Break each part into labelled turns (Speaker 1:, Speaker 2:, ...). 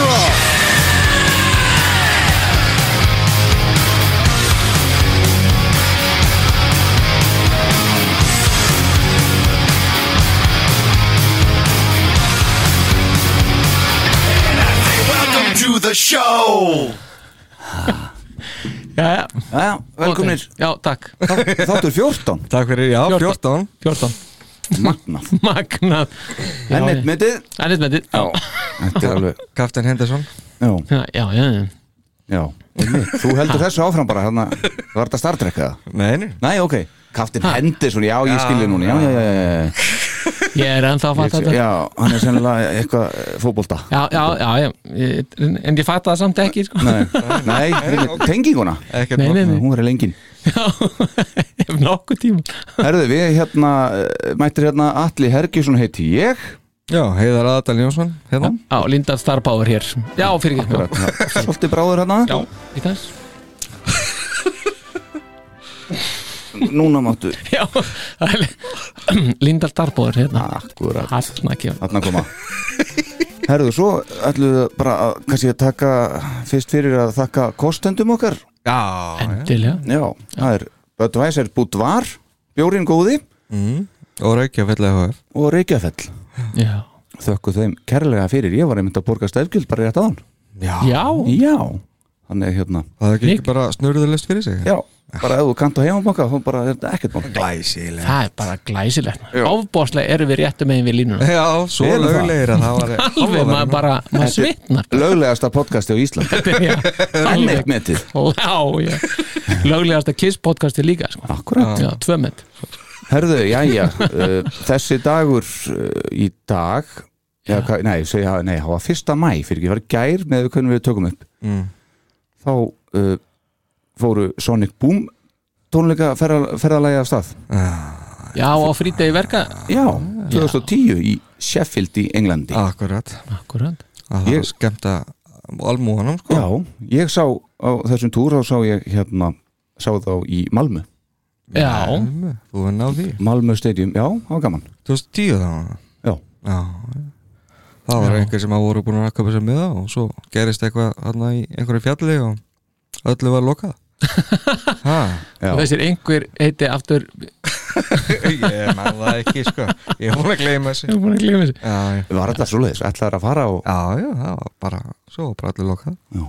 Speaker 1: roll.
Speaker 2: Welcome to the show
Speaker 3: Jæja.
Speaker 4: Já, velkominir
Speaker 3: Já, takk
Speaker 4: Þáttur 14,
Speaker 5: Takk fyrir, já, 14
Speaker 3: 14
Speaker 4: magnað
Speaker 3: Magnað
Speaker 4: Enn eitt myndið
Speaker 3: Ennit með þitt Já,
Speaker 4: Þetta er alveg
Speaker 5: Captain Henderson
Speaker 4: Já,
Speaker 3: já, já, já.
Speaker 4: já einmitt. Þú heldur þessu áfram bara hérna Var þetta Star Trek eða?
Speaker 5: Nei, nei
Speaker 4: Nei, ok Kaftin Henderson, já, ég skilji núna Já, já, já, já, já.
Speaker 3: Ég er ennþá að fatta
Speaker 4: Ég-
Speaker 3: þetta
Speaker 4: já Hann er sennilega eitthvað eh, fótbolta
Speaker 3: Já, já, já, já Ég- En ég fatta það samt ekki sko.
Speaker 4: Nei, nei, nei tenginguna
Speaker 5: Ekkert
Speaker 3: Nei, nei, nei
Speaker 4: Hún er lengin
Speaker 3: Já, ef nokkuð tíma
Speaker 4: Herðu, við hérna eh, Mættir hérna Atli Hergjesson heiti ég
Speaker 5: Já, Heiðar Aðdal Jónsson hérna.
Speaker 3: Já, Linda Star Power hér Já, fyrir ekki
Speaker 4: Akkurat, Svolítið bráður hérna
Speaker 3: Já, í þess
Speaker 4: Núna máttu
Speaker 3: Já, það er Linda Star Power hérna
Speaker 4: Akkurat
Speaker 3: Hanna kemur
Speaker 4: Þarna koma Herðu, svo ætlum við bara að, kannski að taka fyrst fyrir að þakka kostendum okkar
Speaker 5: Já,
Speaker 3: Endilega
Speaker 4: Já, það er Budweiser Budvar, Bjórin Góði
Speaker 5: og Raukjafell EHF
Speaker 4: og Reykjafell
Speaker 3: Já,
Speaker 4: Þökku þeim kærlega fyrir, ég var einmitt að borga stefgjöld bara rétt áðan
Speaker 3: já,
Speaker 4: Já, þannig hérna
Speaker 5: Það er ekki
Speaker 3: Nick.
Speaker 5: bara snurðurlist fyrir sig
Speaker 4: Já, bara ef þú kannt á heimabanka þá bara er þetta ekkert mál
Speaker 5: Glæsileg
Speaker 3: það er bara glæsilegt Ofbóðslega erum við réttum megin við línuna
Speaker 5: Já, svo
Speaker 4: Eru það?
Speaker 5: löglegir að það var
Speaker 3: Alveg, maður bara, maður svitnar
Speaker 4: Löglegasta podcasti á Ísland
Speaker 3: Já, alveg.
Speaker 4: Ennett metið
Speaker 3: Já, já Löglegasta Kiss podcasti líka sko.
Speaker 4: Akkurat
Speaker 3: Já, tvö mynd
Speaker 4: Herðu, jæja, uh, þessi dagur uh, í dag já, hva, nei, segja, nei, það var fyrsta mæ fyrir ekki, það var í gær með hvernig við tökum upp
Speaker 5: Mm.
Speaker 4: þá uh, fóru Sonic Boom tónleika ferða, ferðalægi af stað
Speaker 3: Já, á frítegi verka
Speaker 4: Ah, Já, Ah. 2010 í Sheffield í Englandi
Speaker 5: Akkurat
Speaker 3: Akkurat
Speaker 5: að Það
Speaker 4: Ég-
Speaker 5: var skemmt að almúanum sko
Speaker 4: Já, ég sá á þessum túr þá sá ég hérna, sá þá í Malmö
Speaker 3: Já,
Speaker 5: Þú var náð því
Speaker 4: Malmö Stadium, já, það var gaman
Speaker 5: 2010 það var
Speaker 4: Já,
Speaker 5: Já Það var einhver sem að voru búin að rakka upp þessu miða og svo gerist eitthvað hann í einhverju fjalli og öllu var lokað Hæ?
Speaker 4: já,
Speaker 3: þessir einhver heiti aftur
Speaker 5: Ég man það ekki sko Ég hún að gleyma þessu
Speaker 3: Ég er búin að gleyma þessu
Speaker 5: Já, já
Speaker 4: var þetta svoleiðis, ætlaður að fara og
Speaker 5: Já, já, það var bara, svo var bara allir lokað
Speaker 4: Já.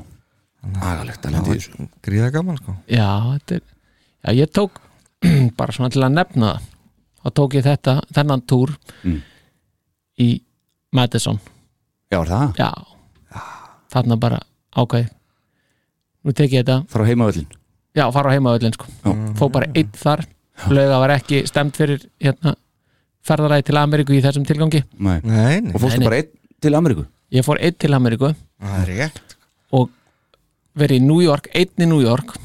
Speaker 4: agalegt að
Speaker 5: Það
Speaker 4: lendi í þessu
Speaker 5: var gríða gaman sko
Speaker 3: Já, þetta er Já, ég tók bara svona til að nefna það þá tók ég þetta, þennan túr
Speaker 4: Mm.
Speaker 3: í Madison
Speaker 4: Já, er það,
Speaker 3: Já, þarna bara ákveði Nú tek ég þetta
Speaker 4: frá heimavöllin
Speaker 3: Já, fara á heimavöllin sko Fó bara einn þar Lauga var ekki stemt fyrir hérna, ferðaræði til Ameríku í þessum tilgangi
Speaker 4: Nei.
Speaker 5: Nei, nei,
Speaker 4: og fórstu
Speaker 3: Nei, nei.
Speaker 4: bara einn til Ameríku
Speaker 3: Ég fór einn til Ameríku
Speaker 5: það er rétt
Speaker 3: og verið í New York, einn í New York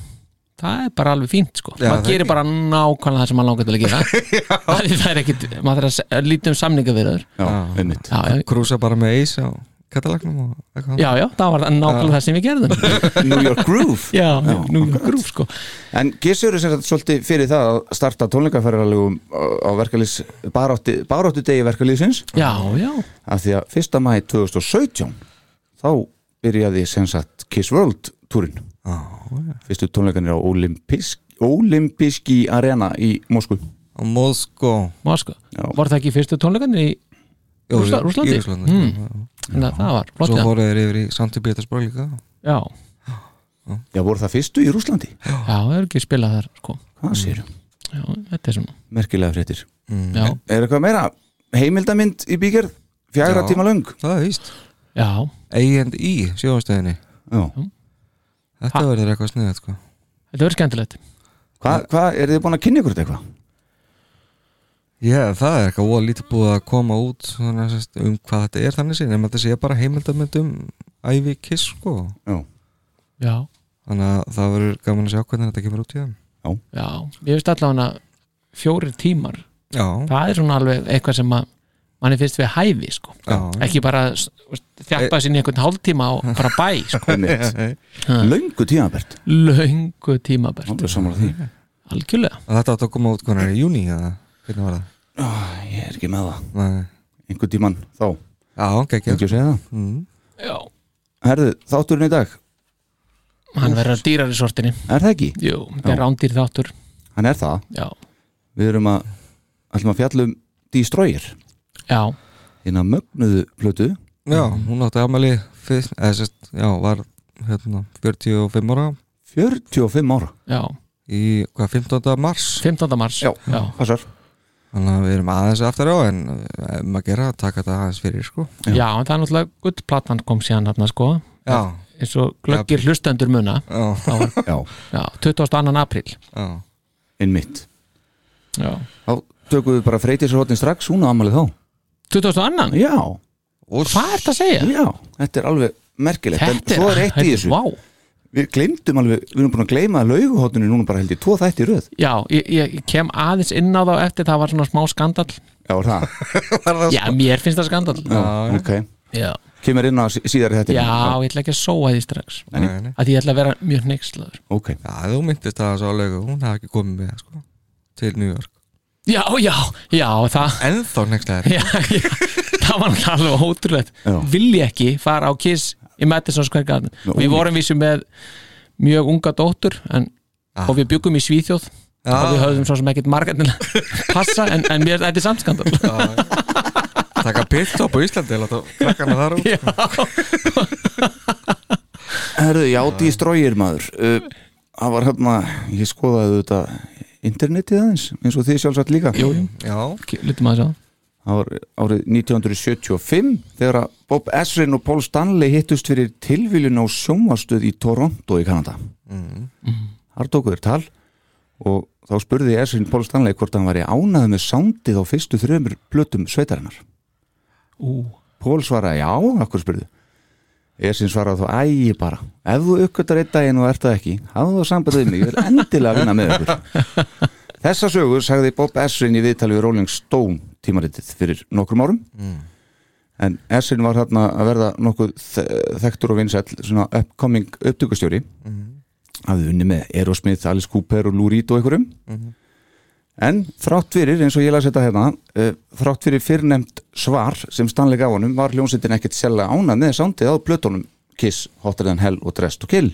Speaker 3: það er bara alveg fínt sko
Speaker 5: Já,
Speaker 3: maður
Speaker 5: það-
Speaker 3: gerir bara nákvæmlega það sem maður langar til að gera það, er- það er ekkit, maður þarf að se- að líti um samninga við þaður
Speaker 4: já, einmitt
Speaker 3: já, já,
Speaker 5: Krúsa bara með eis á katalagnum og eitthvað
Speaker 3: já, já, það var það nákvæmlega það sem við gerðum
Speaker 4: New York Groove
Speaker 3: já, New York grúf sko
Speaker 4: en Gissur er sem sagt svolítið fyrir það að starta tónleikaferðarlegum á verkalýs barótti, barótti degi verkalýsins
Speaker 3: já, já,
Speaker 4: af því að 1. mæ 2017 þá byrjaði sem sagt Kiss World túrin fyrstu tónleikanir á Olympisk Olympiski arena í Moskú
Speaker 5: Og Moskó
Speaker 3: maður sko
Speaker 4: Já.
Speaker 3: voru það ekki fyrstu tónleikarnir í
Speaker 5: Jú,
Speaker 3: Rússa-
Speaker 5: í-
Speaker 3: Rússlandi?
Speaker 5: í Rússlandi mm.
Speaker 3: þannig að það var flott
Speaker 5: Svo
Speaker 3: já.
Speaker 5: voru þeir yfir í Santi Pétursborg líka
Speaker 3: já,
Speaker 4: já voru það fyrstu í Rúslandi
Speaker 3: já, það er ekki spilað þar sko
Speaker 4: hvað sér,
Speaker 3: já, þetta er svona
Speaker 4: merkilega fréttir
Speaker 5: Mm.
Speaker 3: já,
Speaker 4: er eitthvað meira, heimildamind í bígerð fjagra
Speaker 5: Já.
Speaker 4: tíma löng
Speaker 5: Það er víst
Speaker 3: já,
Speaker 5: A&E sjóðastöðinni
Speaker 4: já.
Speaker 5: Þetta verður eitthvað sniðið sko
Speaker 3: þetta verður skemmtilegt
Speaker 4: Hvað hva, er þið búin að kynna ykkur þetta eitthvað?
Speaker 5: Já, það er eitthvað óa lítið búið að koma út svona, sest, um hvað þetta er þannig sín en þetta sé bara heimildamönd um ævi kiss sko
Speaker 4: já,
Speaker 3: já,
Speaker 5: þannig að það verður gaman að sjá hvernig þetta kemur út í það
Speaker 3: já ég veist allavega að fjórir tímar
Speaker 5: Já,
Speaker 3: það er svona alveg eitthvað sem að manni finnst við hæfi sko
Speaker 5: já,
Speaker 3: ekki bara s- þjappa sinni einhvern hálftíma og bara bæ sko.
Speaker 4: einmitt löngu tímabert,
Speaker 3: löngu tímabært
Speaker 4: hann verður saman á því
Speaker 3: algjörlega
Speaker 5: að þetta átt að koma út hvernig í júni eða hvernig var það?
Speaker 4: ég er ekki með það,
Speaker 5: Nei.
Speaker 4: einhver tíman þá,
Speaker 5: Já, geggjað
Speaker 4: ekki að segja það
Speaker 5: mm.
Speaker 3: já.
Speaker 4: herðu, þátturinn í dag,
Speaker 3: hann verður að dýrar í sortinni
Speaker 4: er það ekki?
Speaker 3: Jú, þetta er
Speaker 4: Já.
Speaker 3: rándýr þáttur
Speaker 4: hann er það,
Speaker 3: já,
Speaker 4: við erum að ætlum að fjalla um Destroyer
Speaker 3: já,
Speaker 4: hérna mögnuðu plötu
Speaker 5: Já, hún átti afmæli fyrst, eða sérst, já, var hérna, 45 ára
Speaker 4: 45 ára,
Speaker 3: já.
Speaker 5: í hvað, 15. mars
Speaker 3: 15. mars
Speaker 4: Já.
Speaker 3: Já.
Speaker 4: passar
Speaker 5: þannig að við erum aðeins aftur á en eh, um að gera, taka þetta aðeins fyrir sko
Speaker 3: Já. en það er náttúrulega guttplatan kom síðan þarna sko
Speaker 5: Já,
Speaker 3: eins og glöggir hlustendur muna
Speaker 5: já,
Speaker 3: þá var-
Speaker 4: já,
Speaker 3: já, 22. apríl
Speaker 5: já
Speaker 4: einmitt
Speaker 3: já.
Speaker 4: þá tökum við bara freytisrotni strax, hún á amalið þá
Speaker 3: 22.
Speaker 4: já,
Speaker 3: Hvað er þetta að segja?
Speaker 4: já, þetta er alveg merkilegt,
Speaker 3: Þetta
Speaker 4: en svo er eitt í
Speaker 3: þetta-
Speaker 4: þessu
Speaker 3: Vá, við
Speaker 4: við glemdum alveg, við erum búin að gleyma lauguhotinu núna bara held ég, tvo þætti í röð
Speaker 3: Já, ég, ég kem aðeins inn á þá eftir það var svona smá skandal
Speaker 4: já, er það,
Speaker 3: Já, mér finnst það skandal
Speaker 4: já, ok
Speaker 3: Já,
Speaker 4: kemur inn á sí- síðar í þetta
Speaker 3: ég ætla ekki að sóa því strax
Speaker 4: Nei.
Speaker 5: Nei, nei.
Speaker 3: að ég ætla að vera mjög neykslaður
Speaker 4: ok,
Speaker 5: Já, þú myndist það svo alveg hún hafði ekki komið með sko, til New York
Speaker 3: Já, já, já, það
Speaker 5: Ennþá nextlega
Speaker 3: já, já, það var náttúrulega alveg ótrúlegt
Speaker 4: Já.
Speaker 3: vilji ekki fara á Kiss í Madison Square Garden
Speaker 4: Nú,
Speaker 3: Við
Speaker 4: ólíkt.
Speaker 3: vorum vísum með mjög unga dóttur en,
Speaker 5: Ah.
Speaker 3: og við byggum í Svíþjóð og
Speaker 4: Ah.
Speaker 3: við höfðum svo sem ekkert margarnil passa en, en mér þetta er samt skandal
Speaker 5: Taka pitstop á Íslandi Láta krakkana þar út sko.
Speaker 4: herðu, já, Destroyer maður Uh, það var hérna, ég skoðaði þetta internetið aðeins, eins og þið sjálfsagt líka jú, jú
Speaker 5: Já,
Speaker 3: Lítum að það
Speaker 4: Það var árið 1975 þegar að Bob Esrin og Paul Stanley hittust fyrir tilviljun á sjónvastöð í Toronto í Kanada. Þar tóku þér tal og þá spurði Esrin Paul Stanley hvort hann var í ánað með soundið á fyrstu þrjumur plötum sveitarinnar.
Speaker 3: Ú,
Speaker 4: Paul svaraði já, akkur spurði. Esrin svaraði þá, ægi bara, ef þú uppgötar einn daginn og ert það ekki, hafðu þá sambandið mig, ég vil endilega vinna með ykkur. Þessa sögur sagði Bob Esrin í viðtali við Rolling Stone tímaritið fyrir nokkrum árum en Essin var hérna að verða nokkuð þe- þekktur og vinsæll svona upcoming upptökustjóri mm hafði unni með Aerosmith, Alice Cooper og Lou Reed og einhverjum en þrátt fyrir, eins og ég las þetta hérna uh, þrátt fyrir fyrrnefnd svar sem Stanley gaf honum var hljómsveitin ekkit sérlega ánað með sándið á plötunum Kiss, Hotter Than Hell og Dress to Kill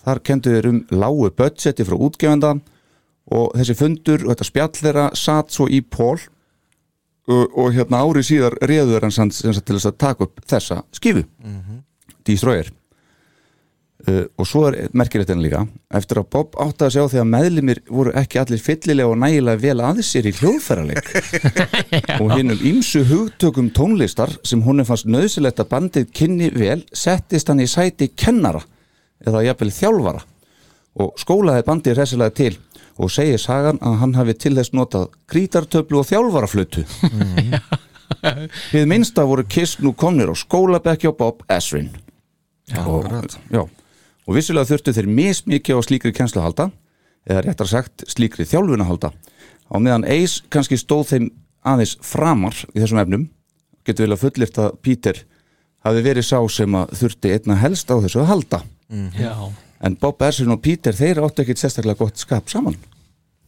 Speaker 4: þar kendu þeir um lágu budgeti frá útgefenda og þessi fundur og þetta spjall þeirra satt svo í Paul og, og hérna árið síðar réður hann sann, sann, til þess að taka upp þessa skifu mm Destroyer uh, og svo er merkilegt enn líka eftir að Bob átti að sjá því að meðlimir voru ekki allir fyllilega og nægilega vel að sér í hljóðfæraleik og hinn um ýmsu hugtökum tónlistar sem honum fannst nöðsilegt að bandið kynni vel settist hann í sæti kennara eða jafnvel þjálfara og skólaði bandið hressilega til og segir sagan að hann hafi til þess notað grítartöflu og þjálfaraflötu Við minnsta voru Kiss nú komnir á skólabekki á Bob Esrin já, og, já, og vissulega þurftu þeir mismikið á slíkri kennslu að halda eða réttar sagt slíkri þjálfun að halda á meðan Ace kannski stóð þeim aðeins framar í þessum efnum getur vel að fullirt að Peter hafi verið sá sem að þurfti einna helst á þessu að halda
Speaker 3: já
Speaker 4: en Bob Esrin og Peter þeir áttu ekkit sérstaklega gott skap saman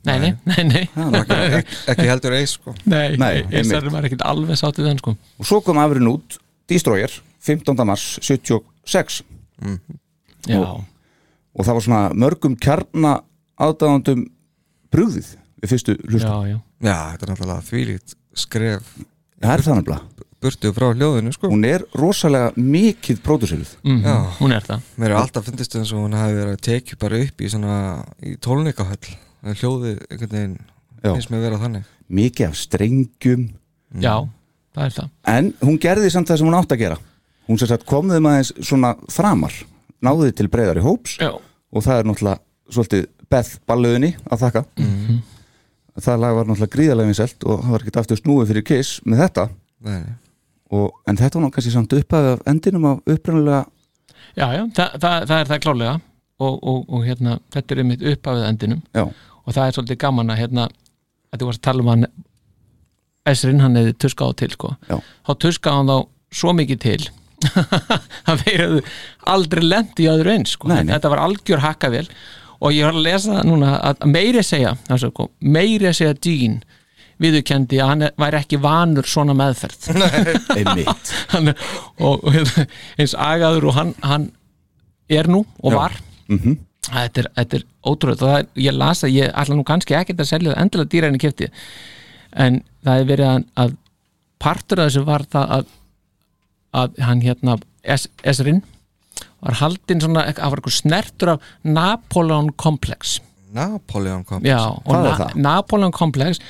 Speaker 3: Nei, nei, nei, nei
Speaker 5: ekki, ekki heldur eis sko
Speaker 3: Nei,
Speaker 4: Nei,
Speaker 3: ég
Speaker 4: einmitt.
Speaker 3: sæður maður ekkert alveg sátt við hann sko
Speaker 4: og svo kom afrin út Destroyer 15. mars 76
Speaker 3: Já,
Speaker 4: og það var svona mörgum kjarna aðdáðandum brugðið við fyrstu hlustum,
Speaker 3: já, já
Speaker 5: Já, þetta er náttúrulega þvílít skref
Speaker 4: það er það nefnilega
Speaker 5: burtu frá hljóðinu sko
Speaker 4: hún er rosalega mikið pródusirð
Speaker 3: Mhm,
Speaker 5: Já.
Speaker 3: Hún er það
Speaker 5: Mér er alltaf fundist eins og hún hafi verið að tekið bara upp í svona í tólnikahöll hljóði einhvern veginn
Speaker 4: Já.
Speaker 5: finnst mér vera þannig
Speaker 4: mikið af strengjum
Speaker 3: Já, það er það
Speaker 4: en hún gerði samt það sem hún átt að gera hún sem sagt kom þeim aðeins svona framar náði til breyðari hóps
Speaker 3: Já,
Speaker 4: og það er náttúrulega svolítið Beth balluðinni að þakka það lag var náttúrulega gríðarlega vinselt og það var ekkert aftur snúið fyrir Kiss með þetta
Speaker 5: Nei, nei.
Speaker 4: og, en þetta var nú kannski samt upphafið af endinum af upprunalega
Speaker 3: já, já, það, það, það er það klálega og, og, og hérna, þetta er einmitt upphafið að endinum
Speaker 4: já,
Speaker 3: og það er svolítið gaman að hérna að þú varst að tala um hann Esrin hann hefði tuskað á til sko
Speaker 4: Já.
Speaker 3: þá tuskaði hann þá svo mikið til að þeir hefðu aldrei lendi í öðru eins sko
Speaker 4: Nei, nei.
Speaker 3: þetta var algjör hakkavél og ég var að lesa það núna að meiri segja það er sko, meiri segja Dean viðurkendi að hann væri ekki vanur svona meðferð
Speaker 4: einmitt
Speaker 3: hann, og, og hérna, eins agaður og hann, hann er nú og var þetta, er, þetta er ótrúlega það, er- ég las að ég ætla nú kannski ekkert að selja það endilega dýra enn í kipti en það er verið að, að partur af þessu var það að, að hann hérna es, Esrin var haldinn svona, það var eitthvað snertur af Napoleon komplex
Speaker 5: Napoleon kom
Speaker 3: Já, og
Speaker 4: Hvað er
Speaker 3: na
Speaker 4: það?
Speaker 3: Napoleon komplex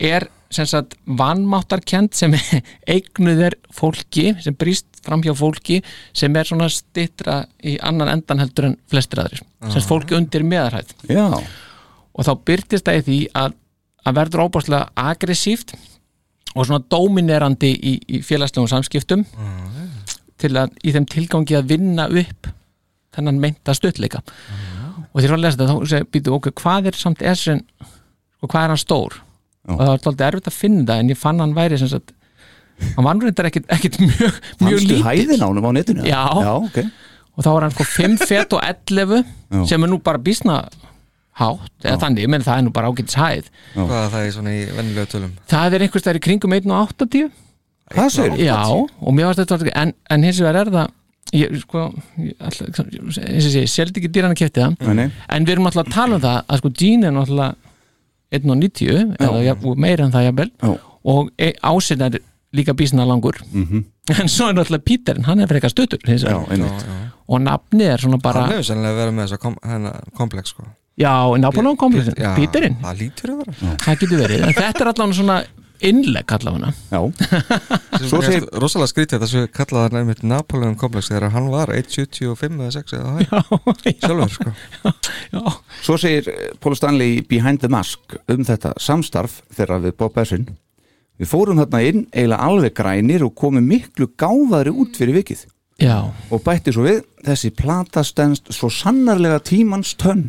Speaker 3: er sem sagt vannmáttarkend sem eignuð er fólki sem brýst fram hjá fólki sem er svona stittra í annan endan heldur en flestir aðrir sem sagt fólki undir meðarhæð
Speaker 4: já,
Speaker 3: og þá byrtist það í því að, að verður óbáslega agressíft og svona dóminerandi í, í félagslegum samskiptum til að í þeim tilgangi að vinna upp þennan meinta stuttleika og þegar ég var að lesa þetta þá segi, býtu okkur, hvað er samt Esrin og hvað er hann stór og það var tóldi erfitt að finna það en ég fann hann væri sem sagt hann vann reyndar ekkit, ekkit mjög, mjög
Speaker 4: mannstu
Speaker 3: lítill
Speaker 4: hæðin ánum á netinu
Speaker 3: Já.
Speaker 4: já ok,
Speaker 3: og þá var hann sko 5 fet og 11
Speaker 4: Já.
Speaker 3: sem er nú bara bísna hátt eða þannig, ég menn það er nú bara ágætis hæð
Speaker 5: Hvað er það í svona í vennilega tölum?
Speaker 3: það er einhvers þær í kringum 1 og 80
Speaker 4: það segir
Speaker 3: já, og mér varst þetta alveg- en, en hins vegar er það ég, sko, ég, alltaf, eins og sé, ég seldi ekki dýran að kefti það
Speaker 4: Nei, nei.
Speaker 3: en við erum alltaf að tala um það að sko Jean er náttúrulega 1 og 90 eða ja, meira en það jafnvel
Speaker 4: Já.
Speaker 3: og e, ásinn er líka bísna langur en svo er náttúrulega Píterinn, hann er frekar stöttur hins
Speaker 4: já,
Speaker 3: vegar.
Speaker 4: einmitt
Speaker 3: og nafni er svona bara
Speaker 5: Hann hefur sennilega verið með þessa kom, hennar komplex sko
Speaker 3: Já, Napoleon komplexin,
Speaker 5: Já,
Speaker 3: Píterinn
Speaker 5: Það lítur að vera
Speaker 3: Það getur verið, en þetta er allan svona innlegg allavega
Speaker 4: já, Svo
Speaker 5: Svo
Speaker 4: segir-
Speaker 5: segir Rosalega skrítið þetta sem kallaði hann einmitt Napoleon komplex þegar hann var 1.75 eða 6 eða það
Speaker 3: já,
Speaker 5: Sjálfur sko
Speaker 3: já,
Speaker 4: svo segir eh, Paul Stanley í Behind the Mask um þetta samstarf þegar við Bob Essin við fórum þarna inn eiginlega alveg grænir og komum miklu gáðari út fyrir vikið
Speaker 3: já,
Speaker 4: og bætti svo við þessi plata stendst svo sannarlega tímans tönn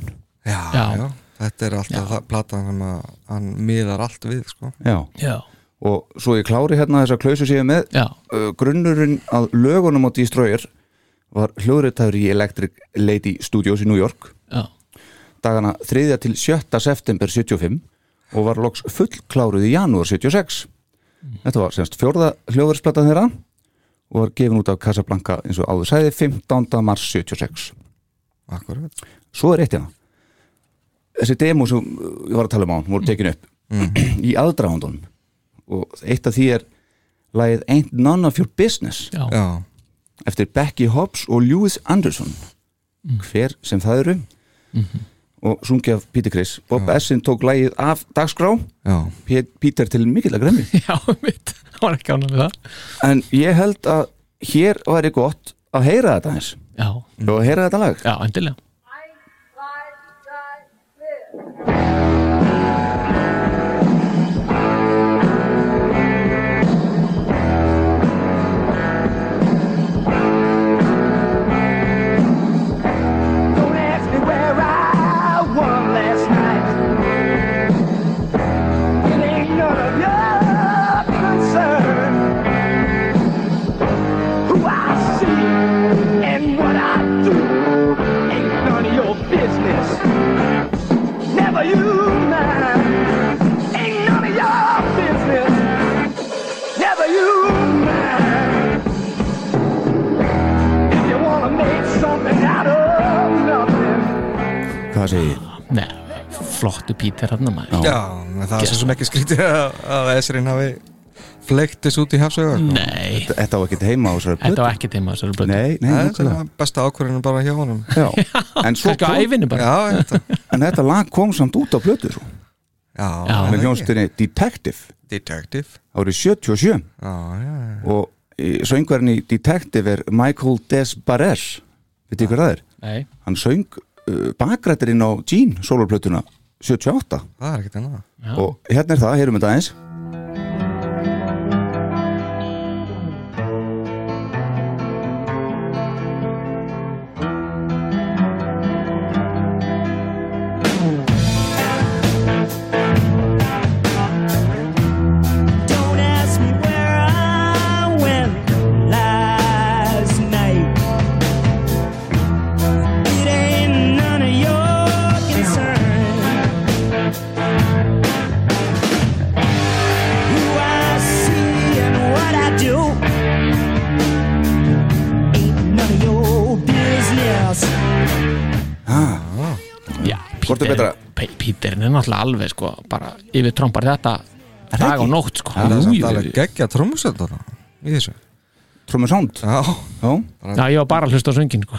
Speaker 5: já,
Speaker 3: Já.
Speaker 5: já. Þetta er alltaf það, platan sem að hann miðar allt við sko
Speaker 4: já.
Speaker 3: já,
Speaker 4: og svo ég klári hérna þessa klausu séu með
Speaker 3: já.
Speaker 4: uh, grunnurinn að lögunum á Destroyer var hljóðritaður í Electric Lady Studios í New York
Speaker 3: já.
Speaker 4: dagana 3. til 7. september 75 og var loks fullkláruð í janúar 76 þetta var semst fjórða hljóðursplata þeirra og var gefin út af Casablanca eins og áður sæði 15. mars 76
Speaker 5: Akkurat
Speaker 4: svo er eitt hérna þessi demo sem uh, ég var að tala um á hún voru tekin upp í aðdragandun og eitt af því er lagið Ain't None of Your Business
Speaker 5: Já,
Speaker 4: eftir Becky Hobbs og Lewis Anderson
Speaker 3: Mm.
Speaker 4: hver sem það eru
Speaker 3: Mhm.
Speaker 4: og sungi af Peter Criss Bob Essin tók lagið af dagskrá
Speaker 5: já
Speaker 4: Pe- Peter til mikill að gremmi
Speaker 3: já mitt, það var ekki ánum við það
Speaker 4: en ég held að hér væri gott að heyra þetta eins
Speaker 3: Já,
Speaker 4: og að heyra þetta lag
Speaker 3: já, endilega
Speaker 6: Don't ask me where I was last night. It ain't none of your concern. Who I see and what I do ain't none of your business. Never you mind. Ain't none of your business. Never you mind. If you wanna make something out of nothing.
Speaker 4: hvað segi ég?
Speaker 3: Nei, flottu Píter hann maður
Speaker 5: Já, en það er svo sem ekki skrítið að, að Esrin hafi fleiktis út í hafsögur sko.
Speaker 3: Nei,
Speaker 4: þetta var ekki heima á þessari
Speaker 3: þetta
Speaker 4: plötu.
Speaker 3: var ekki teima þessari blötu
Speaker 4: nei, nei,
Speaker 5: Það er
Speaker 4: nákvæmlega.
Speaker 5: svona besta ákvörðinu bara hjá honum
Speaker 4: Já. en, svo,
Speaker 3: Kannski á ævinni bara
Speaker 5: Já, þetta
Speaker 4: en þetta lag kom samt út á plötu svo,
Speaker 3: Já.
Speaker 5: Já, það er
Speaker 4: með
Speaker 5: ekki.
Speaker 4: hljónstinni Detective
Speaker 5: Detective
Speaker 4: árið 77
Speaker 5: Já, já, já
Speaker 4: og eh, söngvarinn í Detective er Michael Desbarer veit þið hver það er? e,
Speaker 3: Nei,
Speaker 4: hann söng uh, bakrættirinn á Gene sólurplötuna 78
Speaker 5: það er ekkert annað
Speaker 4: og hérna er það, heyrum þetta aðeins
Speaker 7: Don't ask me where I went last night. It ain't none of your concern. Who I see and what I do ain't none of your business.
Speaker 3: Já,
Speaker 4: Hvort er
Speaker 3: Peter-
Speaker 4: betra?
Speaker 3: Pe- Peterinn er náttúrulega alveg sko, bara yfir trompar þetta dag og nótt sko.
Speaker 5: það er
Speaker 3: Jú,
Speaker 5: samt
Speaker 3: jú,
Speaker 5: alveg
Speaker 3: jú.
Speaker 5: geggja trómusöldar í þessu
Speaker 4: Trómið Sound
Speaker 5: já,
Speaker 4: Já,
Speaker 3: Já, ég var bara að hlusta á söngin sko.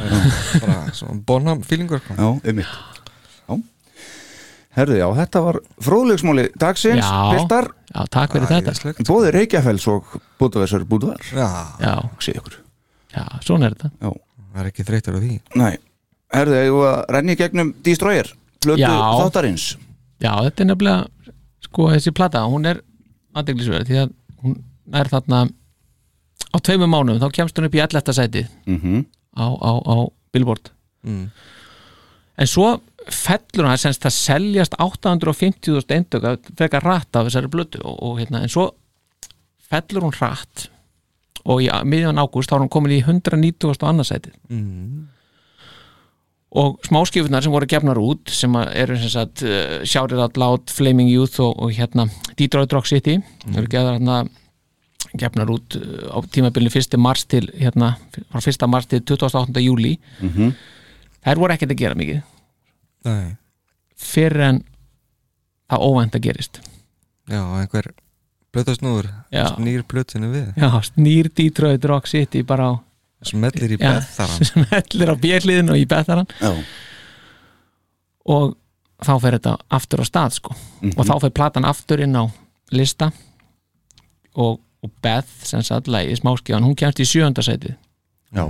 Speaker 5: bara svona bonham feelingur sko.
Speaker 4: já, um mitt Já Herðu, já, þetta var fróðleiksmáli dagsins,
Speaker 3: Já.
Speaker 4: piltar,
Speaker 3: Já, takk fyrir þetta
Speaker 5: æðislegt
Speaker 4: bóði Reykjafells og bútaversar bútavar,
Speaker 5: já,
Speaker 3: Já,
Speaker 4: sé ykkur
Speaker 3: já, svona er þetta
Speaker 4: Já,
Speaker 5: það er ekki þreytur á því
Speaker 4: nei, herðu, ég var að renni gegnum Destroyer, blötu
Speaker 3: Já.
Speaker 4: þáttarins
Speaker 3: Já, þetta er nefnilega sko þessi plata, hún er aðdeglisverð því að hún er þarna á tveimur mánum, þá kemst hún upp í 11. sæti
Speaker 4: mm
Speaker 3: á, á, á Billboard
Speaker 5: Mm.
Speaker 3: en svo fellur hann semst það seljast 850.000 eindök frekar rætt af þessari blötu og, og hérna, en svo fellur hún rætt og í miðjan ágúst þá er hún komin í 190.000 annarsætið
Speaker 5: mm.
Speaker 3: og smáskifunar sem voru gefnar út sem að eru sem sagt uh, Shouted Out Loud, Flaming Youth og, og hérna Detroit Rock City eru gefnar, hérna, gefnar út uh, á tímabilinu 1. mars til hérna, frá 1. mars til 28. júli þær voru ekkert að gera mikið
Speaker 5: nei,
Speaker 3: fyrir en það óvænt að gerist
Speaker 5: já, einhver blötasnúður
Speaker 3: Já.
Speaker 5: snýr blötinu við
Speaker 3: Já, snýr Detroit Rock City bara á
Speaker 5: smellir í
Speaker 3: Já.
Speaker 5: beðþaran
Speaker 3: sem hellir á björliðin og í betharan
Speaker 4: Já,
Speaker 3: og þá fer þetta aftur á stað sko.
Speaker 4: Mhm.
Speaker 3: og þá fer platan aftur inn á lista og, og Beth sem satt lægi smáskjáðan, hún kemst í sjöndasætið
Speaker 4: já,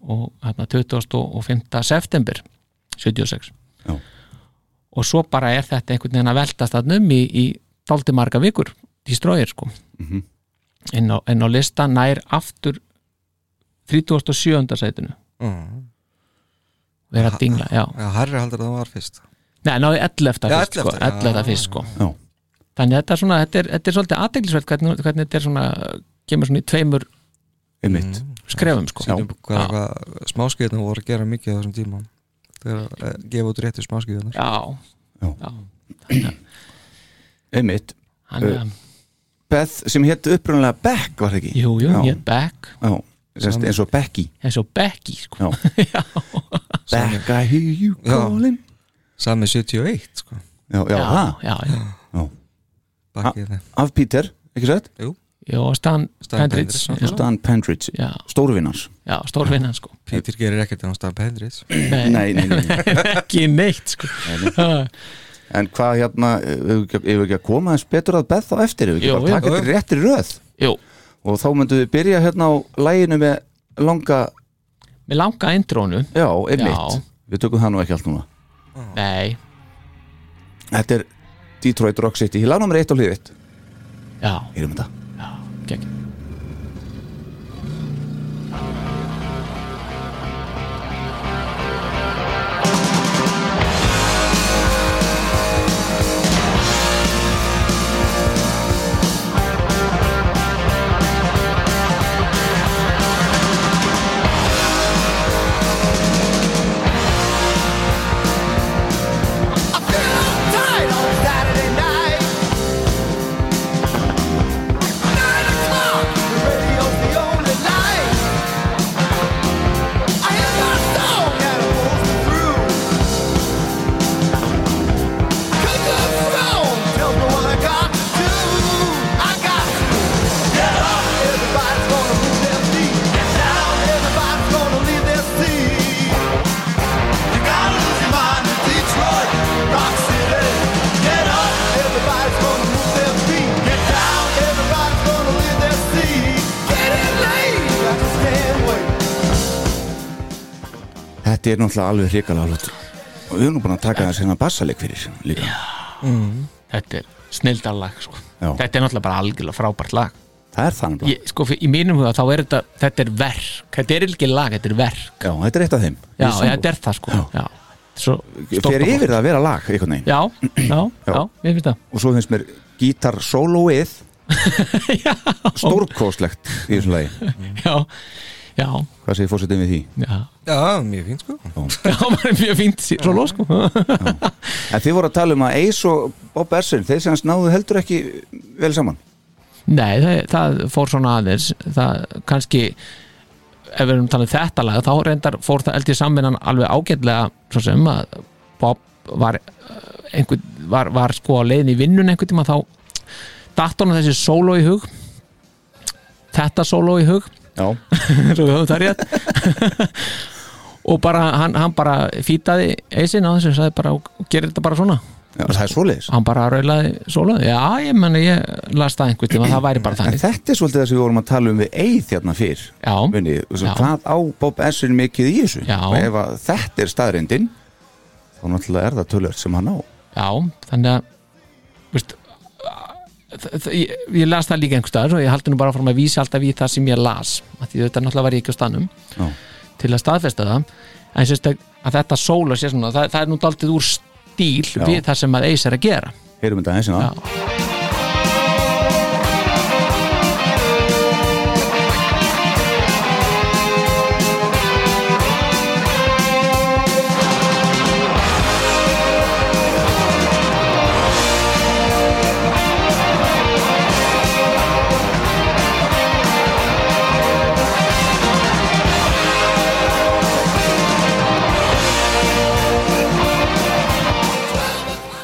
Speaker 3: og hérna 25. september 76
Speaker 4: Já.
Speaker 3: og svo bara er þetta einhvern veginn að veltast að numi í dálti marga vikur í stróðir sko
Speaker 4: Mhm.
Speaker 3: inn, á, inn á lista nær aftur 37. sætinu
Speaker 5: Mm.
Speaker 3: og er að dingla, já
Speaker 5: já, Harry heldur að það var fyrst
Speaker 3: Nei, náði 11.
Speaker 5: Já,
Speaker 3: fyrst, sko,
Speaker 5: 11.,
Speaker 3: 11.
Speaker 5: já,
Speaker 3: fyrst sko.
Speaker 4: já.
Speaker 3: Þannig að þetta er, svona, þetta er, þetta er svolítið aðteglisveld hvernig, hvernig þetta er svona kemur svona í tveimur
Speaker 4: um mitt
Speaker 3: skrefum sko.
Speaker 5: Sýnum hvað, hvað smáskeiðinu voru að gera mikið á þessum tíma þegar að gefa út réttu smáskeiðinu
Speaker 3: Já,
Speaker 4: Já.
Speaker 3: já. Þannig að-
Speaker 4: um mitt
Speaker 3: þannig að,
Speaker 4: Beth sem hétt upprunalega Beck var það ekki
Speaker 3: jú, jú,
Speaker 4: já,
Speaker 3: ég er Beck
Speaker 4: já, semst eins og Becky
Speaker 3: eins og Becky sko.
Speaker 4: Já. Beck I hear you
Speaker 5: Já.
Speaker 4: calling
Speaker 5: sami 71 sko
Speaker 4: Já, já,
Speaker 3: já,
Speaker 4: já,
Speaker 3: já, já.
Speaker 5: bakið þeim
Speaker 4: af Peter, ekki sett?
Speaker 3: Jó, og Stan,
Speaker 5: Stan
Speaker 3: Pendrits
Speaker 5: Pendridge,
Speaker 3: já,
Speaker 4: Stan Pendridge,
Speaker 3: já,
Speaker 4: stórvinnars
Speaker 3: já, stórvinnan sko.
Speaker 5: Peter gerir ekkert en á Stan Pendrits
Speaker 3: Nei,
Speaker 4: Nei, nei, nei, nei.
Speaker 3: ekki neitt sko.
Speaker 4: En hvað hérna, ef við ekki að koma þess betur að Beth á eftir, ef við
Speaker 3: Jú,
Speaker 4: ekki bara
Speaker 3: jú.
Speaker 4: taka þetta í réttri röð
Speaker 3: Jú,
Speaker 4: og þá myndum við byrja hérna á læginu með langa,
Speaker 3: með langa intrónu
Speaker 4: já, einmitt
Speaker 3: Já.
Speaker 4: Við tökum það nú ekki allt núna
Speaker 3: Nei,
Speaker 4: Þetta er Detroit Rock City, ég lánum mér eitt á liðið
Speaker 3: já,
Speaker 4: Heyrum þetta
Speaker 3: já, gegn
Speaker 7: I feel tired on Saturday night. Nine o'clock, the radio's the only light. I hear my song that pulls me through. Cook up strong, tell me what I got to do. I got to get up. Everybody's gonna move their feet. Get down. Everybody's gonna leave their seat. You gotta lose your mind in Detroit, Rock City. Get up, everybody's gonna move their feet. Get down, everybody's gonna leave their seat. Get in late, I just can't wait.
Speaker 4: Þetta er náttúrulega alveg hrikalega hlut og við erum nú búin að taka þess hérna bassaleg fyrir líka
Speaker 3: þetta er snildarlag sko.
Speaker 4: Já.
Speaker 3: þetta er náttúrulega bara algjörlega frábært lag
Speaker 4: það er þannig
Speaker 3: ég, sko, fyrir- í mínum huga þá er þetta þetta er verk, þetta er ekki lag, þetta er verk
Speaker 4: Já, þetta er eitt af þeim
Speaker 3: já,
Speaker 4: Ég-
Speaker 3: þetta er það sko
Speaker 4: Já.
Speaker 3: já. Svo,
Speaker 4: Fer yfir það að vera lag einhvern veginn
Speaker 3: já, já,
Speaker 4: Já.
Speaker 3: já, ég finnst það
Speaker 4: og svo finnst mér gítar soloið stórkóslegt í þessum lagi
Speaker 3: já, já,
Speaker 4: hvað segir fórsetin við því
Speaker 3: já,
Speaker 5: Já, mjög fínt sko
Speaker 3: já, maður er mjög fínt sér- svo ló sko
Speaker 4: en þið voru að tala um að Ace og Bob Essin þeir sem hans náðu heldur ekki vel saman
Speaker 3: Nei, það, það fór svona aðeins það kannski ef við erum talað um þetta lag þá reyndar fór það eldið samvinnan alveg ágætlega svo sem að Bob var, eh, einhvern, var, var sko á leiðin í vinnun einhvern tíma þá datt honum þessi sóló í hug þetta sóló í hug
Speaker 4: já,
Speaker 3: svo við höfum það rétt og bara hann, hann bara fýtaði eisin á þessu og sagði bara, gerir þetta bara svona
Speaker 4: já það er svoleiðis
Speaker 3: hann bara raulaði sólaði já, ég menna, ég las það einhvern tíma það væri bara
Speaker 4: en
Speaker 3: þannig
Speaker 4: þetta er svolítið það sem við vorum að tala um við Ace hérna fyrr
Speaker 3: Já.
Speaker 4: Muni,
Speaker 3: Já.
Speaker 4: hvað á Bob Essin mikið í þessu
Speaker 3: Já.
Speaker 4: og ef að þetta er staðrindin þá náttúrulega er það tölvöld sem hann á
Speaker 3: já, þannig að veist, þ- þ- ég, ég las það líka einhvers staðar og ég haldi nú bara fórum að vísa alltaf í það sem ég las af því þetta náttúrulega var ég ekki á stanum
Speaker 4: Já.
Speaker 3: til að staðfesta það en sérst að, að þetta sóla sé svona það, það er nú daldið úr stíl
Speaker 4: Já.
Speaker 3: við það sem að eis er að gera
Speaker 4: heyrum þetta aðeins hérna.
Speaker 3: Já.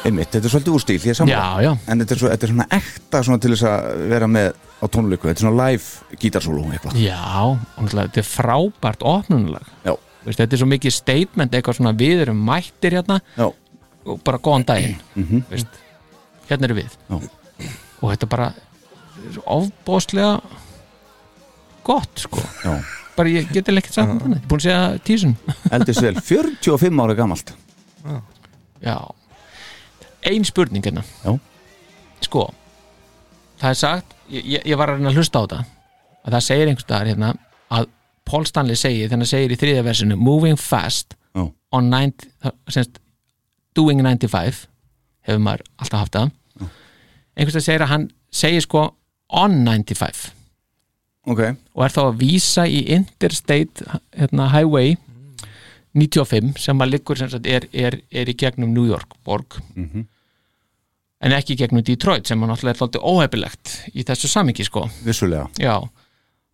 Speaker 4: Einmitt, þetta er svolítið úr stíl, ég er sammála
Speaker 3: Já, já.
Speaker 4: En þetta er, svo, þetta er svona ekta svona til þess að vera með á tónleiku Þetta er svona live gítarsólu eitthvað
Speaker 3: Já, og náttúrulega þetta er frábært opnunulag
Speaker 4: Já,
Speaker 3: Veist, þetta er svo mikið statement, eitthvað svona við erum mættir hérna
Speaker 4: já,
Speaker 3: og bara góðan daginn Veist, hérna erum við
Speaker 4: Mhm. Já.
Speaker 3: og þetta er bara er ofbóðslega gott sko
Speaker 4: já
Speaker 3: bara ég geti ekkert sagt um þannig, ég er búin að segja tísun
Speaker 4: Eldist vel, 45 ára gamalt
Speaker 3: Já, ein spurning hérna
Speaker 4: Já.
Speaker 3: Sko, það er sagt ég, ég- ég var að reyna að hlusta á þetta að það segir einhvers staðar hérna að Paul Stanley segir, þannig að segir í þriðja versinu Moving fast
Speaker 4: Já,
Speaker 3: on 90, semst, doing 95 hefur maður alltaf haft það einhvers veginn segir að hann segir sko on 95
Speaker 4: ok,
Speaker 3: og er þá að vísa í Interstate hérna, Highway 95 sem maður liggur sem sagt, er, er, er í gegnum New York borg en ekki í gegnum Detroit sem maður náttúrulega er þáttið óhefilegt í þessu samingi sko
Speaker 4: vissulega
Speaker 3: já,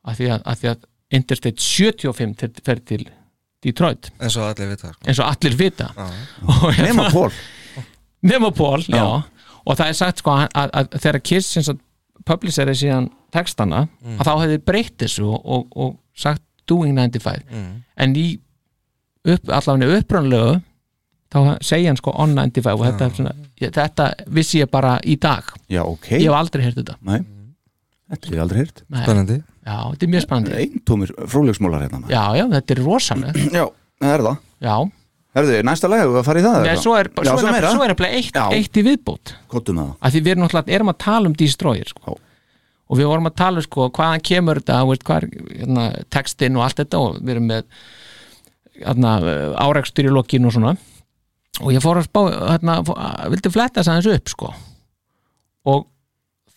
Speaker 3: af því að, af því að Interstate 75 fer- fer til Detroit
Speaker 5: En svo allir við það sko
Speaker 3: eins og allir vita og hérna-
Speaker 4: Nema Pól,
Speaker 3: nema Pól, já. og það er sagt sko að, að, að þegar Kiss sem sagt publiseri síðan textana
Speaker 4: Mm.
Speaker 3: að þá hefði breytt þessu og, og, og sagt Doing 95
Speaker 4: Mm.
Speaker 3: en í upp, allavega upprannlegu þá segja hann sko on 95 og þetta, er svona, ég, þetta vissi ég bara í dag
Speaker 4: já, ok
Speaker 3: ég hef aldrei heyrt þetta
Speaker 4: Nei, þetta er ég aldrei heyrt
Speaker 3: Nei.
Speaker 5: Spennandi
Speaker 3: já, þetta er mjög spennandi
Speaker 4: Einn tómir frólegsmólar hérna maður.
Speaker 3: já, já, þetta er rosalega
Speaker 4: Já, það er það
Speaker 3: já,
Speaker 4: Herðu, næsta lag, við að fara í það
Speaker 3: Nei,
Speaker 4: eða
Speaker 3: svo er,
Speaker 4: hvað?
Speaker 3: svo
Speaker 4: já,
Speaker 3: er,
Speaker 4: meira
Speaker 3: svo er, er eitt,
Speaker 4: Já.
Speaker 3: eitt í viðbót
Speaker 4: Kottum með það
Speaker 3: að því við erum náttúrulega erum að tala um Destroyer sko. og við vorum að tala sko hvaðan kemur þetta, þú veist, hvað er hérna, textin og allt þetta og við erum með hérna, árekstur í lokinu og svona og ég fór að spá, hérna, fó- að- vildi fletta þess aðeins upp sko og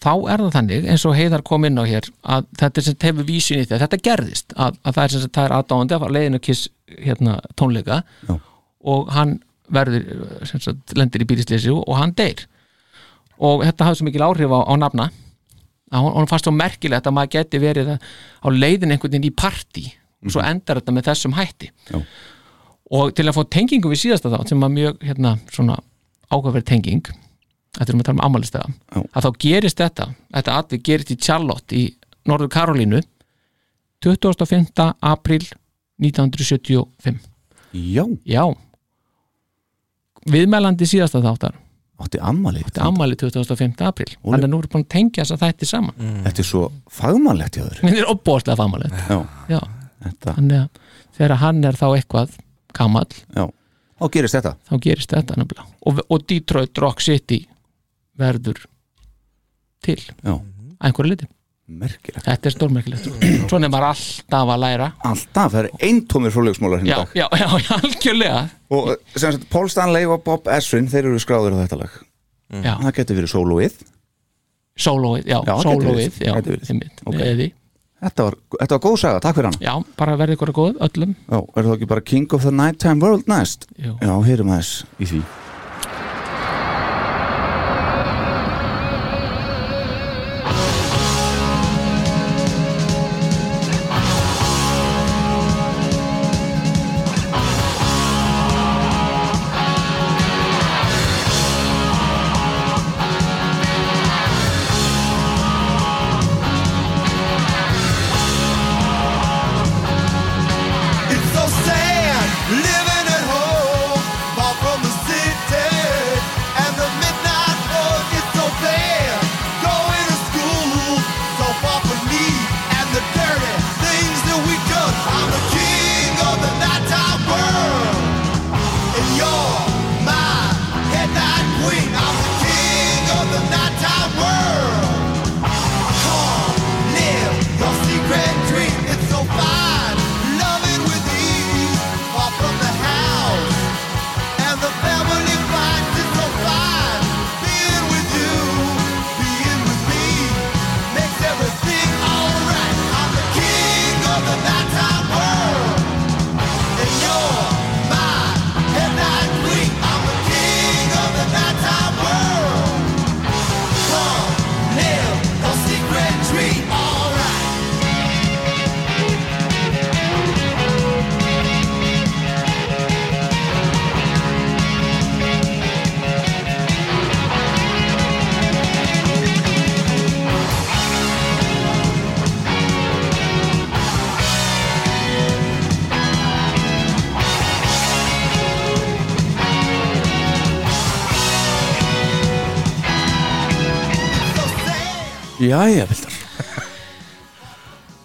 Speaker 3: þá er það þannig eins og Heiðar kom inn á hér að þetta sem hefur vísin í þetta, þetta gerðist að, að það er sem sagt, það er aðdáandi að fara leiðinu kiss hérna, tónleika
Speaker 4: Já.
Speaker 3: og hann verður sem sagt, lendir í bílisleysi og hann deyr og þetta hafði svo mikil áhrif á, á nafna að hún, hún fannst svo merkilegt að maður geti verið að, á leiðin einhvern veginn í partí og svo endar þetta með þessum hætti
Speaker 4: Mhm. Já.
Speaker 3: og til að fá tengingu við síðasta þá sem var mjög hérna, svona ákveðverð tenging þetta er um að tala um ammælistega
Speaker 4: Já.
Speaker 3: að þá gerist þetta, þetta atvið gerist í Charlotte í Norður Karolínu 25. april 1975
Speaker 4: Já,
Speaker 3: já viðmælandi síðasta þáttar
Speaker 4: átti ammali
Speaker 3: þetta er ammæli 25. april þannig að nú eru búin að tengja þess að þætti saman mm.
Speaker 4: Þetta er svo fagmannlegt hjá þér
Speaker 3: þetta er opbóðslega famalegt
Speaker 4: Já,
Speaker 3: já,
Speaker 4: þetta,
Speaker 3: þannig að þegar hann er þá eitthvað kamall,
Speaker 4: já Þá gerist þetta
Speaker 3: þá gerist þetta nefnilega og, og Detroit Rock City verður til
Speaker 4: Já.
Speaker 3: að einhverju liti
Speaker 4: merkilegt
Speaker 3: þetta er stórmerkilegt svo nefnir alltaf að læra
Speaker 4: Alltaf, það eru eintómir fróðleiksmólar hérna í
Speaker 3: já,
Speaker 4: dag
Speaker 3: já, já, já, algjörlega
Speaker 4: Og eh, sem sagt, Paul Stanley og Bob Esrin, þeir eru skráður á þetta lag
Speaker 3: já,
Speaker 4: Það getur verið sólóið
Speaker 3: sólóið, já,
Speaker 4: Já, gæti
Speaker 3: sólóið
Speaker 4: verið,
Speaker 3: já,
Speaker 4: gæti verið.
Speaker 3: einmitt,
Speaker 4: Ok.
Speaker 3: eði
Speaker 4: Þetta var, þetta var góð saga, takk fyrir hana
Speaker 3: já, bara verði ykkur að góð öllum
Speaker 4: Já, er það ekki bara King of the Nighttime World næst?
Speaker 3: Jú.
Speaker 4: Já, heyrum aðeins í því
Speaker 7: It's so sad living at home, far from the city, and the midnight work is so bad. Going to school, so far from me, and the dirty things that we done. I'm the king of the nighttime world, and you're my headlight queen. I'm the king of the nighttime world. Come, live your secret dream. It's so fine, love it with ease. Far from the house and the family fights. It's so fine, being with you, being with me makes everything alright. I'm the king of the nighttime world, and you're my headlight queen. I'm the king of the nighttime world. Come, live your secret dream. Alright.
Speaker 4: Jæja, Vildar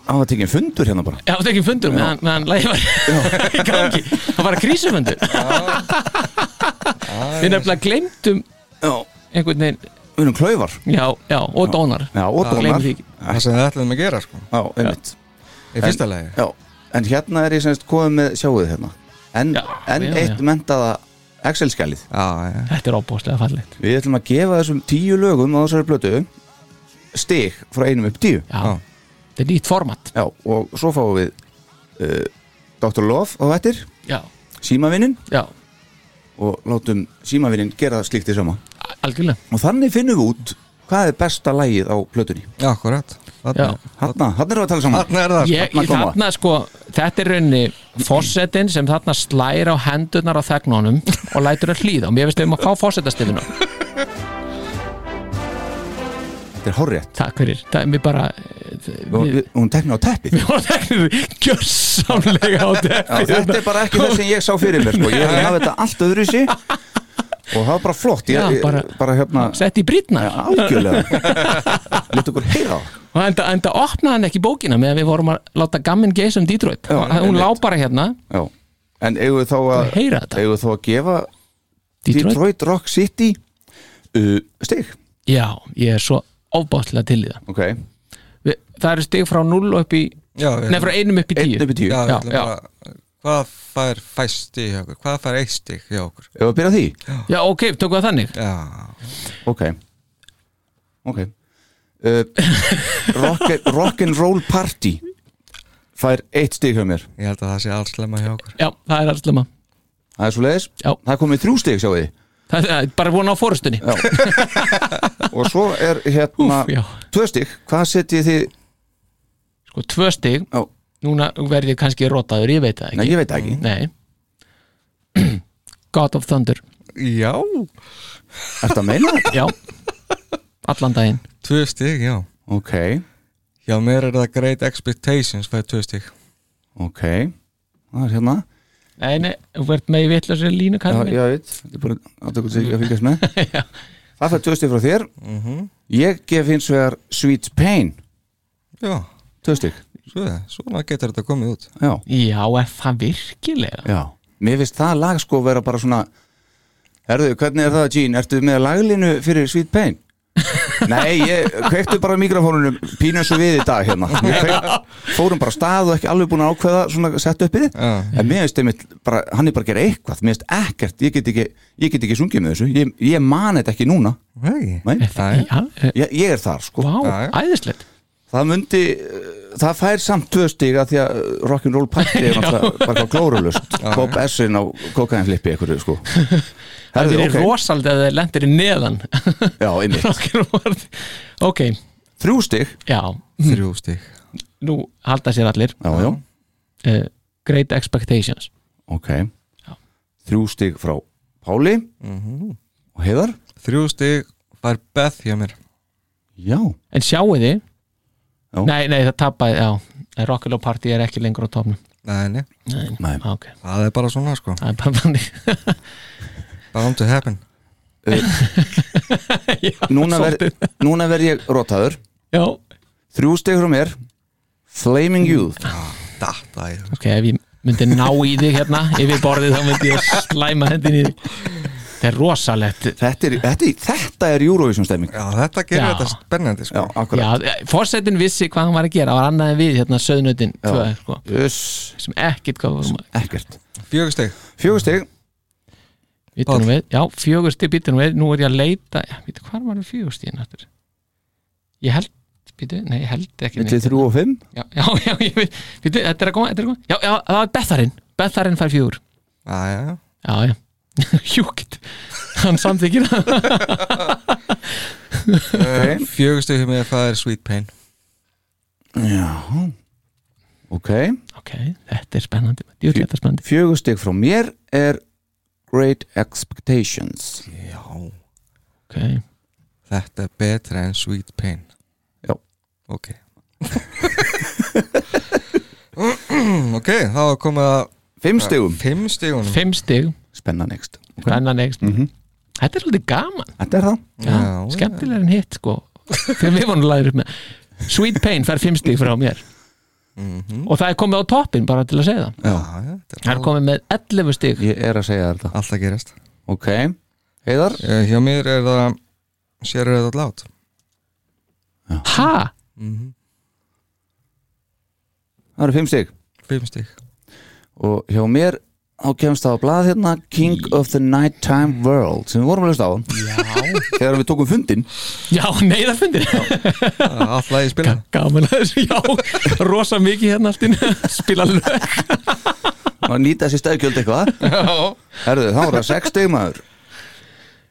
Speaker 4: Það var tekinn fundur hérna bara
Speaker 3: já, þetta er ekki fundur meðan, meðan lægi var í gangi það var að krísufundur við nefnilega glemtum
Speaker 4: Já,
Speaker 3: einhvern veginn,
Speaker 4: við erum klauvar
Speaker 3: já, já, og dónar
Speaker 4: Já, og
Speaker 3: gleymum
Speaker 4: dónar
Speaker 3: því ekki.
Speaker 5: Það sem við ætlum að gera sko
Speaker 4: Já, einmitt
Speaker 5: Í fyrsta lagi
Speaker 4: Já, en hérna er ég semst komið með sjáuð hérna En,
Speaker 3: Já,
Speaker 4: en
Speaker 3: já,
Speaker 4: eitt
Speaker 3: já.
Speaker 4: mentaða Excel-skjalið
Speaker 5: Já, já
Speaker 3: þetta er óbúslega fallegt
Speaker 4: Við ætlum að gefa þessum tíu lögum á þessari blötu stig frá einum upp tíu
Speaker 3: já,
Speaker 5: Já.
Speaker 3: þetta er nýtt format
Speaker 4: Já, og svo fáum við uh, Dr. Love á þettir
Speaker 3: já,
Speaker 4: símavinnin
Speaker 3: já,
Speaker 4: og látum símavinnin gera slíkt í sama
Speaker 3: algjörlega
Speaker 4: og þannig finnum við út hvað er besta lægið á plötunni
Speaker 5: Já, akkurat
Speaker 3: Já.
Speaker 4: Hanna, hann erum við að tala saman
Speaker 5: Þarna er það sko
Speaker 3: ég,
Speaker 4: Þarna koma.
Speaker 3: þarna sko, þetta er rauninni fósettin sem þarna slæra á hendurnar á þegnunum og lætur að hlýða og mér finnst við um að fá fósettastifinu
Speaker 4: Þetta er hórrétt
Speaker 3: takk fyrir, það er mér bara
Speaker 4: og
Speaker 3: við,
Speaker 4: við- og hún tekna á teppið
Speaker 3: og þegnum við gjörsamlega á
Speaker 4: Já,
Speaker 3: hérna-
Speaker 4: þetta er bara ekki það sem ég sá fyrir mér sko. ég hef hafði þetta allt öðru í sig og það var bara flott ég,
Speaker 3: Já,
Speaker 4: ég, bara,
Speaker 3: bara-
Speaker 4: hérna
Speaker 3: sett í brýtna
Speaker 4: algjörlega let okkur heyra það.
Speaker 3: og enda, enda opnaði hann ekki bókina meðan við vorum að láta gammin geisa um Detroit
Speaker 4: Já,
Speaker 3: já, hún
Speaker 4: einmitt.
Speaker 3: lá bara hérna,
Speaker 4: Já. en eigum við þá að
Speaker 3: heyra þetta
Speaker 4: eigum við þá að gefa
Speaker 3: Detroit,
Speaker 4: Detroit Rock City uh, stig
Speaker 3: já, ég er svo ofbáslega til í það
Speaker 4: ok,
Speaker 3: Við- það eru stig frá 0 upp í
Speaker 5: Já, við-
Speaker 3: nefn frá einum upp í 10
Speaker 4: 1 upp í 10
Speaker 5: Já,
Speaker 3: Já,
Speaker 5: já,
Speaker 3: já.
Speaker 5: já. Hvað fær fæst stig hjá okkur? Hvað fær eitt stig hjá okkur?
Speaker 4: ef við að byrja á því
Speaker 3: já, ok, tökum við það þannig
Speaker 5: Já,
Speaker 4: ok ok uh, rock, rock and Roll Party fær eitt stig hjá mér
Speaker 5: ég held að það sé alls slemma hjá okkur
Speaker 3: já, það er alls lema
Speaker 4: það er svo leiðis,
Speaker 3: Já.
Speaker 4: það er komið þrjú stig sjáu þið
Speaker 3: Það er bara vona á fórustunni
Speaker 4: og svo er hérna
Speaker 3: Úff, já.
Speaker 4: tvö stygg, hvað setjið þið
Speaker 3: Sko tvö stig,
Speaker 4: Já.
Speaker 3: núna verð ég kannski rotaður, ég veit það
Speaker 4: nei,
Speaker 3: ekki
Speaker 4: ég veit það ekki
Speaker 3: Nei. God of Thunder
Speaker 5: Já,
Speaker 4: ertu að meina þetta?
Speaker 3: Já, allan daginn
Speaker 5: tvö stig, já
Speaker 4: ok,
Speaker 5: Hjá mér er það Great Expectations fær tvö stig
Speaker 4: ok það er hérna,
Speaker 3: Nei, nei, þú verð með í vitlega línu
Speaker 4: já,
Speaker 3: kallin
Speaker 4: ég veit þetta er bara aðtökum sig að fylgjast með það fær tvö stygg frá þér
Speaker 3: Mhm.
Speaker 4: ég gef hins vegar Sweet Pain
Speaker 5: Já,
Speaker 4: tvö stygg,
Speaker 5: svona, svona getur þetta komið út
Speaker 4: já,
Speaker 3: Já, er það virkilega?
Speaker 4: já mér finnst það lag sko vera bara svona Herðu, hvernig er það, Gene? Ertu með laglinu fyrir Sweet Pain? Nei, ég kveikti bara mikrofónunum pínu eins og við í dag hérna Ég kveikt, Fórum bara af stað og ekki alveg búin að ákveða svona sett uppið
Speaker 5: Já.
Speaker 4: En mér finnst einmitt, bara, hann er bara að gera eitthvað Mér finnst ekkert, ég get ekki, ég get ekki sungið með þessu Ég, ég mani þetta ekki núna
Speaker 5: Nei
Speaker 4: Nei,
Speaker 5: Nei.
Speaker 3: Já, eh,
Speaker 4: ég, ég er þar sko
Speaker 3: Vá,
Speaker 5: Já, já.
Speaker 3: æðislegt
Speaker 4: Það myndi, uh, það fær samt tvö stig að því að uh, rock'n'roll party er náttúrulega bara glórulust Bob S-in á kokainflippi ykkur sko.
Speaker 3: Það
Speaker 4: Herðu,
Speaker 3: er
Speaker 4: ok,
Speaker 3: okay. rosald eða þeir lendir í neðan
Speaker 4: já, einmitt
Speaker 3: Ok,
Speaker 4: Þrjú stig,
Speaker 3: já,
Speaker 5: Þrjú stík
Speaker 3: nú halda sér allir
Speaker 4: já, já,
Speaker 3: uh, Great Expectations
Speaker 4: ok Þrjú stig frá Páli
Speaker 3: Mhm.
Speaker 4: og Heiðar
Speaker 5: Þrjú stík fær Beth hjá mér
Speaker 4: Já,
Speaker 3: En sjáu þið
Speaker 4: Já.
Speaker 3: Nei, nei, það tapaði, já eh, Rockalow Party er ekki lengur á topnum
Speaker 5: Nei, nei
Speaker 3: Nei,
Speaker 4: Nei.
Speaker 3: á, ok,
Speaker 5: Það er bara svona sko
Speaker 3: það er bara þannig
Speaker 5: Bound to happen
Speaker 4: núna verð núna verð ég rotaður
Speaker 3: Já,
Speaker 4: Þrjú stig frá mér Flaming Youth
Speaker 5: Datta í það
Speaker 3: ok, ef ég myndi ná í þig hérna yfir borðið þá myndi ég slæma hendin í þig Það er rosalegt
Speaker 4: Þetta er, þetta er, þetta er Eurovision stemming
Speaker 5: Já, þetta gerir
Speaker 3: Já.
Speaker 5: þetta spennandi
Speaker 4: Já,
Speaker 5: sko
Speaker 4: akkurat
Speaker 3: Já, fórsetin vissi hvað hann var að gera það var annað en við, hérna, söðnutin tvö, sko,
Speaker 4: Uss,
Speaker 3: sem ekkit hvað varum að
Speaker 4: ekkert
Speaker 5: Fjögur stík
Speaker 4: Fjögur stig
Speaker 3: Bíddu nú við, já, fjögur stig býtur nú við, nú er ég að leita já, býtur, hvar var fjögur stigin aftur ég held, býtur, nei, ég held ekki
Speaker 4: Millir
Speaker 3: neitt.
Speaker 4: þrjú og fimm
Speaker 3: já, já, já, ég veit, býtur, þetta er að koma, þetta er að koma já, já, það var Betharinn, Betharinn fær fjögur
Speaker 5: Já, já, já
Speaker 3: já, já, hjúkitt hann samþykir það
Speaker 4: Ok,
Speaker 5: Fjögur stík hjá mér fær Sweet Pain
Speaker 4: ok
Speaker 3: ok, þetta er spennandi, djú, þetta er spennandi
Speaker 4: Fjögur stig frá mér er Great Expectations
Speaker 5: Já
Speaker 3: ok,
Speaker 5: Þetta er betra en Sweet Pain
Speaker 4: Já.
Speaker 5: Ok Ok, þá er komið að
Speaker 4: Fimm stigum,
Speaker 5: Fimm stígunum
Speaker 3: fimm stig,
Speaker 4: spenna next
Speaker 3: spennan ekst þetta er svolítið gaman
Speaker 4: Þetta er það
Speaker 3: Já, skemmtilegur en hitt sko þegar við vonum lagður upp með Sweet Pain fær fimm stík frá mér og það er komið á toppin bara til að segja það
Speaker 5: Já, já, þetta
Speaker 3: það
Speaker 5: er
Speaker 3: er komið með 11 stík
Speaker 4: Ég er að segja þetta
Speaker 5: alltaf að gerast
Speaker 4: Ok, heiðar
Speaker 5: Eh, Hjá mér er það Sér er þetta lát
Speaker 3: ha,
Speaker 4: Það eru fimm stig
Speaker 5: Fimm stík
Speaker 4: Og hjá mér, þá kemst það á blað hérna King of the Nighttime World sem við vorum að hlusta á Já Þegar við tókum fundin
Speaker 3: já, nei það fundir
Speaker 5: Alltaf að ég spila
Speaker 3: gaman að þessu, já rosa mikið hérna allt inn, spila lög
Speaker 4: að nýta þessi stæðgjöld eitthvað Herðu, þá er það sex stig maður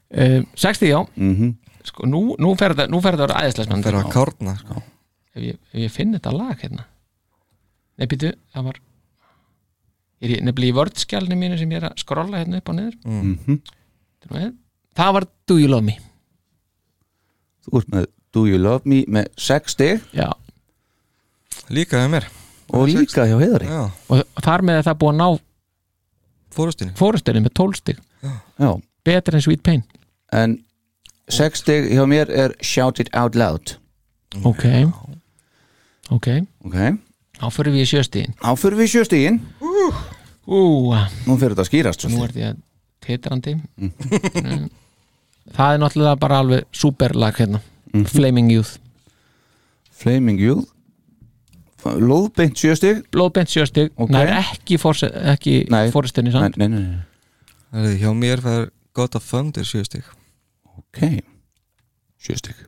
Speaker 4: Mhm.
Speaker 3: um, 60 já sko, nú, nú fer þetta nú fer þetta að vera æðislega
Speaker 5: Fyrir að
Speaker 3: spennandi.
Speaker 5: kárna sko.
Speaker 3: ef, ég- ef ég finn þetta lag hérna nei, býtu, það var er ég nefnilega í vörðskjálni mínu sem ég er að skrolla hérna upp og niður Þetta er nú einn. það var Do You Love Me
Speaker 4: Þú ert með Do You Love Me með sex stig
Speaker 3: Já,
Speaker 5: Líka hjá mér
Speaker 4: og líka hjá heiðari
Speaker 5: Já,
Speaker 3: og þar með er það búið að ná
Speaker 5: fórustinni
Speaker 3: fórustinni með 12 stig
Speaker 4: Já,
Speaker 3: betur en Sweet Pain
Speaker 4: en sex stig hjá mér er Shout It Out Loud
Speaker 3: Ok, ok
Speaker 4: ok,
Speaker 3: þá fyrir við í sjöstigin
Speaker 4: þá fyrir við sjöstigin
Speaker 3: Ú,
Speaker 4: nú fyrir þetta að skýrast
Speaker 3: nú
Speaker 4: svolítið.
Speaker 3: er því að titrandi mm. Það er náttúrulega bara alveg superlag hérna
Speaker 4: Mm.
Speaker 3: Flaming Youth
Speaker 4: Flaming Youth F- Lóðbeint sjöstig
Speaker 3: Blóðbent sjöstig,
Speaker 4: Ok.
Speaker 3: okay. nær ekki, forse- ekki
Speaker 4: Nei.
Speaker 3: fórustinni
Speaker 4: nei,
Speaker 3: samt
Speaker 4: nei, nei, nei.
Speaker 5: Herðu, Hjá mér fær God of Thunder sjö stík
Speaker 4: ok sjöstig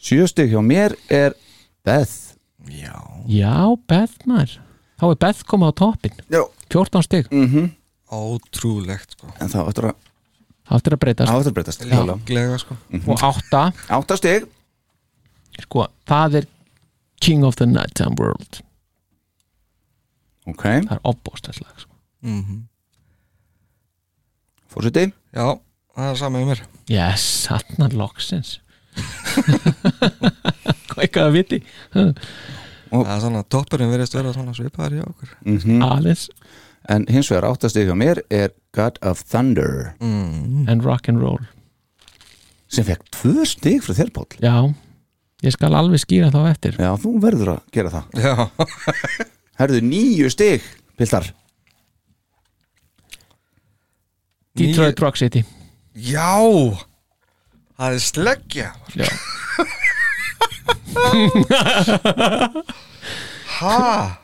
Speaker 4: sjöstig hjá mér er Beth
Speaker 5: Já
Speaker 3: Já, Beth maður Þá er Beth komið á toppin
Speaker 4: Já.
Speaker 3: 14 stig,
Speaker 4: Mm.
Speaker 5: Ótrúlegt sko
Speaker 4: en það áttur að,
Speaker 3: það áttir að breytast
Speaker 4: það áttur að breytast Klálega.
Speaker 5: Glega sko
Speaker 3: og átta,
Speaker 4: átta stig
Speaker 3: sko, það er King of the Nighttime World
Speaker 4: ok,
Speaker 3: það er opbóstæðslag sko.
Speaker 4: fórseti
Speaker 5: Já, það er saman hjá mér
Speaker 3: yes, satnar loksins hvað eitthvað að viti
Speaker 5: Það er svona toppurinn verðist vera svona svipaðar hjá okkur
Speaker 4: Mm.
Speaker 3: Alice
Speaker 4: en hins vegar átta stig hjá mér er God of Thunder
Speaker 3: Mm.
Speaker 4: Mm.
Speaker 3: and Rock'n'Roll
Speaker 4: sem fekk tvö stig frá þér Páll
Speaker 3: já, ég skal alveg skýra þá eftir
Speaker 4: já, þú verður að gera það
Speaker 5: Já
Speaker 4: herðu nýju stig, piltar
Speaker 3: Detroit Rock City
Speaker 5: Já Það er sleggja
Speaker 3: Já.
Speaker 5: Ha?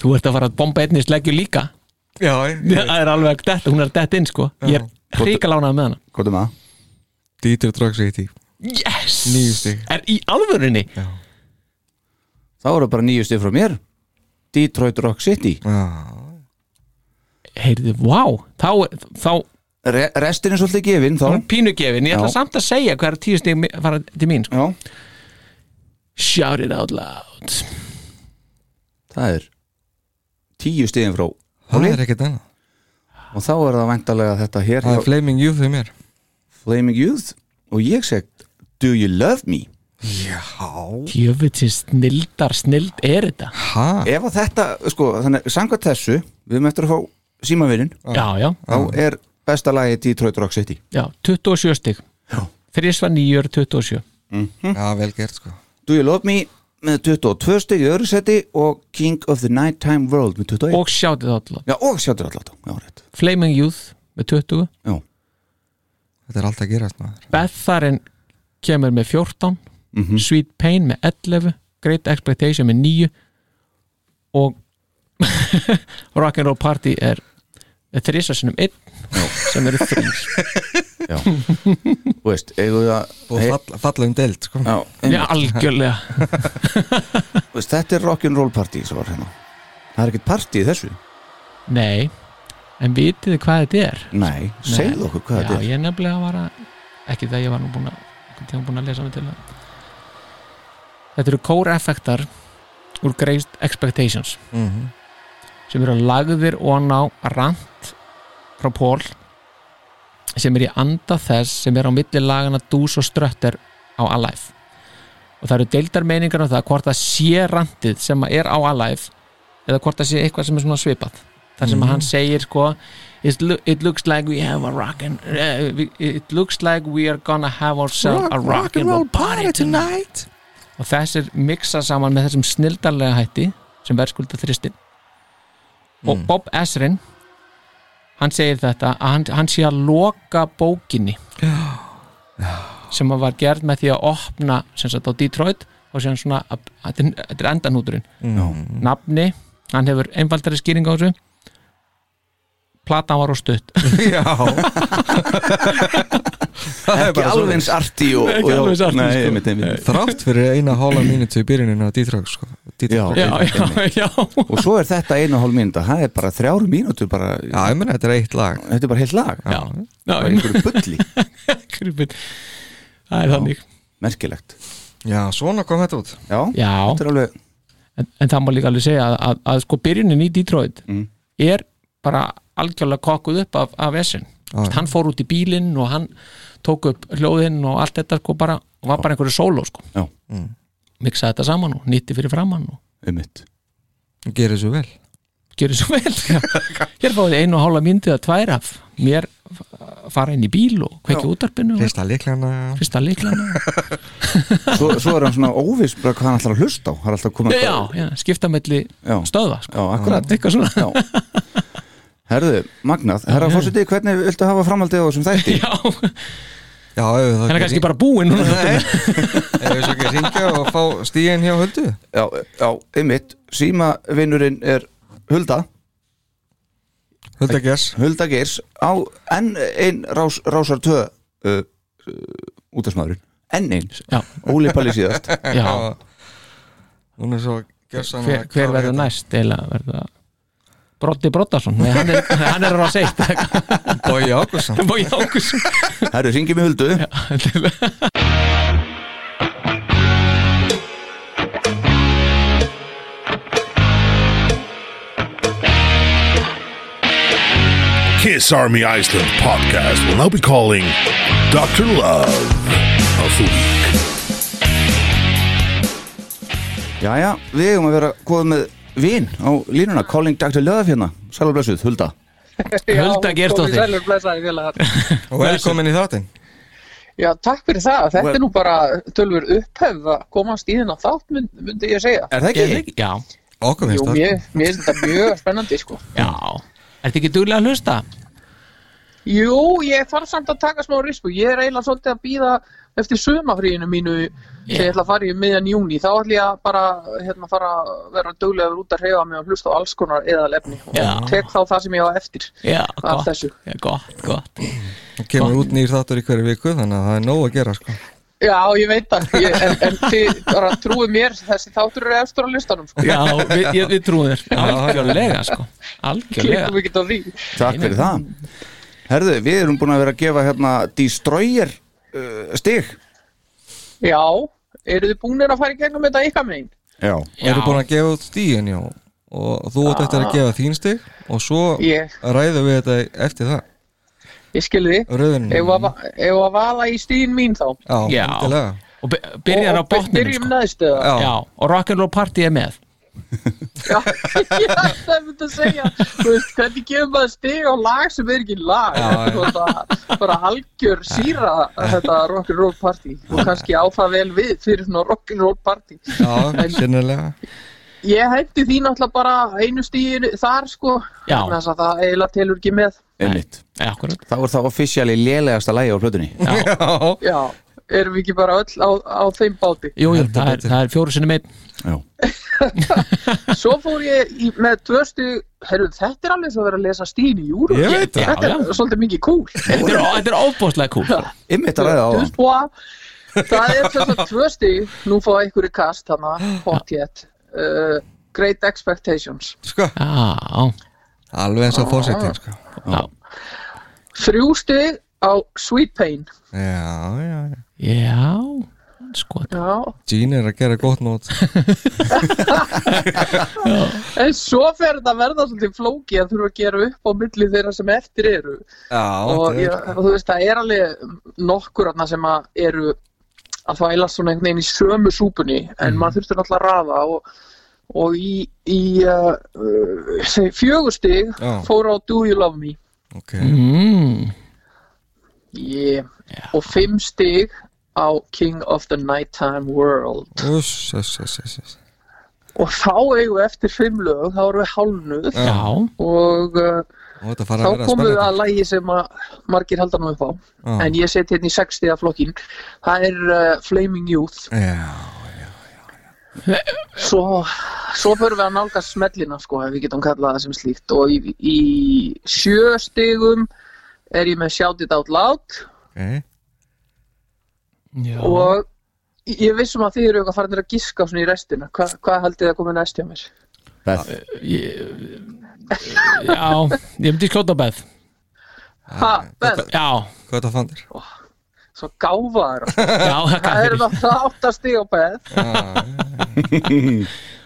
Speaker 3: Þú ert að fara að bomba einnig sleggju líka
Speaker 5: Já, ég- ég-
Speaker 3: Það er alveg dett, hún er dett inn sko Ég er hríka lánað með hana
Speaker 4: Hvað er maður?
Speaker 5: Dieter Drog City
Speaker 3: Yes!
Speaker 5: Níu stig.
Speaker 3: Er í alvörinni?
Speaker 4: Þá eru bara nýju stið frá mér Detroit Rock City
Speaker 5: Já,
Speaker 3: Heyrðu, wow Þá, þá
Speaker 4: Re Restin er svolítið gefin þá
Speaker 3: hún
Speaker 5: Mm.
Speaker 3: pínugefin Ég ætla
Speaker 4: Já.
Speaker 3: samt að segja hvað er tíu stig mi- fara til mín sko.
Speaker 4: Já,
Speaker 3: Shout it out loud
Speaker 4: það er tíu stiðin frá
Speaker 5: það
Speaker 4: Óli.
Speaker 5: er ekkert annað
Speaker 4: Og þá er það væntalega þetta hér
Speaker 5: Það
Speaker 4: hjá
Speaker 5: er Flaming Youth í mér
Speaker 4: Flaming Youth Og ég seg Do you love me?
Speaker 3: Djöfutin snildar snild er þetta
Speaker 5: Ha?
Speaker 4: Ef að þetta, sko, þannig Samkvæmt þessu, við erum eftir að fá símavinnin
Speaker 5: Ah.
Speaker 3: Já, já,
Speaker 4: Þá er besta lagi Detroit Rock City
Speaker 3: já 27 stig
Speaker 4: Já.
Speaker 3: Þrísvar nýjur 27
Speaker 5: Já, vel gert sko
Speaker 4: Do you love me? með 22 stig í öðru seti og King of the Nighttime World með 21
Speaker 3: Og shout it out loud
Speaker 4: Já, og sjáttur alltaf Já, rétt
Speaker 3: Flaming Youth með 20
Speaker 4: Já,
Speaker 5: Þetta er alltaf að gerast maður
Speaker 3: Betharinn kemur með 14 Sweet Pain með 11 Great Expectation með 9 og Rock'n'Roll Party er þrísasunum 1 sem eru þrís
Speaker 4: þú veist, eigum við að
Speaker 5: Og
Speaker 4: Hey,
Speaker 5: fall, falla um deild sko
Speaker 4: Já,
Speaker 3: Já,
Speaker 4: einmitt.
Speaker 3: algjörlega
Speaker 4: Þú veist, þetta er rock'n'roll party sem var hérna Það er ekkert party í þessu
Speaker 3: Nei, en vitið þið hvað þetta er?
Speaker 4: Nei, segðu okkur hvað
Speaker 3: Já,
Speaker 4: þetta er
Speaker 3: ég nefnilega var að ekki það ég var nú búin að einhvern tíma búin að lesa mig til það Þetta eru core effektar úr Great Expectations
Speaker 4: Mhm.
Speaker 3: sem eru lagðir og á rant frá Pól sem er í anda þess sem er á milli lagana dús og ströttir á Alive og það eru deildar meiningar um það hvort það sé rantið sem er á Alive eða hvort það sé eitthvað sem er svona svipað þar
Speaker 4: Mhm.
Speaker 3: sem hann segir sko "It's lo- it looks like we have a rockin uh, we- it looks like we are gonna have ourselves a rock and roll party tonight og þessir miksa saman með þessum snildarlega hætti sem verðskulda þristin og Bob Esrin hann segir þetta að hann, hann sé að loka bókinni sem að var gerð með því að opna sem sagt á Detroit og sé hann svona að, að, að, þetta er endanúturinn mm. nafni, hann hefur einfaldari skýring á þessu platan var á stutt
Speaker 5: Já Það er
Speaker 4: Ekki
Speaker 5: bara
Speaker 4: alveg
Speaker 5: svo
Speaker 4: eins arti og,
Speaker 3: Ekki alveg eins arty,
Speaker 4: Nei,
Speaker 3: sko.
Speaker 4: einmitt, einmitt
Speaker 5: Þrátt fyrir eina hóla mínutu í byrjuninu á Dietrog sko
Speaker 4: Já.
Speaker 5: Dietrog
Speaker 3: já, já, já
Speaker 4: Og svo er þetta einu og hálf mínúta Það er bara þrjár mínútur bara
Speaker 5: Já, ég meina þetta er eitt lag
Speaker 4: Þetta er bara heilt lag
Speaker 3: já, já,
Speaker 4: Bara einhverju bulli
Speaker 3: krupin það er þannig
Speaker 4: Merkilegt
Speaker 5: Já, svona kom þetta út
Speaker 4: Já,
Speaker 3: já,
Speaker 4: þetta er alveg
Speaker 3: en, en það má líka alveg segja að, að, að sko byrjunin í Detroit er bara algjörlega kokkuð upp af, af Essin
Speaker 5: Já.
Speaker 3: hann fór út í bílinn og hann tók upp hljóðinn og allt þetta sko bara og var bara einhverju sóló sko
Speaker 4: Já,
Speaker 3: miksaði þetta saman og nýtti fyrir framann og
Speaker 4: einmitt
Speaker 5: Gerið svo vel
Speaker 3: gerir svo vel já. hér fáið einu og hálfa myndið að tvær af mér f- fara inn í bíl og kveikja útarpinu og
Speaker 5: Rista líklegana
Speaker 3: fyrsta leiklana
Speaker 4: Svo, svo er hann svona óviss bara hvað hann ætlar að hlusta á Það er alltaf að koma
Speaker 3: já,
Speaker 4: eitthvað-
Speaker 3: já, já, skipta melli
Speaker 4: Já.
Speaker 3: stöðva sko.
Speaker 4: Já, akkurat
Speaker 3: eitthvað svona
Speaker 4: Já. Herðu, Magnað, herra fórseti, hvernig viltu hafa framhaldið á þessum þætti?
Speaker 3: já,
Speaker 5: Já, ef það
Speaker 3: hann er kannski bara búinn núna
Speaker 5: Ef við svo ekki ringja og fá stíðin hjá höldu
Speaker 4: Já, já, einmitt, símavinnurinn er Hulda,
Speaker 5: Hulda Gers
Speaker 4: Hulda Geirs á enn einn rás, rásar tvö uh, uh, útasmaðurinn, enn einn,
Speaker 3: já,
Speaker 4: Óli Palli síðast
Speaker 3: já,
Speaker 5: Hún er svo gersan
Speaker 3: hver, hver verður
Speaker 5: hérna.
Speaker 3: næst eiginlega verður það Broddi Broddarsson, nei hann er, hann er ráð seitt
Speaker 5: Bói Ágússon
Speaker 3: Bói Ákusson
Speaker 4: Herru, ringi mig Huldu
Speaker 2: Kiss Army Iceland podcast will now be calling Dr. Love of the Week.
Speaker 4: Jæja, við eigum að vera komið með vin á línuna, calling Dr. Löðaf hérna, sælublesuð, Hulda
Speaker 3: Hulda Geirsdóttir.
Speaker 8: Geirstóttir
Speaker 5: Og velkomin í þáttinn
Speaker 8: Já, takk fyrir það, þetta
Speaker 4: Well-
Speaker 8: er nú bara tölfur upphefð að komast í þennan þátt mynd, myndi ég segja
Speaker 4: Er það ekki?
Speaker 3: Já,
Speaker 5: Okkur
Speaker 8: Jú,
Speaker 5: finnst það
Speaker 8: mér, mér finnst þetta mjög spennandi sko.
Speaker 3: já Ertu ekki duglega að hlusta?
Speaker 8: Jú, ég þarf samt að taka smá risku. Ég er eiginlega svolítið að býða eftir sumafríinu mínu þegar ég ætla að fara í miðjan júni. Þá ætla ég að bara hérna, fara að vera duglegur út að hreyfa mig og hlusta á alls konar eða lefni og
Speaker 3: Já.
Speaker 8: tek þá það sem ég á eftir.
Speaker 3: Já,
Speaker 8: Af
Speaker 3: gott,
Speaker 8: þessu.
Speaker 3: já, gott, gott
Speaker 5: Það kemur út nýr þáttur í hverju viku þannig að það er nóg að gera sko.
Speaker 8: Já, ég veit það. Ég, en, en þið bara trúið mér þessi þáttur eru efstur á listanum. Sko.
Speaker 3: Já, við, ég- við trúum þér Algjörlega, sko Algjörlega
Speaker 8: Klikum ekki á því.
Speaker 4: Takk fyrir það Herðu, við erum búin að vera að gefa hérna Destroyer uh, stig
Speaker 8: Já, eru þið búinir að fara í gegnum þetta ykkar megin?
Speaker 4: Já,
Speaker 5: Við erum búin að gefa út stíðin já og þú ert eftir að gefa þín stig og svo
Speaker 8: Ég.
Speaker 5: ræðum við þetta eftir það
Speaker 8: Ég skilði þið.
Speaker 5: Röðin
Speaker 8: Ef að, ef að vala í stíðin mín þá.
Speaker 5: Já,
Speaker 3: Já.
Speaker 5: endilega.
Speaker 3: Og by- byrjar á
Speaker 8: Og- og
Speaker 3: botninu,
Speaker 8: Byrjum
Speaker 3: sko
Speaker 8: neðstu það.
Speaker 5: Já.
Speaker 3: Já, og rock'n'roll party er með
Speaker 8: Já, ég ætlaði að mynda að segja þú veist, hvernig gefur maður stig á lag sem er ekki lag
Speaker 5: Já, já.
Speaker 8: Þú veist, það- bara algjör síra þetta rock'n'roll party og kannski á það vel við fyrir svona rock'n'roll party
Speaker 5: Já, sinnilega
Speaker 8: ég hendi því náttúrulega bara einu stíðin þar sko
Speaker 3: Já.
Speaker 8: vegna þess að það eiginlega telur ekki með
Speaker 4: einmitt
Speaker 3: Akkurat
Speaker 4: Þá er það offisjali lélegasta lægi á plötunni
Speaker 5: Já,
Speaker 8: já, erum við ekki bara öll á, á þeim báti
Speaker 3: Jú, jú,
Speaker 5: Heldur
Speaker 3: það er,
Speaker 5: betur.
Speaker 3: það er fjóru sinni meitt
Speaker 4: Já,
Speaker 8: svo fór ég í, með tvö stíð herru, þetta er alveg svo að vera að lesa stíðin í júru
Speaker 5: ég veit það
Speaker 3: Já,
Speaker 8: þetta
Speaker 3: já,
Speaker 8: er svolítið mikið kúl
Speaker 3: þetta er, þetta er óbúslega cool sko.
Speaker 4: einmitt að ræða á það
Speaker 8: Dubois það er þess að tvö stig nú fá ykkur í kast hana hot yet uh, Great Expectations
Speaker 5: sko.
Speaker 3: Já,
Speaker 5: Alveg eins og fórsetin sko.
Speaker 3: já,
Speaker 8: þrjú stig á Sweet Pain
Speaker 5: Já, já, já
Speaker 3: já Sko,
Speaker 8: Já.
Speaker 5: Gene er að gera gott nót
Speaker 8: en svo fer þetta að verða svolítið flóki að þurfa að gera upp á milli þeirra sem eftir eru
Speaker 5: Já,
Speaker 8: og,
Speaker 5: þetta
Speaker 8: ég,
Speaker 5: er-
Speaker 8: og þú veist það er alveg nokkur þarna sem að eru að þvælast svona einhvern veginn í sömu súpunni en
Speaker 5: Mhm.
Speaker 8: maður þurftur náttúrulega að raða og, og í, í uh, uh, fjögustig
Speaker 5: Já.
Speaker 8: fór á Do You Love Me
Speaker 5: ok
Speaker 3: mm,
Speaker 8: Yeah. Og fimm stig á King of the Nighttime World.
Speaker 5: Uss, uss, uss, uss, uss.
Speaker 8: Og þá eigum við eftir fimm lög, þá erum við hálnuð
Speaker 3: já,
Speaker 8: og uh,
Speaker 5: Og þetta fara
Speaker 8: þá
Speaker 5: að vera
Speaker 8: komum við
Speaker 5: spennandi
Speaker 8: að lægi sem að margir heldur nú upp á.
Speaker 5: Já.
Speaker 8: En ég seti hérna í 60 flokkin. Það er uh, Flaming Youth.
Speaker 5: Já,
Speaker 8: Svo, svo förum við að nálgast smellina sko, ef við getum kallað það sem slíkt. Og í, í sjö stigum er ég með Shout It Out Loud
Speaker 5: ok
Speaker 3: já.
Speaker 8: og ég vissum að þið eru eitthvað farinir að giska svona í restina. Hva, hvað haldið þið að koma næst hjá mér?
Speaker 4: Beth,
Speaker 3: já Ég myndi skjóta beð
Speaker 8: Ha, Ben,
Speaker 3: Já,
Speaker 5: Hvað þetta fandir?
Speaker 8: svo gáfaður
Speaker 3: já,
Speaker 8: Það
Speaker 3: það
Speaker 8: eru náttúrulega áttast í á beð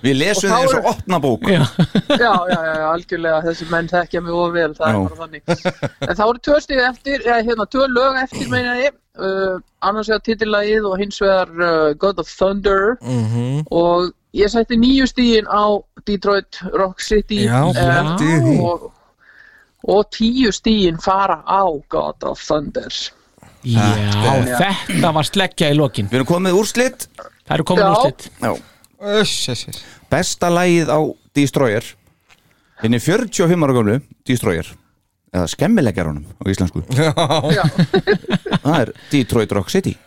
Speaker 4: við lesum
Speaker 8: Og
Speaker 4: þér
Speaker 8: þá
Speaker 4: svo
Speaker 8: eru-
Speaker 4: opna bók
Speaker 3: Já,
Speaker 8: Já, já, já, já, algjörlega þessi menn þekkja mig of vel,
Speaker 4: Já.
Speaker 8: það er bara þannig En þá eru tvö stíð eftir, eða hérna, tvö lög eftir meina ég uh, annars vegar titillagið og hins vegar uh, God of Thunder
Speaker 5: Mhm.
Speaker 8: og ég setti nýju stíðin á Detroit Rock City
Speaker 5: Já,
Speaker 8: eh,
Speaker 5: gleymdi ég því.
Speaker 8: og, og tíu stíðin fara á God of Thunder
Speaker 3: já þetta var sleggja í lokin
Speaker 4: Við erum komið með úrslit
Speaker 3: Það eru komin
Speaker 8: Já.
Speaker 3: úrslit
Speaker 4: Já.
Speaker 5: Uss, uss, uss
Speaker 4: Besta lægið á Destroyer Hinn er 45 ára gömlu Destroyer Eða skemmileggjaranum á íslensku
Speaker 5: Já,
Speaker 4: Það er Detroit Rock City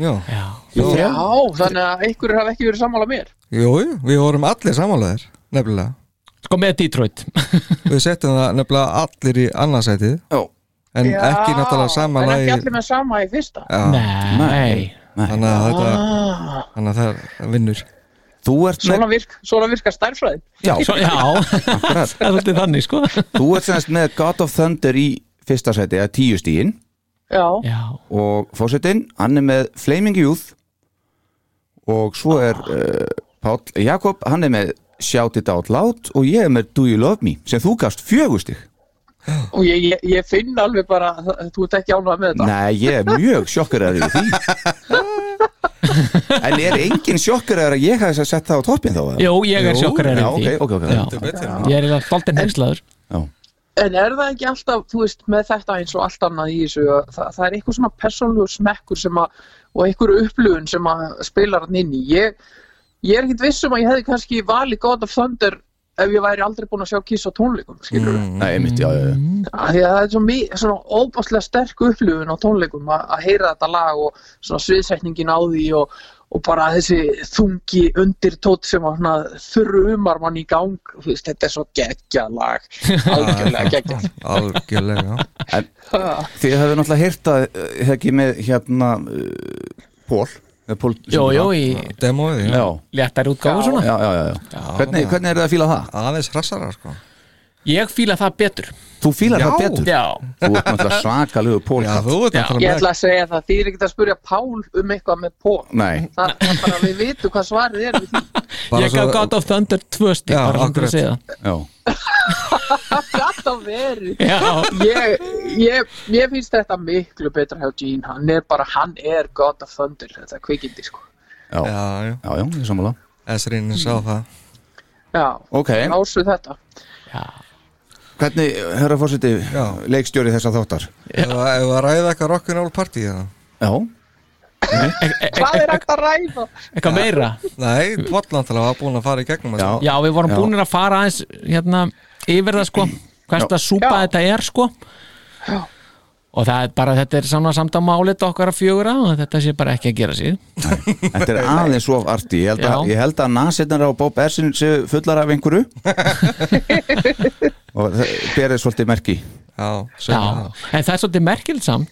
Speaker 5: já
Speaker 3: Já,
Speaker 8: Já, þannig að einhverjur hafa ekki verið sammála mér
Speaker 5: Jú, jú, við vorum allir samanlegaðir Nefnilega
Speaker 3: sko með Detroit
Speaker 5: Við settum það nefnilega allir í annarsætið
Speaker 4: Já,
Speaker 5: En
Speaker 8: Já,
Speaker 5: ekki náttúrulega sama
Speaker 8: En
Speaker 5: lagi
Speaker 8: ekki allir með sama í fyrsta
Speaker 5: Já,
Speaker 3: Nei,
Speaker 5: þannig að þetta
Speaker 8: ah,
Speaker 5: Þannig að það vinnur
Speaker 4: þú ert
Speaker 8: svona, virk, svona virka stærfræðin
Speaker 4: Já,
Speaker 3: Svo, já, það er svolítið þannig sko
Speaker 4: þú ert semst með God of Thunder í fyrsta sæti, eða tíu stíin
Speaker 8: Já,
Speaker 3: Já,
Speaker 4: og fórsetin, hann er með Flaming Youth og svo er uh, Páll Jakob, hann er með Shout It Out Loud og ég er með Do You Love Me sem þú gafst fjögustig
Speaker 8: og ég, ég, ég finn alveg bara að þú ert ekki ánægð með þetta
Speaker 4: Nei, ég er mjög sjokkaraður yfir því En er engin sjokkaraður að ég hafi sett það á toppin þá? eða?
Speaker 3: Jú, ég er
Speaker 5: Jú,
Speaker 3: sjokkar
Speaker 4: já,
Speaker 3: erinn
Speaker 4: ok,
Speaker 3: því
Speaker 4: ok, ok
Speaker 3: Já.
Speaker 4: já.
Speaker 5: betur
Speaker 3: Ég er eitthvað svolítið heimslaður
Speaker 8: En er það ekki alltaf, þú veist, með þetta eins og allt annað í þessu, að það, það er eitthvað svona persónlegu smekkur sem að, og einhver upplöfun sem að spilar hann inn í. Ég, ég er ekkert viss um að ég hefði kannski valið God of Thunder ef ég væri aldrei búin að sjá Kiss á tónleikum skilur mm.
Speaker 9: Nei, einmitt, já, já, já.
Speaker 8: því að það er svo mi- svona óbáslega sterk upplifun á tónleikum að að heyra þetta lag og svona sviðsetningin á því og, og bara þessi þungi undir tótt sem að svona þurrumar mann í gang þú veist, þetta er svo geggjað lag algjörlega geggjað
Speaker 5: algjörlega
Speaker 4: Þið hefur náttúrulega hýrta ekki með hérna uh, Pól eða Pól-
Speaker 3: Jó, jó, í
Speaker 5: demóið,
Speaker 4: Já,
Speaker 5: já,
Speaker 3: léttar útgáfu svona
Speaker 4: já, já, já, já. Hvernig, hvernig er það að fíla það?
Speaker 5: aðeins hrassara sko
Speaker 3: Ég fíla það betur
Speaker 4: Þú fílar það
Speaker 5: Já.
Speaker 4: betur
Speaker 3: Já,
Speaker 4: Þú ert náttúrulega svakalegu Pól
Speaker 5: já, þú ert að
Speaker 8: Ég
Speaker 5: tala
Speaker 8: ætla að segja það, þið er ekkert að spurja Pál um eitthvað með Pól
Speaker 4: Nei,
Speaker 8: Það er bara að við vitum hvað svarið er við því.
Speaker 5: Bara
Speaker 3: ég gaf
Speaker 5: svo-
Speaker 3: God of Thunder tvö stík
Speaker 5: Já,
Speaker 3: bara svona til
Speaker 5: akkurat.
Speaker 3: að segja það.
Speaker 4: já,
Speaker 8: Gat á verið.
Speaker 3: Já,
Speaker 8: Ég, ég, ég finnst þetta miklu betra hjá Gene, hann er bara, hann er God of Thunder, þetta kvikindi sko.
Speaker 4: já,
Speaker 5: með
Speaker 4: já,
Speaker 5: já, já,
Speaker 4: já, ég er sammála
Speaker 5: S-rýnin sá það
Speaker 8: Já,
Speaker 4: Ok,
Speaker 8: lásu þetta.
Speaker 4: hvernig, herra fórseti,
Speaker 5: Já.
Speaker 4: leikstjóri þessa þáttar
Speaker 5: ef að ef að ræða eitthvað rock'n'roll party eða?
Speaker 4: Já, E,
Speaker 8: Hvað er hægt að ræða?
Speaker 3: eitthvað meira
Speaker 5: nei, Botland var búin að fara í gegnum
Speaker 4: Já.
Speaker 3: Já, við vorum
Speaker 4: Já.
Speaker 3: búinir að fara aðeins hérna, yfir það sko hvers það súpa
Speaker 8: Já.
Speaker 3: þetta er sko og það er bara þetta er saman samdáma álita okkar að fjögura og þetta sé bara ekki að gera sér
Speaker 4: þetta er aðeins of arti Ég held að,
Speaker 3: Já.
Speaker 4: ég held að nasetnar á Bob Ersin séu fullar af einhverju og það berið svolítið merki
Speaker 5: já,
Speaker 3: Já,
Speaker 5: já.
Speaker 3: en það er svolítið merkild samt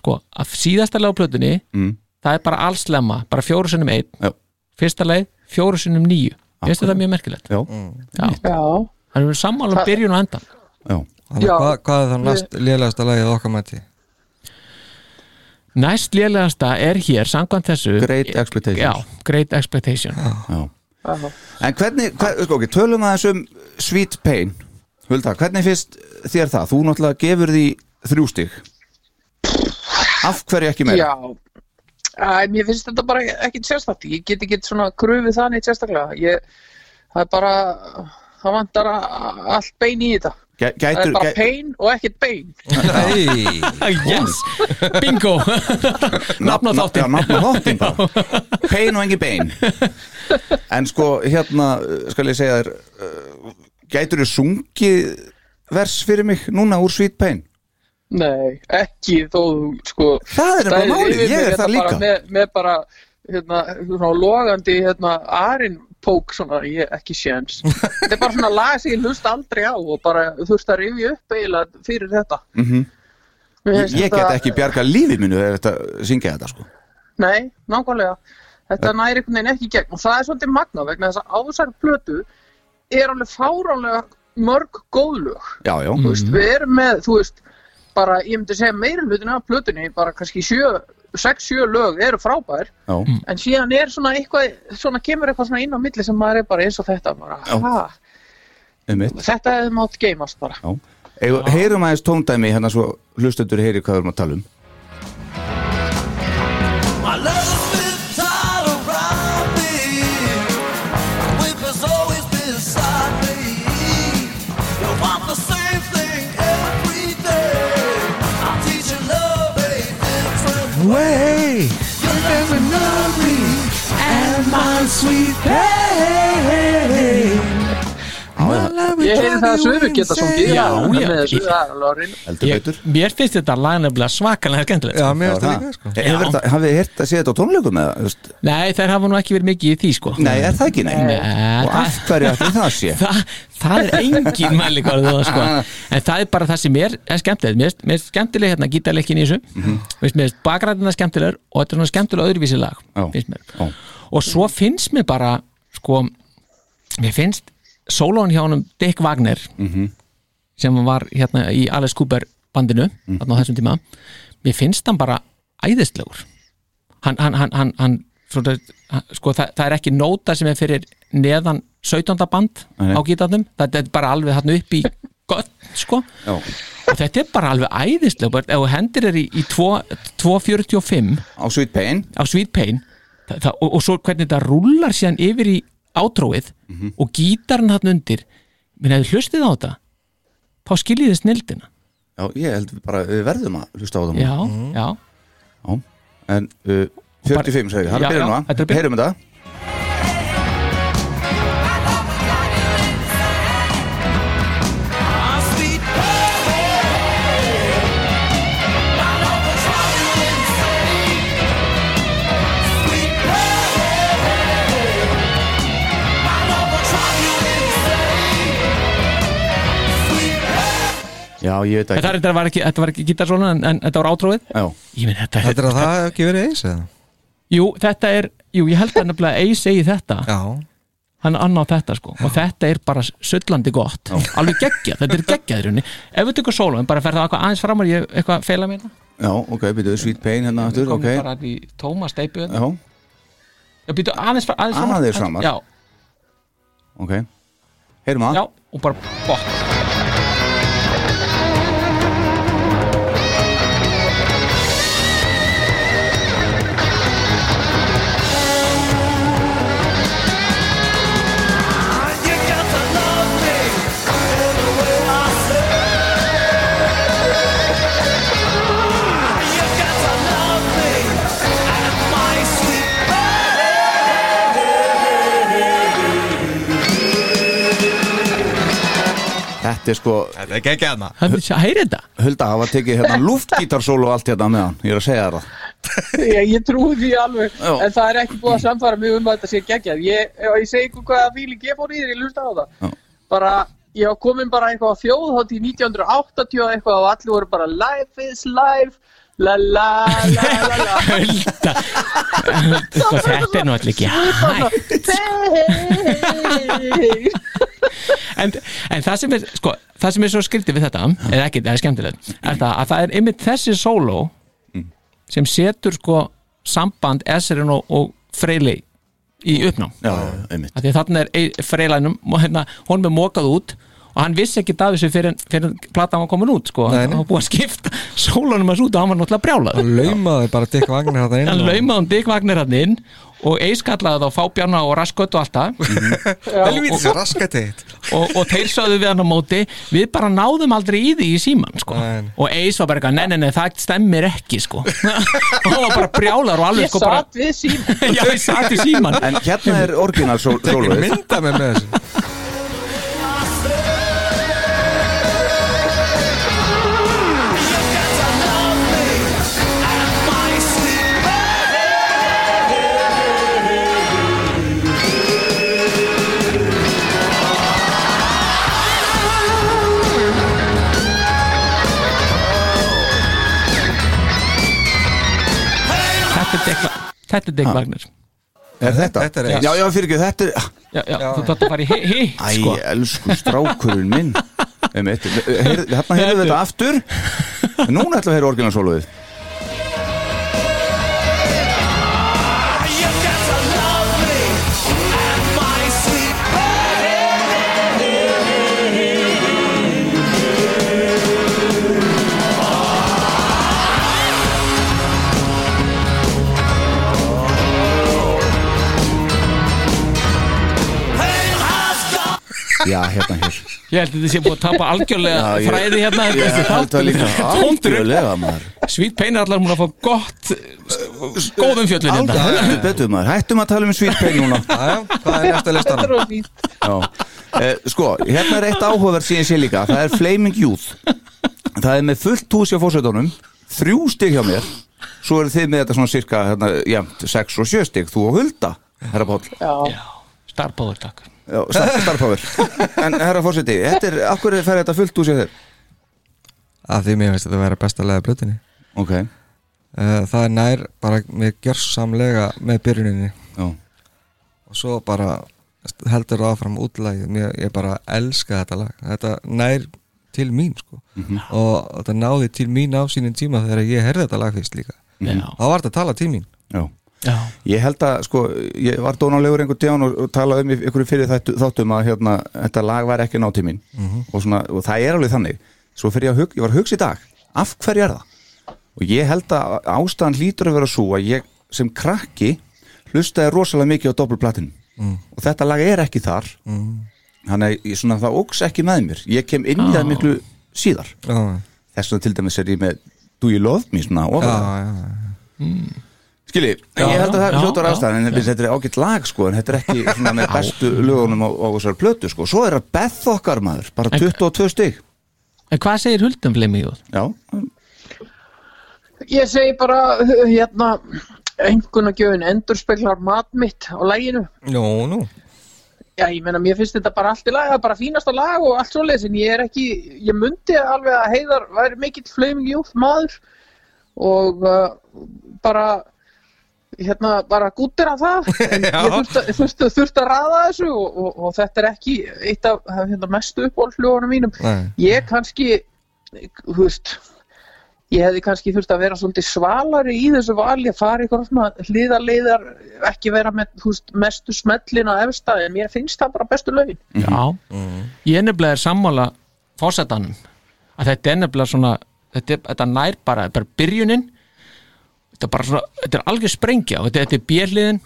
Speaker 3: sko, að síðasta lega á plötunni
Speaker 4: Mm.
Speaker 3: það er bara allslemma, bara fjóru sinnum einn
Speaker 4: Já.
Speaker 3: fyrsta leið, fjóru sinnum níu ég veist þetta mjög merkilegt
Speaker 4: Já,
Speaker 8: Já,
Speaker 3: hann er sammála um byrjun og endan
Speaker 4: já,
Speaker 5: Þannig,
Speaker 8: Já.
Speaker 5: hvað, hvað er það næst lélegasta lagið okkar mæti?
Speaker 3: næst lélegasta er hér, samkvæmt þessu
Speaker 4: great expectations
Speaker 3: Já, Great Expectation
Speaker 4: já.
Speaker 8: já.
Speaker 4: En hvernig, hver, sko, ok, tölum aðeins um Sweet Pain Hulda, hvernig finnst þér það? Þú náttúrulega gefur því þrjú stig Af hverju ekki meira?
Speaker 8: Já, Æ, mér finnst þetta bara ekkit sérstakt ég get ekki svona krufið það neitt sérstaklega ég, það er bara það vantar a- allt bein í þetta
Speaker 4: Gæ-
Speaker 8: það
Speaker 4: Gætur,
Speaker 8: er bara
Speaker 4: gæ-
Speaker 8: pein og ekkit bein
Speaker 5: Nei,
Speaker 3: Ah, Yes, bingo Nafn á
Speaker 4: Já,
Speaker 3: þáttin
Speaker 4: nafn á þáttin bara Pain og engin bein En sko, hérna, uh, skal ég segja þér uh, Gætur þú sungið vers fyrir mig núna úr Sweet Pain?
Speaker 8: nei, ekki þó þú, sko,
Speaker 4: Það er bara
Speaker 8: stæðir
Speaker 4: málið,
Speaker 8: yfir
Speaker 4: ég
Speaker 8: mér
Speaker 4: er það
Speaker 8: hérna bara
Speaker 4: líka
Speaker 8: með, með bara hérna, svona logandi hérna, arin pók svona, ég ekki séns þetta er bara svona lag sem ég hlust aldrei á og bara þurft að rifja upp eiginlega fyrir þetta mm
Speaker 4: Mhm. Ég ég get ekki bjarga lífi mínu ef þetta syngja þetta sko
Speaker 8: Nei, nákvæmlega. Þetta næri einhvern veginn ekki í gegn og það er svolítið magna vegna þess að á þessari plötu er alveg fáránlega mörg góðlög.
Speaker 4: Já, já,
Speaker 8: Þú veist, við erum með, þú veist, bara ég myndi segja meira hlutin af plötunni, bara kannski sjö, sex, sjö lög eru frábær
Speaker 4: já,
Speaker 5: Mm.
Speaker 8: en síðan er svona eitthvað, svona kemur eitthvað svona inn á milli sem maður er bara eins og þetta bara,
Speaker 4: Já.
Speaker 8: ha,
Speaker 4: um mitt
Speaker 8: þetta hefði mátt geimast bara.
Speaker 4: Já. Eigum- Heyrum aðeins tóndæmi hérna svo hlustendur heyri hvað við erum að tala um
Speaker 7: My love's been tied around me. Winter's always beside me. You want the same thing every day. I'm teaching love a different way. You never know me and my sweet pain.
Speaker 8: Ég heyri það að Suður geta sungið,
Speaker 3: Já,
Speaker 8: það
Speaker 3: já.
Speaker 8: er með þessu, það er alveg að reyna.
Speaker 4: Heldur
Speaker 3: ég,
Speaker 4: betur
Speaker 3: Mér finnst þetta lag nefnilega svakalega skemmtilegt
Speaker 5: já,
Speaker 3: sko.
Speaker 5: mér
Speaker 4: Já,
Speaker 5: finnst það líka
Speaker 4: það. Eh,
Speaker 5: sko.
Speaker 4: Hefur þetta- Hafið þið heyrt að sé þetta á tónleikum eða? þú veist?
Speaker 3: Nei, þær hafa nú ekki verið mikið í því sko
Speaker 4: Nei, er það ekki nei?
Speaker 3: Nei.
Speaker 4: Og af hverju ætli það sé?
Speaker 3: Þa, það er engin mæli það sko En það er bara það sem er, er skemmtilegt Mér finnst- mér finnst skemmtileg hérna gítarleikin í þessu mm
Speaker 4: Mhm.
Speaker 3: -hmm. Mér finnst bakræðina skemmtilegur og þetta er svona skemmtilega öðruvísi lag
Speaker 4: Já.
Speaker 3: finnst mér.
Speaker 4: Já.
Speaker 3: Og svo finnst mér bara sko, mér finnst sólón hjá honum Dick Wagner sem var hérna í Alice Cooper bandinu, þarna á þessum tíma mér finnst hann bara æðislegur hann, hann, hann, hann, hann svona, hann- sko, það, það er ekki nóta sem er fyrir neðan 17. band
Speaker 4: Nei.
Speaker 3: á gítarnum, það er bara alveg hann upp í gott, sko
Speaker 4: Já,
Speaker 3: og þetta er bara alveg æðislega bara, ef þú hendir er í, í 2 2.45
Speaker 4: á Sweet Pain
Speaker 3: á Sweet Pain það, það, og, og svo hvernig þetta rullar síðan yfir í átróið og gítarinn hann undir menn ef þið hlustið á þetta þá skiljið þið snildina
Speaker 4: Já, ég held við bara, við verðum að hlusta á það
Speaker 3: já, já,
Speaker 4: Já. En uh, 45 segir, það er
Speaker 3: Já, já,
Speaker 4: byrjun
Speaker 3: þetta er
Speaker 4: núna
Speaker 3: byrjun.
Speaker 4: Heyrum þetta Já, ég veit
Speaker 3: Þetta,
Speaker 4: ekki
Speaker 3: er, þetta var ekki, þetta var ekki gítarsólan en, en þetta var átróið
Speaker 4: Já,
Speaker 3: Ég minn, þetta,
Speaker 5: Þetta er að það hef ekki verið eins eða?
Speaker 3: Jú, þetta er, jú, ég held að nefnilega Ace segi þetta,
Speaker 5: Já,
Speaker 3: hann annar þetta sko og þetta er bara sullandi gott alveg geggjað, þetta er geggjað í rauninni ef við tökum sólum, bara fer það eitthvað aðeins framar ég eitthvað feila mér það,
Speaker 4: já ok, byrjuðu Sweet Pain hérna aftur,
Speaker 3: komum
Speaker 4: ok
Speaker 3: bara í tóma steipu
Speaker 4: Já,
Speaker 3: Já, býtu aðeins, fra- aðeins framar
Speaker 4: Aðeins framar.
Speaker 3: Já,
Speaker 4: ok Heyrum
Speaker 3: já,
Speaker 4: að
Speaker 3: og bara gott
Speaker 4: Þetta er sko,
Speaker 5: þetta er ekki aðna
Speaker 3: Þannig að heyri þetta
Speaker 4: Hulda hafa tekið hérna lúftgítarsólu og allt hérna með hann, ég er að segja þér það
Speaker 8: Ég, ég trúi því alveg,
Speaker 4: Já.
Speaker 8: en það er ekki búið að samfara mig um að þetta sé geggjað. Ég, ef ég segi ykkur hvaða fíling ég fór í þér, ég lusta á það.
Speaker 4: Já.
Speaker 8: Bara, ég var komin bara eitthvað á þjóðhátt í 1980 og eitthvað og allir voru bara life is life, la la la la la.
Speaker 3: Hulda Sko, Þetta er nú allir ekki hægt
Speaker 8: Hey!
Speaker 3: en, en það sem er sko, það sem er svo skrítið við þetta er ekki, það er skemmtilegt er það, að það er einmitt þessi sóló
Speaker 5: Mm.
Speaker 3: sem setur sko samband Esrin og, og Freyli í uppnám
Speaker 4: Já, já, einmitt
Speaker 3: af því að þarna er Freylinum hérna, hún er mokað út og hann vissi ekki af þessu fyrir, fyrir platan var komin út sko,
Speaker 5: Nei, nei.
Speaker 3: hann var búið að skipta sólónum hans út og hann var náttúrulega brjálað
Speaker 5: Hann laumaði bara Dick Wagner þetta inn
Speaker 3: hann
Speaker 5: og-
Speaker 3: laumaði um Dick Wagner hann inn og eiskallaði þá fábjarna og raskött og allt það
Speaker 5: Helvítis raskætti
Speaker 3: og, og þeir sögðu við hann á móti við bara náðum aldrei í því í síman sko.
Speaker 5: Nei.
Speaker 3: og Eis var bara eitthvað, nei, nei, nei, það stemmir ekki sko. og hann var bara brjálar og alveg
Speaker 8: Ég
Speaker 3: sko bara,
Speaker 8: satt við síma.
Speaker 3: já, ég satt í síman
Speaker 4: En hérna er
Speaker 5: Ekki
Speaker 4: orginalsóluð
Speaker 5: mynda mig með þessu
Speaker 3: þetta er Dick, Va- þetta er Dick Wagner
Speaker 4: Er þetta?
Speaker 5: Þetta er eins.
Speaker 4: Já, já, fyrir ekki, þetta er
Speaker 3: já, já, þú þátt að fara í hi- hitt
Speaker 4: Æ,
Speaker 3: sko.
Speaker 4: elsku strákurinn minn Einmitt, heyrðu- Hérna heyrðu þetta aftur Núna ætlum við að heyra orginalsóluðið Já, hérna hér
Speaker 3: ég held að þetta sé búið að tapa algjörlega
Speaker 4: Já, ég-
Speaker 3: fræði hérna þetta er
Speaker 4: Ég
Speaker 3: þessi
Speaker 4: held
Speaker 3: þáttur.
Speaker 4: það líka
Speaker 3: Tómtur upp.
Speaker 4: Algjörlega maður
Speaker 3: Sweet Pain er allar múin að fá gott eh, góðum fjöllun hérna
Speaker 4: Algjörlega betur maður Hættum að tala um svítpein núna
Speaker 5: Jæja, Hvað er næsta
Speaker 8: Þetta
Speaker 5: listanum?
Speaker 8: er of fínt.
Speaker 4: Já. Eh, Sko, hérna er eitt áhugaverð síðan sé líka Það er Flaming Youth Það er með fullt hús hjá fósveitunum Þrjú stig hjá mér Svo eru þið með þetta svona cirka hérna, jæmt, 6 og 7 stig, þú og Hulda Herra Páll,
Speaker 8: Já.
Speaker 3: starfbóður takk
Speaker 4: Já, star- starfpáður En herra fórseti, þetta er, af hverju fer þetta fullt hús hjá þér?
Speaker 5: Af því mér veist þetta vera besta leða blötinni
Speaker 4: Ok,
Speaker 5: uh, Það er nær bara mér gjörsamlega með byrjuninni
Speaker 4: já,
Speaker 5: og svo bara heldur það áfram útlægið mér, ég bara elska þetta lag þetta nær til mín sko. og þetta náði til mín á sínum tíma þegar ég herði þetta lag fyrst líka
Speaker 4: Mm.
Speaker 5: þá var þetta að tala til mín
Speaker 4: já
Speaker 3: já,
Speaker 4: Ég held að, sko, ég var dónalegur einhver dján og, og talaði um í ykkur fyrir þættu, þáttum að hérna, þetta lag var ekki náttíð mín og, svona, og það er alveg þannig svo fyrir ég að hug, ég var að hugsa í dag af hverju er það? Og ég held að ástæðan hlýtur að vera svo að ég sem krakki hlustaði rosalega mikið á doppelplatinu og þetta lag er ekki þar þannig að ég, svona, það óks ekki með mér ég kem inn í það miklu síðar
Speaker 5: já,
Speaker 4: þess vegna til dæmis er ég með Do You Love Me svona ofar
Speaker 5: já,
Speaker 4: það
Speaker 5: já, já.
Speaker 4: Skilji,
Speaker 3: Já,
Speaker 4: ég held að það
Speaker 3: já,
Speaker 4: er hljóttur
Speaker 3: já,
Speaker 4: ástæðan en þetta er ágætt lag sko en þetta er ekki svona með bestu lögunum á, á þessar plötu sko svo er það Beth okkar maður, bara 22 stig
Speaker 3: en hvað segir Huldum Flemmi Jóð?
Speaker 4: Já,
Speaker 8: Ég segi bara, hérna, einhvern að gefin endurspeglar mat mitt á læginu.
Speaker 5: Nú, nú.
Speaker 8: Já, ég meina, mér finnst þetta bara allt í lag, bara fínasta lag og allt svoleiðis, en ég er ekki, ég mundi alveg að Heiðar væri mikill flaming youth maður og uh, bara, hérna, bara gúttir að það, en ég þurfti, að- þurfti, þurfti að raða þessu og, og, og þetta er ekki eitt af hérna, mestu uppáhaldsljóðunum mínum.
Speaker 5: Nei.
Speaker 8: Ég kannski, þú veist, ég hefði kannski þurft að vera svolítið svalari í þessu vali að fara eitthvað svona hliðarleiðar ekki vera með þú veist, mestu smellina efsta en mér finnst það bara bestu lögin
Speaker 3: Já, ég nefnilega er sammála fósettanum að þetta er nefnilega svona þetta, er- þetta nær bara, þetta er byrjunin þetta er bara svona, þetta er algjör sprengja og þetta, þetta er björliðin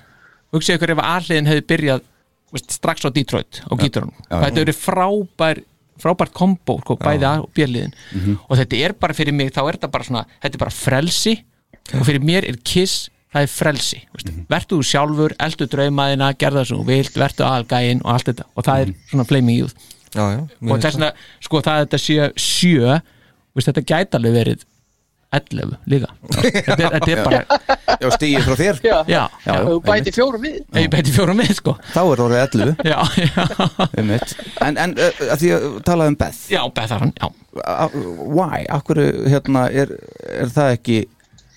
Speaker 3: hugsið ykkur ef alliðin hefði byrjað þú veist, strax á Detroit og gíturunum þetta eru frábær frábært kombo, sko, bæði að og björliðin og þetta er bara fyrir mig, þá er þetta bara svona þetta er bara frelsi og fyrir mér er kiss, það er frelsi þú veist. vertu þú sjálfur, eldu draumaðina gerða það sem þú vilt, vertu aðalgæin og allt þetta og það er svona flaming youth
Speaker 5: já, já,
Speaker 3: og þess vegna, sko það að þetta sé sjö, veist, þetta gæti alveg verið 11 líka þetta er, þetta er bara,
Speaker 4: Já, stíði frá þér
Speaker 8: Já,
Speaker 3: já, já,
Speaker 8: ef þú bæti fjórum við
Speaker 3: ég beti fjórum með sko
Speaker 4: Þá er orðið 11
Speaker 3: já, já,
Speaker 4: einmitt. En, en uh, að því að tala um Beth
Speaker 3: já, Bethar hann, já
Speaker 4: A- Why? Akkur hérna er, er það ekki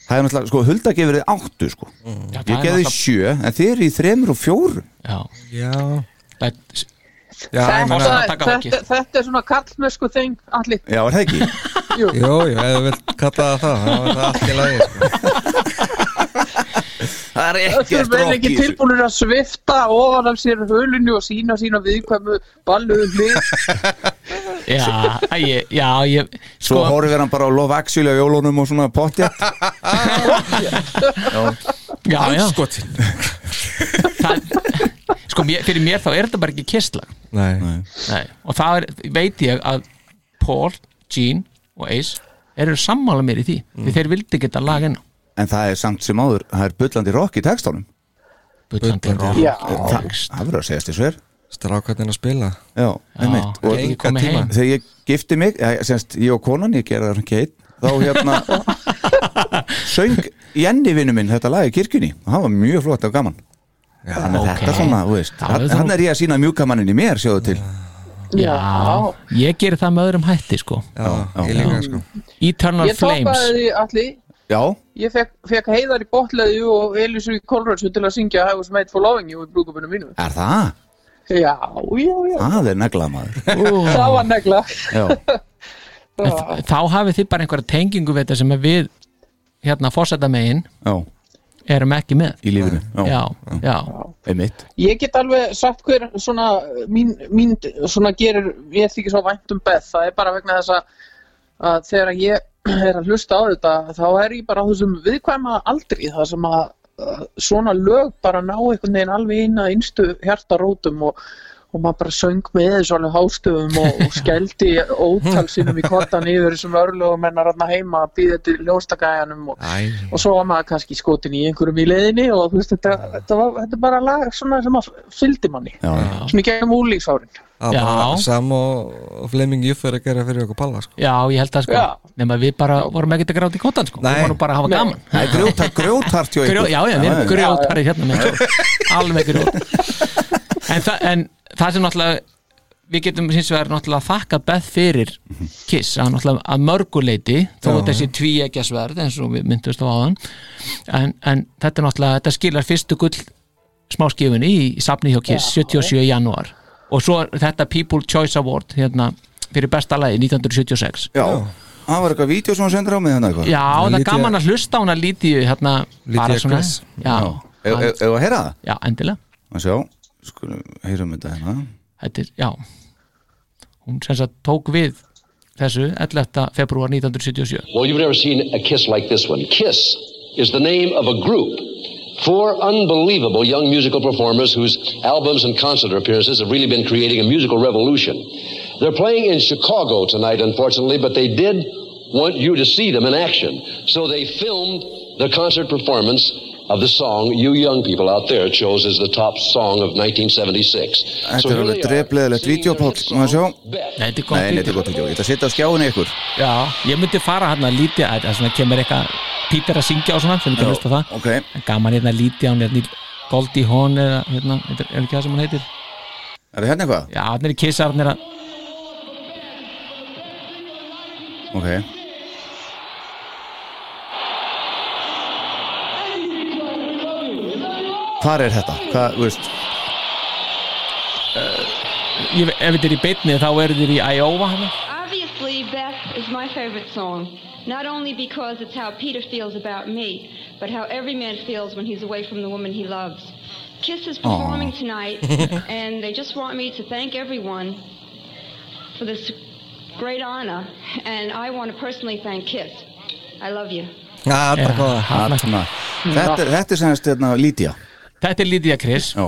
Speaker 4: Það er náttúrulega, sko, Hulda gefur þið áttu sko.
Speaker 3: Já, Mm, það
Speaker 4: Ég
Speaker 3: er
Speaker 4: gefði
Speaker 3: náttúrulega-
Speaker 4: sjö, en þið eru í þremur og fjórum
Speaker 3: já,
Speaker 5: já,
Speaker 3: það er
Speaker 5: já, ég
Speaker 8: þetta,
Speaker 5: meina
Speaker 3: að taka það
Speaker 8: þetta,
Speaker 3: gift.
Speaker 8: þetta er svona kallmösku þing allir
Speaker 4: Já, er það ekki?
Speaker 5: Jó, já, ef þú vilt kalla það það, þá er það allt í lagi sko.
Speaker 4: það er
Speaker 8: Þú
Speaker 4: ekkert
Speaker 8: verður
Speaker 4: rock
Speaker 8: ekki
Speaker 4: í þessu.
Speaker 8: tilbúinir að svifta ofan af sér hölunni og sína sína viðkvæmu balluðu hlið
Speaker 3: já, æ, já, ég
Speaker 4: Svo
Speaker 3: sko,
Speaker 4: horfir hann bara á Love Actually á jólunum og svona pottjætt
Speaker 3: já, já
Speaker 5: Skotin.
Speaker 3: það, sko, mér, fyrir mér þá er þetta bara ekki kistlag
Speaker 5: Nei,
Speaker 3: Nei. og það er, veit ég að Paul, Gene og Ace eru sammála mér í því því þeir vildi geta lag enn
Speaker 4: En það er samt sem áður, það er bullandi rock í textánum
Speaker 3: bullandi rock
Speaker 8: Já.
Speaker 3: og text.
Speaker 4: Það verður að segja þessu er
Speaker 5: strákarnir að spila
Speaker 4: Já, einmitt
Speaker 3: Já,
Speaker 4: Og
Speaker 3: ég ekki
Speaker 5: enga
Speaker 3: komið
Speaker 5: tíma.
Speaker 3: heim
Speaker 4: þegar ég gifti mig, ja, semst, ég og konan, ég gera það ekki einn Þá hérna Söng Jenny vinnu minn þetta lag í kirkjunni Og það var mjög flott og gaman Þannig að
Speaker 3: ok.
Speaker 4: þetta svona, þú veist
Speaker 3: Það er
Speaker 4: Þannig er ég að sína mjúkamannin í mér, sjáðu til
Speaker 3: Já, ég gerir það með öðrum hætti sko
Speaker 5: Já, ég líka sko
Speaker 3: Eternal
Speaker 8: Ég
Speaker 3: Flames
Speaker 8: topaði því allir
Speaker 4: Já,
Speaker 8: Ég fekk, fekk heiðar í botleðu og Elísu í Kolrönsu til að syngja I was made for loving you í brúkupinu mínu
Speaker 4: er það?
Speaker 8: Já, já, já,
Speaker 4: Það er neglað maður
Speaker 3: Ah.
Speaker 8: það var negla
Speaker 4: Já,
Speaker 3: En þ- Þá hafið þið bara einhverja tengingu við þetta sem að við hérna fórsetamegin
Speaker 4: já,
Speaker 3: erum ekki með
Speaker 4: í lífinu Já,
Speaker 3: Já, já,
Speaker 4: einmitt
Speaker 8: Ég get alveg sagt hver svona mín, mín svona gerir ég þykir svo vænt um Beth það er bara vegna þess að, að þegar ég er að hlusta á þetta þá er ég bara á þessum viðkvæma aldri það sem að uh, svona lög bara ná einhvern veginn alveg inn að innstu hjartarótum og, og maður bara söng með þessu alveg hástöfum og, og skeldi ótal sínum í kottan yfir þessum örlögum en að ranna heima að býða til ljóstakæjanum og,
Speaker 5: Æ,
Speaker 8: og svo var maður kannski skotin í einhverjum í leiðinni og þú veist, þetta, þetta var þetta er bara lag svona sem að fylgdi manni
Speaker 4: Já, já
Speaker 8: svona í gegnum úlíksárin
Speaker 5: það
Speaker 3: Já.
Speaker 5: er bara sam og og Fleming Juff er að gera fyrir okkur palla sko.
Speaker 3: já, ég held að sko
Speaker 8: Já.
Speaker 3: nema við bara vorum ekkert að gráta í kottan sko
Speaker 5: Nei.
Speaker 3: við vorum bara að hafa
Speaker 8: Nei.
Speaker 3: gaman
Speaker 4: Það er grjótar, grjótart hjá
Speaker 3: Grjó,
Speaker 4: ykkur
Speaker 3: já, já, við erum grjótarið hérna með, sko. alveg grjót en, þa en það sem náttúrulega við getum hins vegar náttúrulega þakkað Beth fyrir Kiss að náttúrulega að mörguleiti þó
Speaker 5: Já,
Speaker 3: þessi tvíeggjasverð eins og við myndust á áðan en, en þetta er náttúrulega, þetta skilar fyrstu gull smáskifunni í, í safni hjá Kiss 77. janúar og svo er þetta People Choice Award hérna, fyrir besta lagi 1976
Speaker 4: Já, það var eitthvað vídeo sem hann sendur á mig þannig eitthvað
Speaker 3: Já, það er
Speaker 5: Lydia-
Speaker 3: gaman að hlusta á hana Lítiðu hérna, bara
Speaker 5: Lydia
Speaker 3: svona
Speaker 5: Chris.
Speaker 3: Já,
Speaker 4: Ef
Speaker 3: já,
Speaker 4: ef- ef að heyra það?
Speaker 3: já, endilega
Speaker 4: Að sjá, skulum, heyrum þetta hérna
Speaker 3: þetta er, já hún sem sagt tók við þessu 11. februar 1977
Speaker 9: Well, you've never seen a kiss like this one. Kiss is the name of a group. Four unbelievable young musical performers whose albums and concert appearances have really been creating a musical revolution. They're playing in Chicago tonight, unfortunately, but they did want you to see them in action. So they filmed the concert performance of the song you young people out there chose as the top song of 1976.
Speaker 4: Þetta er alveg drefleðilegt vídeo, Páll Má að sjá
Speaker 3: Nei, þetta er
Speaker 4: Nei,
Speaker 3: gott
Speaker 4: nei, þetta er
Speaker 3: vídeo.
Speaker 4: gott vídeo Ég ætla að setja á skjáinu ykkur
Speaker 3: já, ég myndi fara hérna að lítið að það kemur eitthvað Pítur að syngja og svona sem ekki að hlusta á það
Speaker 4: Ok,
Speaker 3: hérna, En gaman hérna lítið, hún er nýl Goldie Hawn eða hérna, er er ekki það sem hún heitir
Speaker 4: Er það hérna eitthvað?
Speaker 3: Já, þannig er kissarnir að
Speaker 4: Ok Hvar er þetta? Hvað, þú veist
Speaker 3: ég, Ef þetta er í beinni þá eru þeir í Iowa hérna. hana.
Speaker 10: Obviously, Beth is my favorite song, not only because it's how Peter feels about me, but how every man feels when he's away from the woman he loves. Kiss is performing tonight, and they just want me to thank everyone for this great honor, and I want to personally thank Kiss. I love you.
Speaker 5: það er góða
Speaker 4: Arna. Þetta, er- þetta er semast hérna, Lídia
Speaker 3: Þetta er Lydia Chris
Speaker 4: Já,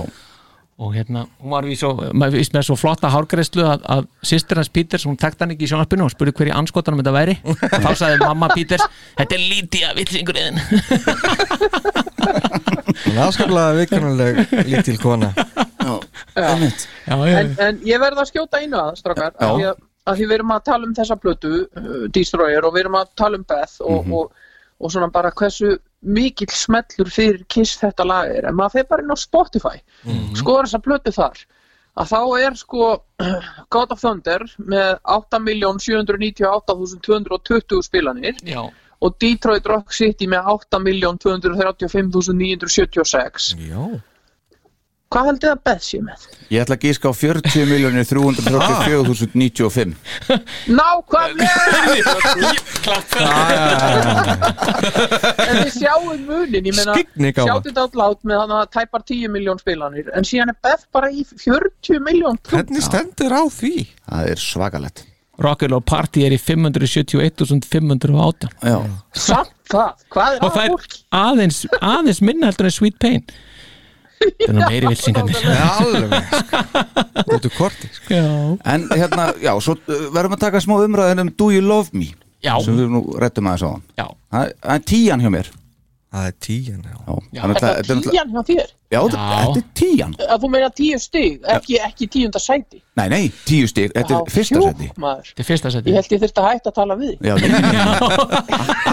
Speaker 3: og hérna, hún var við svo, maður víst með svo flotta hárgreðslu að, að sýstir hans Peters, hún takt hann ekki í sjónarspinu og spurði hverju anskotanum þetta væri og þá sagði mamma Peters, þetta er Lydia vitsingurinn
Speaker 5: Hún er afskaplega viðkannuleg lítil kona
Speaker 4: já, einmitt
Speaker 3: Já, já,
Speaker 8: en, en ég verð að skjóta einu að strákar
Speaker 4: Já.
Speaker 8: af því að, að því við erum að tala um þessa blötu uh, Destroyer og við erum að tala um Beth og, og, og svona bara hversu mikill smellur fyrir kiss þetta lag er en maður fer bara inn á Spotify mm skoðar þessa blötu þar að þá er sko God of Thunder með 8.798.220 spilanir
Speaker 3: já,
Speaker 8: og Detroit Rock City með 8.235.976
Speaker 5: Já
Speaker 8: Hvað held þið að Beth sé með?
Speaker 4: Ég ætla að gíska á 40.334.095
Speaker 8: Nákvæmlega!
Speaker 3: klapp
Speaker 8: en við sjáum munin, ég meina
Speaker 5: Skyggnigáfa.
Speaker 8: sjáum þetta allt látt með þannig að tæpar 10 miljón spilanir en síðan er Beth bara í 40 miljón
Speaker 5: Hvernig stendur á því?
Speaker 4: Það er svakalett
Speaker 3: Rock'n'Roll Party er í 571.508
Speaker 4: Já,
Speaker 8: samt það, hvað er
Speaker 3: og það er
Speaker 8: að fólki?
Speaker 3: aðeins, aðeins minna heldur en Sweet Pain það er nú meiri vilsingarnir
Speaker 5: Já, alveg sko. Út úr korti sko.
Speaker 3: já,
Speaker 4: en hérna, já, svo uh, verðum að taka smá umræðin um Do You Love Me
Speaker 3: já,
Speaker 4: sem við nú rettum aðeins á hann
Speaker 3: já,
Speaker 4: Það það er tían hjá mér
Speaker 5: Það er tíjan já.
Speaker 4: Já,
Speaker 3: Já.
Speaker 4: þannig að
Speaker 8: Þetta
Speaker 4: það- þetta er
Speaker 8: er
Speaker 4: náttúrulega-
Speaker 8: tíjan hjá þér
Speaker 4: Já, þetta er tían
Speaker 8: að þú meina 10 stig, ekki, ekki tíunda sæti
Speaker 4: Nei, nei, tíu stig, þetta er fyrsta
Speaker 8: Hjúp,
Speaker 4: seti
Speaker 8: maður.
Speaker 3: þetta er fyrsta seti
Speaker 8: Ég held ég þurfti að hætta að tala við þig.
Speaker 4: Já, nei, nei, nei.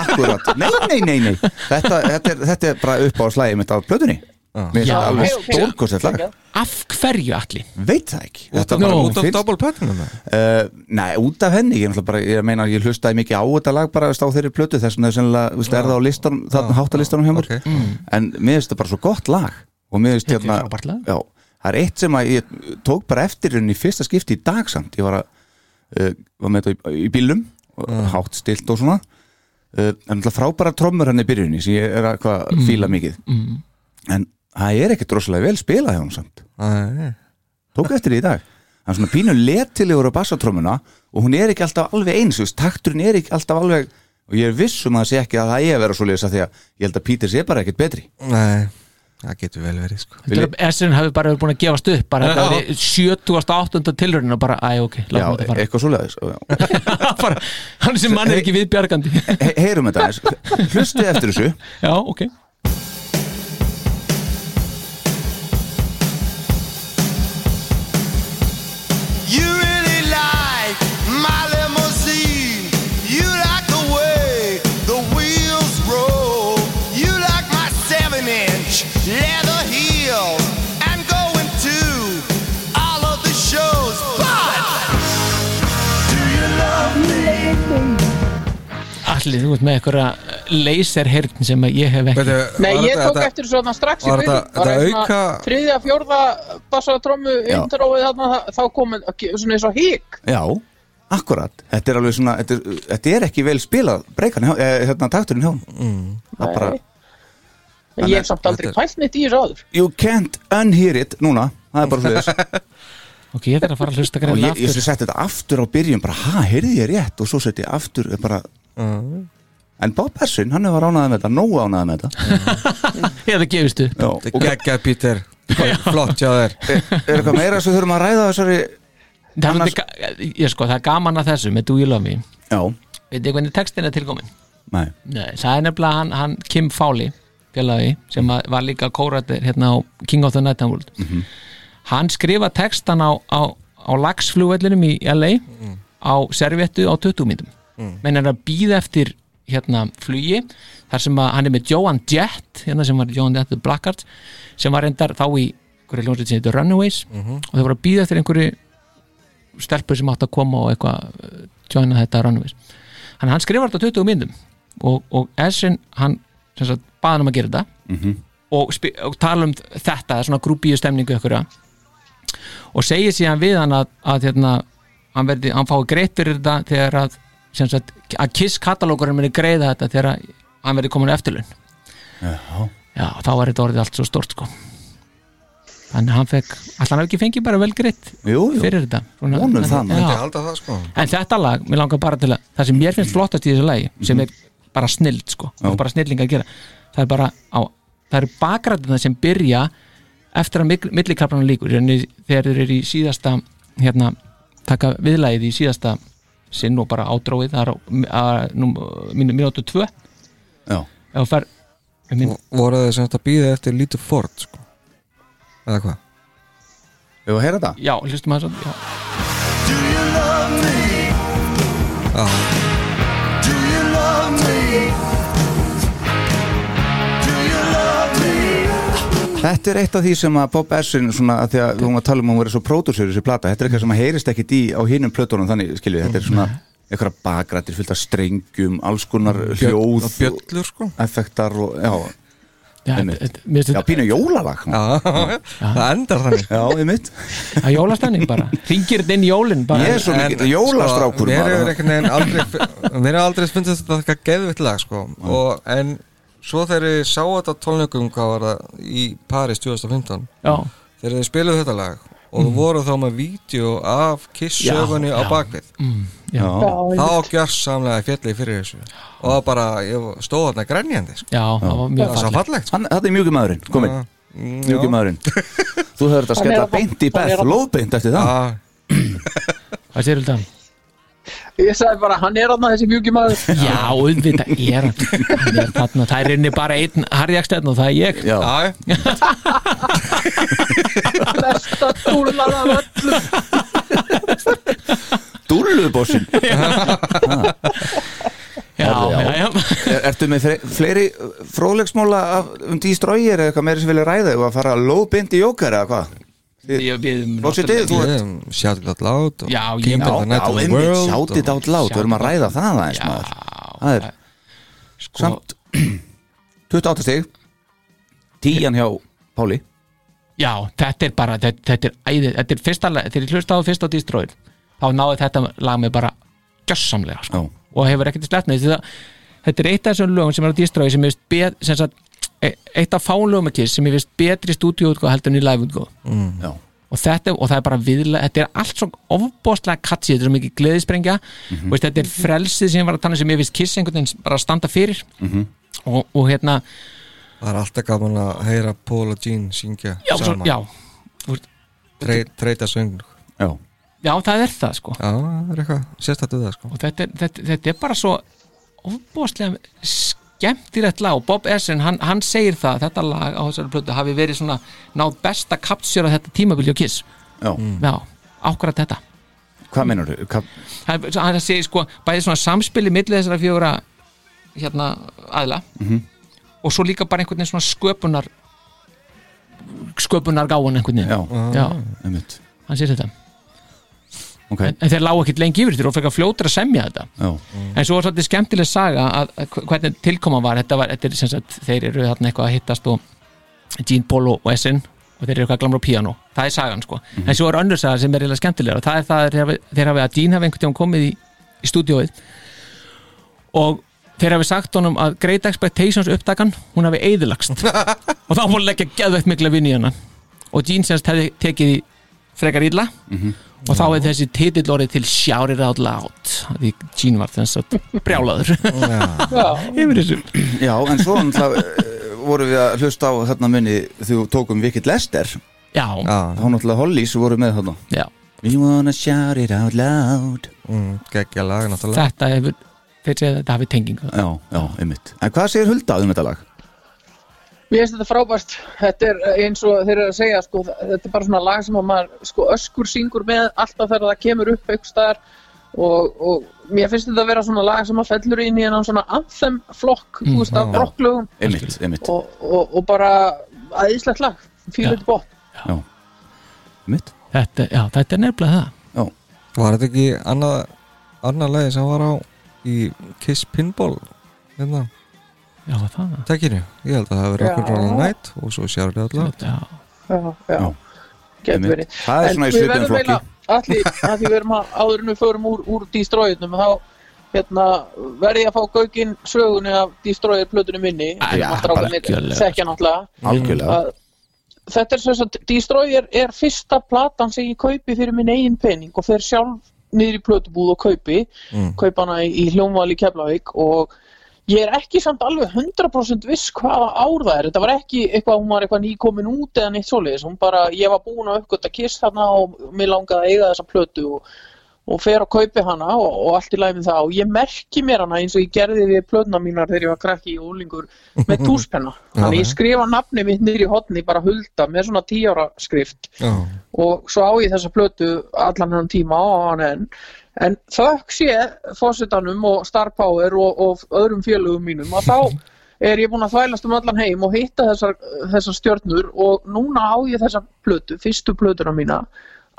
Speaker 4: Akkurat, nei, nei, nei, nei. Þetta, þetta, er, þetta er bara upp á slæði mitt á plötunni Mér finnst
Speaker 3: Já,
Speaker 4: það alveg
Speaker 8: ok, ok.
Speaker 4: stórkostlegt lag
Speaker 3: af hverju allir?
Speaker 4: Veit það ekki
Speaker 5: Út
Speaker 4: Þetta
Speaker 5: af,
Speaker 3: Nú,
Speaker 4: bara
Speaker 5: út af
Speaker 4: finnst-
Speaker 5: double platinum eða?
Speaker 4: Uh, Nei, út af henni, ég, náttúrulega bara, ég meina ég hlustaði mikið á þetta lag bara veist, á þeirri plötu þess vegna er sennilega, veist, er það á listanum, þarna háttalistanum hjá mér
Speaker 5: Ok.
Speaker 4: en mér finnst það bara svo gott lag og mér finnst
Speaker 3: Þetta er
Speaker 4: hérna
Speaker 3: frábært lag.
Speaker 4: já, það er eitt sem að ég tók bara eftir henni í fyrsta skipti í dag samt ég var, að, uh, var með þetta í, í bílum og hátt stilt og svona uh, en alltaf frábæra trommur hann í byrjunni sem ég er að hvað fíla mikið en það er ekkert rosalega vel spilað hjá hann samt
Speaker 5: Æ,
Speaker 4: tók eftir því í dag hann er svona pínu letilegur á bassatrómuna og hún er ekki alltaf alveg eins þú veist, takturinn er ekki alltaf alveg og ég er viss um að það sé ekki að það er að vera svo lesa því að ég held að Peter sé bara ekkert betri
Speaker 5: Nei, það getur vel verið sko.
Speaker 3: SN hafi bara verið búin að gefast upp bara þetta var 78. tilröðin og bara, æ, ok,
Speaker 4: Já,
Speaker 3: látum þetta fara
Speaker 4: eitthvað svo leiðis
Speaker 3: bara, hann sem mann er ekki viðbjargandi
Speaker 4: Heyrum þetta aðeins, hlustið eftir þessu
Speaker 3: já, ok
Speaker 7: You really like my limousine. You like the way the wheels roll. You like my seven inch leather heels. I'm going to all of the shows. But
Speaker 3: allir, þú veist með einhverja laserheyrn sem að ég hef ekki
Speaker 5: Veitu,
Speaker 8: Nei,
Speaker 5: var
Speaker 8: ég
Speaker 5: þetta-
Speaker 8: tók
Speaker 5: þetta-
Speaker 8: eftir þessu þarna strax í
Speaker 5: var
Speaker 8: byrjun.
Speaker 5: þetta-
Speaker 8: Bara
Speaker 5: þetta
Speaker 8: svona
Speaker 5: auka-
Speaker 8: Þriðja, fjórða bassatrómmu
Speaker 4: Já.
Speaker 8: introið þarna, það- þá komið svona eins og hík
Speaker 4: Já, akkurat Þetta er alveg svona, þetta er, þetta er ekki vel spilað breykan, eh, hérna takturinn hjá mm. Það bara,
Speaker 8: Ég hef samt aldrei pælt neitt í þessu áður
Speaker 4: you can't unhear it núna, það er bara svo leiðis
Speaker 3: ok, ég þarf að fara að hlusta
Speaker 4: og
Speaker 3: greina
Speaker 4: ég, ég
Speaker 3: aftur
Speaker 4: seti þetta aftur á byrjun bara, ha, heyrði ég rétt og svo seti ég aftur eh, bara en Bob Bessin, hann hefur ránaðið með þetta nógu ánaðið með þetta
Speaker 3: ég það gefist upp
Speaker 4: Já,
Speaker 5: Þetta
Speaker 4: og
Speaker 5: er geggjað Pítur Flott hjá þér
Speaker 4: er eitthvað meira sem þurfum að ræða á þessari
Speaker 3: það,
Speaker 4: Annars-
Speaker 3: Annars... ég, sko, það er gaman að þessu með Do You Love Me
Speaker 4: já,
Speaker 3: veit ég hvernig textin er tilkomin
Speaker 4: nei,
Speaker 3: Nei, það er nefnilega hann, hann Kim Fowley félagi sem að var líka kóratir hérna á King of the Night and World hann skrifa textan á, á, á lagsflugvellinum í LA á servettu á 20 mínutum mm. menn er að býða eftir hérna flugi þar sem að hann er með Joan Jett hérna sem var Joan Jett the Blackguard sem var reyndar þá í einhverju hljómsveit sem heitir Runaways og þau voru að býða eftir einhverju stelpu sem átt að koma og eitthvað eh, joina þetta Runaways hann, hann skrifar þetta á 20 myndum og, og Essin, hann sem sagt, bað hann um að gera þetta
Speaker 4: Mhm.
Speaker 3: og, spi- og tala um þetta svona grúbíu stemningu einhverja og segir síðan við hann að, að hérna, hann, verði, hann fái greitt fyrir þetta þegar að, sem sagt, að Kiss katalógurinn muni greiða þetta þegar að hann verði komin á eftirlaun Já, þá var þetta orðið allt svo stort sko Þannig að hann fekk Alltaf hann hafði ekki fengið bara vel greitt
Speaker 4: Jú, jú.
Speaker 3: fyrir þetta Svona-
Speaker 4: Vonum það, maður.
Speaker 3: Já.
Speaker 5: Ég halda það sko
Speaker 3: En þetta lag, mér langar bara til að Það sem mér finnst flottast í þessu lagi sem er bara snillt sko
Speaker 4: Já.
Speaker 3: og bara snilling að gera Það er bara á, það eru bakrætina sem byrja eftir að millikrafnum líkur Þannig þegar þeir eru í síðasta hérna, taka viðlagið í síðasta sinn og bara ádróið það er á að- nú- mínu mínútu tvö
Speaker 4: Já.
Speaker 3: ef þú fer ég minn,
Speaker 5: Voru þau sem þetta býða eftir lítið Ford sko Eða hvað?
Speaker 4: Ef að heyra þetta?
Speaker 3: já, hlustum að það já.
Speaker 7: Do you love me?
Speaker 5: Já,
Speaker 7: Do you love me? Do you love me?
Speaker 4: Þetta er eitt af því sem að Bob Essin svona, að því að við vorum að tala um að hún verið svo pródúsur í þessu plata, þetta er eitthvað sem að heyrist ekkit í á hinum plötunum þannig, skiljið, þetta er svona eitthvað bakrættir fyllt af strengjum alls konar hljóð
Speaker 5: og bjöllur sko
Speaker 4: effektar og, já,
Speaker 3: Já,
Speaker 4: Einmitt.
Speaker 3: þetta- mér
Speaker 4: já
Speaker 3: finnst
Speaker 4: pínu jólalag
Speaker 5: Já, það endar þannig
Speaker 4: já einmitt
Speaker 3: þetta að jólastanning bara Ringir þetta inn í jólin bara
Speaker 4: Ég er svo
Speaker 5: En,
Speaker 4: mikið jólastrákur
Speaker 5: sko, Mér
Speaker 4: maður.
Speaker 5: hefur einhvern veginn aldrei Mér hefur aldrei fundið þetta eitthvað geðvitt lag sko og, En svo þegar ég sá þetta á tónleikum hvað var það í Paris 2015
Speaker 3: Já,
Speaker 5: þegar þið spiluðu þetta lag og mm. voru þá með vídeo af Kiss
Speaker 3: Já,
Speaker 5: sögunni á
Speaker 3: já.
Speaker 5: bakvið
Speaker 3: já,
Speaker 4: Já.
Speaker 8: Já,
Speaker 5: þá gjörsamlega fjalli fyrir þessu og það bara, ég stóð þarna grænjandi sko.
Speaker 3: já, það var
Speaker 5: það
Speaker 3: mjög
Speaker 5: var svo
Speaker 3: fallegt
Speaker 5: fallegt sko.
Speaker 4: Hann, þetta er mjúki maðurinn, komin,
Speaker 5: Mm, já.
Speaker 4: mjúki maðurinn Þú höfður þetta að
Speaker 8: Hann er
Speaker 4: skella
Speaker 8: að-
Speaker 4: beint í
Speaker 8: hann er
Speaker 4: Beth,
Speaker 8: að-
Speaker 4: lóðbeint eftir það
Speaker 5: Ah,
Speaker 3: Hvað sér þetta?
Speaker 8: ég sagði bara, hann er aðna þessi mjúki maður
Speaker 3: Já, auðvitað er hann Hann er þarna, það er inni bara einn harjakstæðn og það er ég
Speaker 4: Já,
Speaker 5: já, já.
Speaker 8: besta dúllan af öllum
Speaker 4: dúllubossin
Speaker 3: Já,
Speaker 4: Herðu,
Speaker 3: já,
Speaker 4: já.
Speaker 3: já
Speaker 4: er, Ertu með fre- fleiri uh, fróðleiksmóla af, um dýstrógir eða eitthvað meira sem vilja ræða og að fara lóðbeint í jókar eða hvað?
Speaker 3: Ég býðum
Speaker 4: Lótsið þið, þú
Speaker 5: Ég, Shout It Out Loud og
Speaker 3: Já, ég-
Speaker 5: King
Speaker 4: Já,
Speaker 5: of the Night
Speaker 4: já,
Speaker 5: of the
Speaker 4: einmitt,
Speaker 5: World
Speaker 4: sjátt þetta
Speaker 5: og-
Speaker 4: átt lát, við erum að ræða það aðeins
Speaker 3: Já,
Speaker 4: maður Það er
Speaker 3: sko,
Speaker 4: samt 28 stig Tíjan hjá Páli
Speaker 3: Já, þetta er bara, þetta, þetta er æði Þetta er fyrsta, lag- þegar ég hlusta á fyrsta á distróið þá náði þetta lag mig bara gjössamlega, sko
Speaker 4: Já,
Speaker 3: og hefur ekkert sleppnið þetta, þetta er eitt af þessum lögum sem er á distrói sem ég veist bet, sem sagt, e- eitt af fáum lögum ekki sem ég veist betri stúdíóutgóð heldur en í liveutgóð
Speaker 4: já,
Speaker 3: og þetta, og það er bara viðla þetta er allt svo ofbóðslega katsi þetta er svo mikið gleðisprengja veist, þetta er frelsið sem ég var að tala um sem ég veist kiss einhvern veginn bara að standa fyrir og, og hérna,
Speaker 5: Það er alltaf gaman að heyra Paul og Gene syngja
Speaker 3: já, svo,
Speaker 5: saman
Speaker 3: já,
Speaker 5: Tre- Treyta söng
Speaker 4: já
Speaker 3: já, það er það sko
Speaker 5: Já, það er eitthvað sérstættu það sko
Speaker 3: og þetta, er- þetta, þetta er bara svo ofbóðslega skemmtilegt lag og Bob Essen, hann, hann segir það að þetta lag á þessari plötu hafi verið svona náð best að kapsjöra þetta tímabili og kiss
Speaker 4: Já,
Speaker 3: já, ákvært þetta
Speaker 4: hvað meinar þú?
Speaker 3: hann hann er að segja sko bæði svona samspili millið þessara fjóra hérna aðla og svo líka bara einhvern veginn svona sköpunar sköpunar gáun einhvern veginn
Speaker 4: Já,
Speaker 3: Já,
Speaker 4: einmitt
Speaker 3: hann sér þetta
Speaker 4: Ok,
Speaker 3: en, en þeir lágu ekkit lengi yfir þér og fekk að fljótur að semja þetta
Speaker 4: já,
Speaker 3: en svo var svolítið skemmtileg saga að, að hv- hvernig tilkoma var þetta var, þetta er sem sagt, þeir eru þarna eitthvað að hittast og Gene Paul og Essin og þeir eru eitthvað að glamra á piano, það er sagan sko en svo er önnur saga sem er eiginlega skemmtilega og það er það að þeir hafi- þeir hafi að Gene hafi einhvern tímann komið í, í stúdíóið og þeir hafi sagt honum að Great Expectations upptakan hún hafi eðilagst og þá fór að leggja geðveitt mikla vinn í hana og Gene semst hefði tekið í frekar illa og þá er þessi titill orðið til Shout It Out Loud því Gene var þess að brjálaður yfir þessu
Speaker 4: já, en svo náttúrulega eh, vorum við að hlusta á þarna munni þú tókum Vikit Lester þá
Speaker 3: já,
Speaker 5: Já,
Speaker 4: náttúrulega Hollís voru með þarna
Speaker 3: já,
Speaker 4: We wanna shout it out loud
Speaker 5: mm, geggja lag náttúrulega
Speaker 3: þetta hefur þeir segja að þetta hafi tengingu
Speaker 4: Já, já, einmitt En hvað segir Hulda um þetta lag?
Speaker 8: Mér finnst þetta frábært, þetta er eins og þeir eru að segja, sko, þetta er bara svona lag sem að maður sko, öskur syngur með alltaf þegar það kemur upp einhvers staðar og, og mér finnst þetta að vera svona lag sem að fellur inn í hennan svona anthem flokk, þú veist, af rocklögum
Speaker 4: Einmitt, einmitt
Speaker 8: og, og, og bara aðeinslegt lag, fíl
Speaker 3: Já.
Speaker 8: þetta bótt.
Speaker 4: Já. Mitt.
Speaker 3: þetta, já, þetta er nefnilega það
Speaker 5: Var þetta ekki annað annað lagi sem var á í Kiss Pinball hérna,
Speaker 3: já, það
Speaker 5: tekinu, ég held að það hafi verið okkur Roll Night og svo sjáur þetta allavega
Speaker 3: já,
Speaker 8: já, já.
Speaker 4: Já.
Speaker 8: Gæti
Speaker 4: Einmitt.
Speaker 8: verið.
Speaker 4: Það er
Speaker 8: En
Speaker 4: svona í
Speaker 8: við
Speaker 4: svipuðum
Speaker 8: verðum
Speaker 4: flokki.
Speaker 8: eiginlega- af því- af því við erum að áður en við förum úr, úr Destroyernum þá hérna, verði ég að fá gaugin sögunni af Destroyer plötunum minni sem
Speaker 3: já,
Speaker 8: að strákarnir
Speaker 3: algjörlega.
Speaker 8: þekkja náttúrulega
Speaker 4: Algjörlega.
Speaker 8: að þetta er sem sagt Destroyer er fyrsta platan sem ég kaupi fyrir minn eigin pening og fer sjálf niður í plötubúð og kaupi kaup hana í, í hljómval í Keflavík og ég er ekki samt alveg 100% viss hvaða ár það er þetta var ekki eitthvað, hún var eitthvað nýkomin út eða neitt svoleiðis, hún bara, ég var búin að uppgötta kiss þarna og mér langaði að eiga þessa plötu og, og fer og kaupi hana og, og allt í lagi með það og ég merki mér hana eins og ég gerði við plötuna mínar þegar ég var krakki og úlingur með túspenna þannig ég skrifa nafni mitt niður í hotni bara hulda með svona 10 ára skrift
Speaker 5: Já,
Speaker 8: og svo á ég þessa plötu allan hennan tíma á hann enn en þökk sé fósitanum og Star Power og, og öðrum félögum mínum að þá er ég búin að þvælast um allan heim og hitta þessar, þessar stjörnur og núna á ég þessa plötu, fyrstu plötuna mína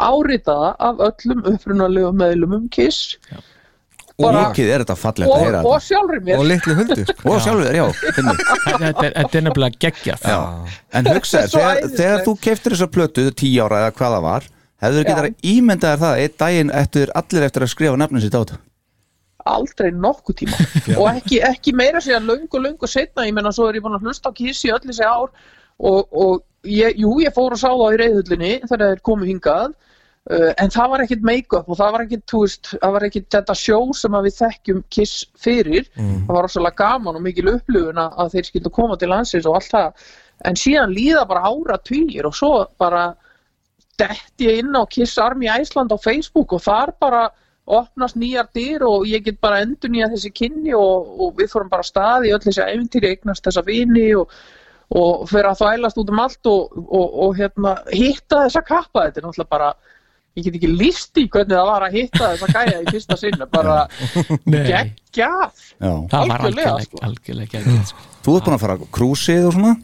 Speaker 8: áritaða af öllum upprunalegu meðlumum Kiss
Speaker 4: Og
Speaker 8: bara-
Speaker 4: mikið er þetta fallegt að
Speaker 8: og,
Speaker 4: heyra
Speaker 8: og
Speaker 4: þetta.
Speaker 8: sjálfri mér
Speaker 5: og litlu hundur sko.
Speaker 4: Og sjálfur, já, finnur.
Speaker 3: þetta, þetta, er- þetta er nefnilega geggjað
Speaker 4: Já. En hugsa,
Speaker 8: er svo
Speaker 4: þegar,
Speaker 8: æðislegt.
Speaker 4: þegar þú keftir þessa plötu 10 ára eða hvað það var hefur ekki
Speaker 8: Já.
Speaker 4: þar ímyndaðir það að einn daginn eftir allir eftir að skrifa nafnin sitt á þetta
Speaker 8: aldrei nokkuð tíma og ekki, ekki meira sér löngu, löngu setna ég menna svo er ég búin að hlusta á Kiss í öll þessi ár og, og ég, jú, ég fór og sá það í reyðhullinni þegar þeir komu hingað uh, en það var ekkit make-up og það var ekkit, þú veist, það var ekkit þetta sjó sem að við þekkjum Kiss fyrir það var rosalega gaman og mikil upplifun að, að þeir skildu koma til landsins og allt það en síðan líða bara ára og svo bara dett ég inn á Kiss Army Æsland á Facebook og þar bara opnast nýjar dyr og ég get bara endur nýja þessi kynni og, og við fórum bara af stað í öll þessi eventýri eignast þessa vini og, og fyrir að þvælast út um allt og, og, og hérna, hitta þessa kappa þetta er náttúrulega bara ég get ekki líst í hvernig það var að hitta þessa gæja í fyrsta sinni bara
Speaker 3: Nei,
Speaker 8: geggjaf
Speaker 4: Já.
Speaker 3: það var
Speaker 8: algjörlega,
Speaker 3: algjörlega, algjörlega geggjað sko.
Speaker 4: Þú ert búin að fara á krúsið og svona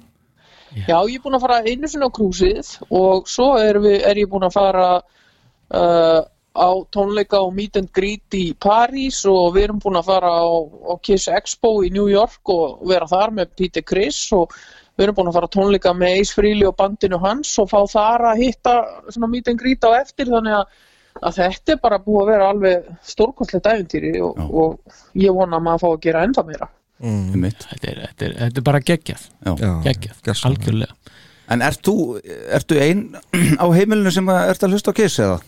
Speaker 8: Já, ég er búin að fara einu sinni á krúsið og svo er, við, er ég búin að fara uh, á tónleika og meet and greet í París og við erum búin að fara á, á Kiss Expo í New York og vera þar með Peter Criss og við erum búin að fara á tónleika með Ace Frehley og bandinu hans og fá þar að hitta svona meet and greet á eftir þannig að, að þetta er bara búið að vera alveg stórkostlegt æfintýri og,
Speaker 4: Já.
Speaker 8: og ég vona að maður fá að gera enda meira.
Speaker 5: mm,
Speaker 4: Einmitt.
Speaker 3: þetta, er, þetta, er, þetta er bara geggjað
Speaker 4: Já.
Speaker 5: já,
Speaker 3: geggjað,
Speaker 5: gjörsamlega.
Speaker 3: algjörlega
Speaker 4: En ert þú, ertu ein á heimilinu sem að ert að hlusta á kiss eða?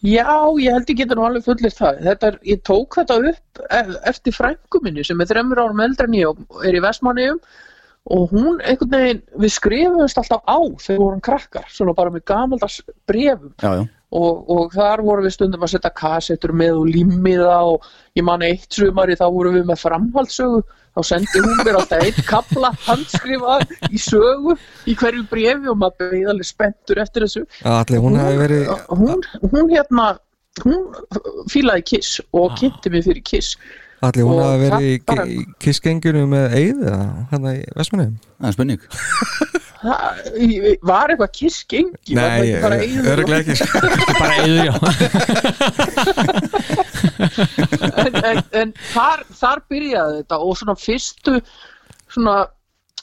Speaker 8: Já, ég held ég getur nú alveg fullist það. Þetta er, ég tók þetta upp e- eftir frængu minni sem er þremur árum eldra en ég og er í Vestmanniðum og hún einhvern veginn, við skrifumst alltaf á þegar við vorum krakkar, svona bara með gamaldags brefum
Speaker 4: Já, já,
Speaker 8: og, og þar vorum við stundum að setja kassettur með og limmiða og ég man eitt sumari þá vorum við með framhaldssögu þá sendi hún mér alltaf einn kapla handskrifað í sögu í hverju brefi og maður beðið alveg spenntur eftir þessu
Speaker 5: Allir hún hafi verið
Speaker 8: hún, hún hérna hún fílaði Kiss og kynnti mig fyrir Kiss
Speaker 5: Allir hún
Speaker 8: Og
Speaker 5: hafi verið í,
Speaker 8: það bara-
Speaker 5: í kissgenginu með Eyði hérna í Vestmanniðum
Speaker 4: það er spenning
Speaker 8: það var eitthvað Kiss gengi var það ekki bara Eyður og-
Speaker 5: örglega ekki sko.
Speaker 3: bara eður já,
Speaker 8: en, en, en þar, þar byrjaði þetta og svona fyrstu svona,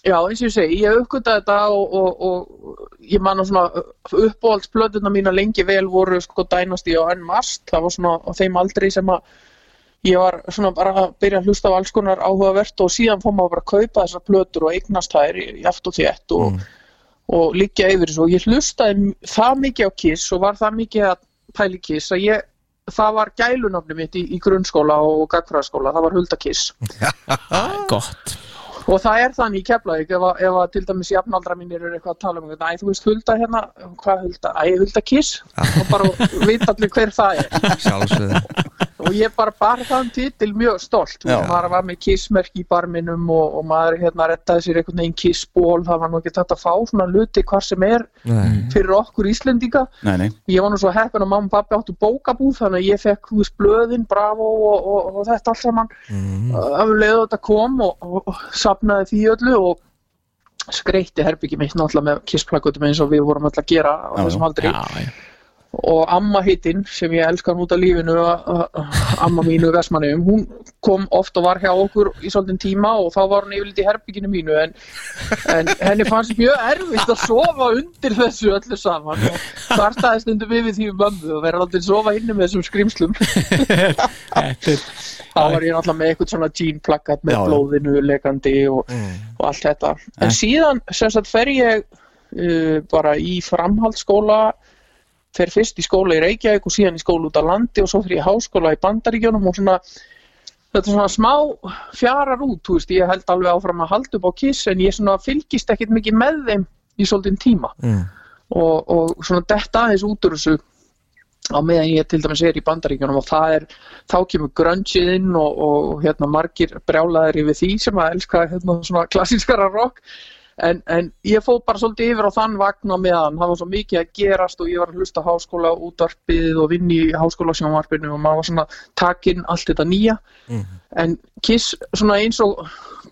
Speaker 8: já eins og ég segi ég uppgötaði þetta og, og, og ég man að svona uppáhaldsblöðuna mína lengi vel voru sko dænasti og enn mast, það var svona á þeim aldrei sem að ég var svona bara að byrja að hlusta á alls konar áhugavert og síðan fór maður bara að kaupa þessar blöður og eignast þær í í aft og þétt og, og liggja yfir þessu og ég hlustaði m- það mikið á Kiss og var það mikið að pæli Kiss að ég, það var gælunafni mitt í, í grunnskóla og gagfræðaskóla, það var Hulda Kiss
Speaker 3: það er gott
Speaker 8: og það er þannig í Keflavík ef, að- ef að til dæmis jafnaldra mínir eru eitthvað að tala um eitthvað, æ þú veist Hulda hérna, hvað Hulda, æ Hulda Kiss og bara vita allir hver það er
Speaker 5: Sjálfsögðu
Speaker 8: og ég bara bar þann titil mjög stolt
Speaker 4: Já.
Speaker 8: Já. maður var með kissmerk í barminum og, og maður hérna rettaði sér einhvern veginn kissból það var nú ekki þetta að fá svona luti hvar sem er
Speaker 5: Nei,
Speaker 8: fyrir okkur Íslendinga
Speaker 4: Nei, nei,
Speaker 8: ég var nú svo heppin að mamma og pappi áttu bókabúð þannig að ég fekk hús blöðin, bravo og, og, og þetta um allt saman mm. af leið og þetta kom og, og, og sapnaði því öllu og skreitti herbyggi mitt náttúrulega með kissplakutum eins og við vorum alltaf að gera á
Speaker 4: Já,
Speaker 8: þessum aldri
Speaker 3: já, já.
Speaker 8: og amma heitinn sem ég elskar út af lífinu a- a- amma mínu versmanniðum hún kom oft og var hjá okkur í svolítinn tíma og þá var hún yfirleitt í herbygginu mínu en, en henni fannst mjög erfitt að sofa undir þessu öllu saman og startaði stundum yfir því um mömmu og verið alltaf að sofa inni með þessum skrimslum
Speaker 3: Þetta er-
Speaker 8: þá var ég náttúrulega með eitthvað svona jean plakat með
Speaker 4: Já, já.
Speaker 8: blóðinu lekandi og, og allt þetta en síðan sem sagt fer ég uh, bara í framhaldsskóla fer fyrst í skóla í Reykjavík og síðan í skóla út á landi og svo fyrir ég í háskóla í Bandaríkjónum og svona þetta svona smá fjarar út þú veist, ég held alveg áfram að halda upp á kiss en ég svona fylgist ekkit mikið með þeim í svolítinn tíma
Speaker 5: Mm.
Speaker 8: og, og svona detta aðeins út úr þessu á meðan ég til dæmis er í bandaríkjunum og það er, þá kemur grungeið inn og, og hérna margir brjálaðir yfir því sem að elska hérna svona klassískara rock en, en ég fóð bara svolítið yfir á þann vagn á meðan, það var svo mikið að gerast og ég var að hlusta á háskóla útvarpið og vinn í háskóla sjónvarpinu og maður var svona takinn allt þetta nýja en Kiss svona eins og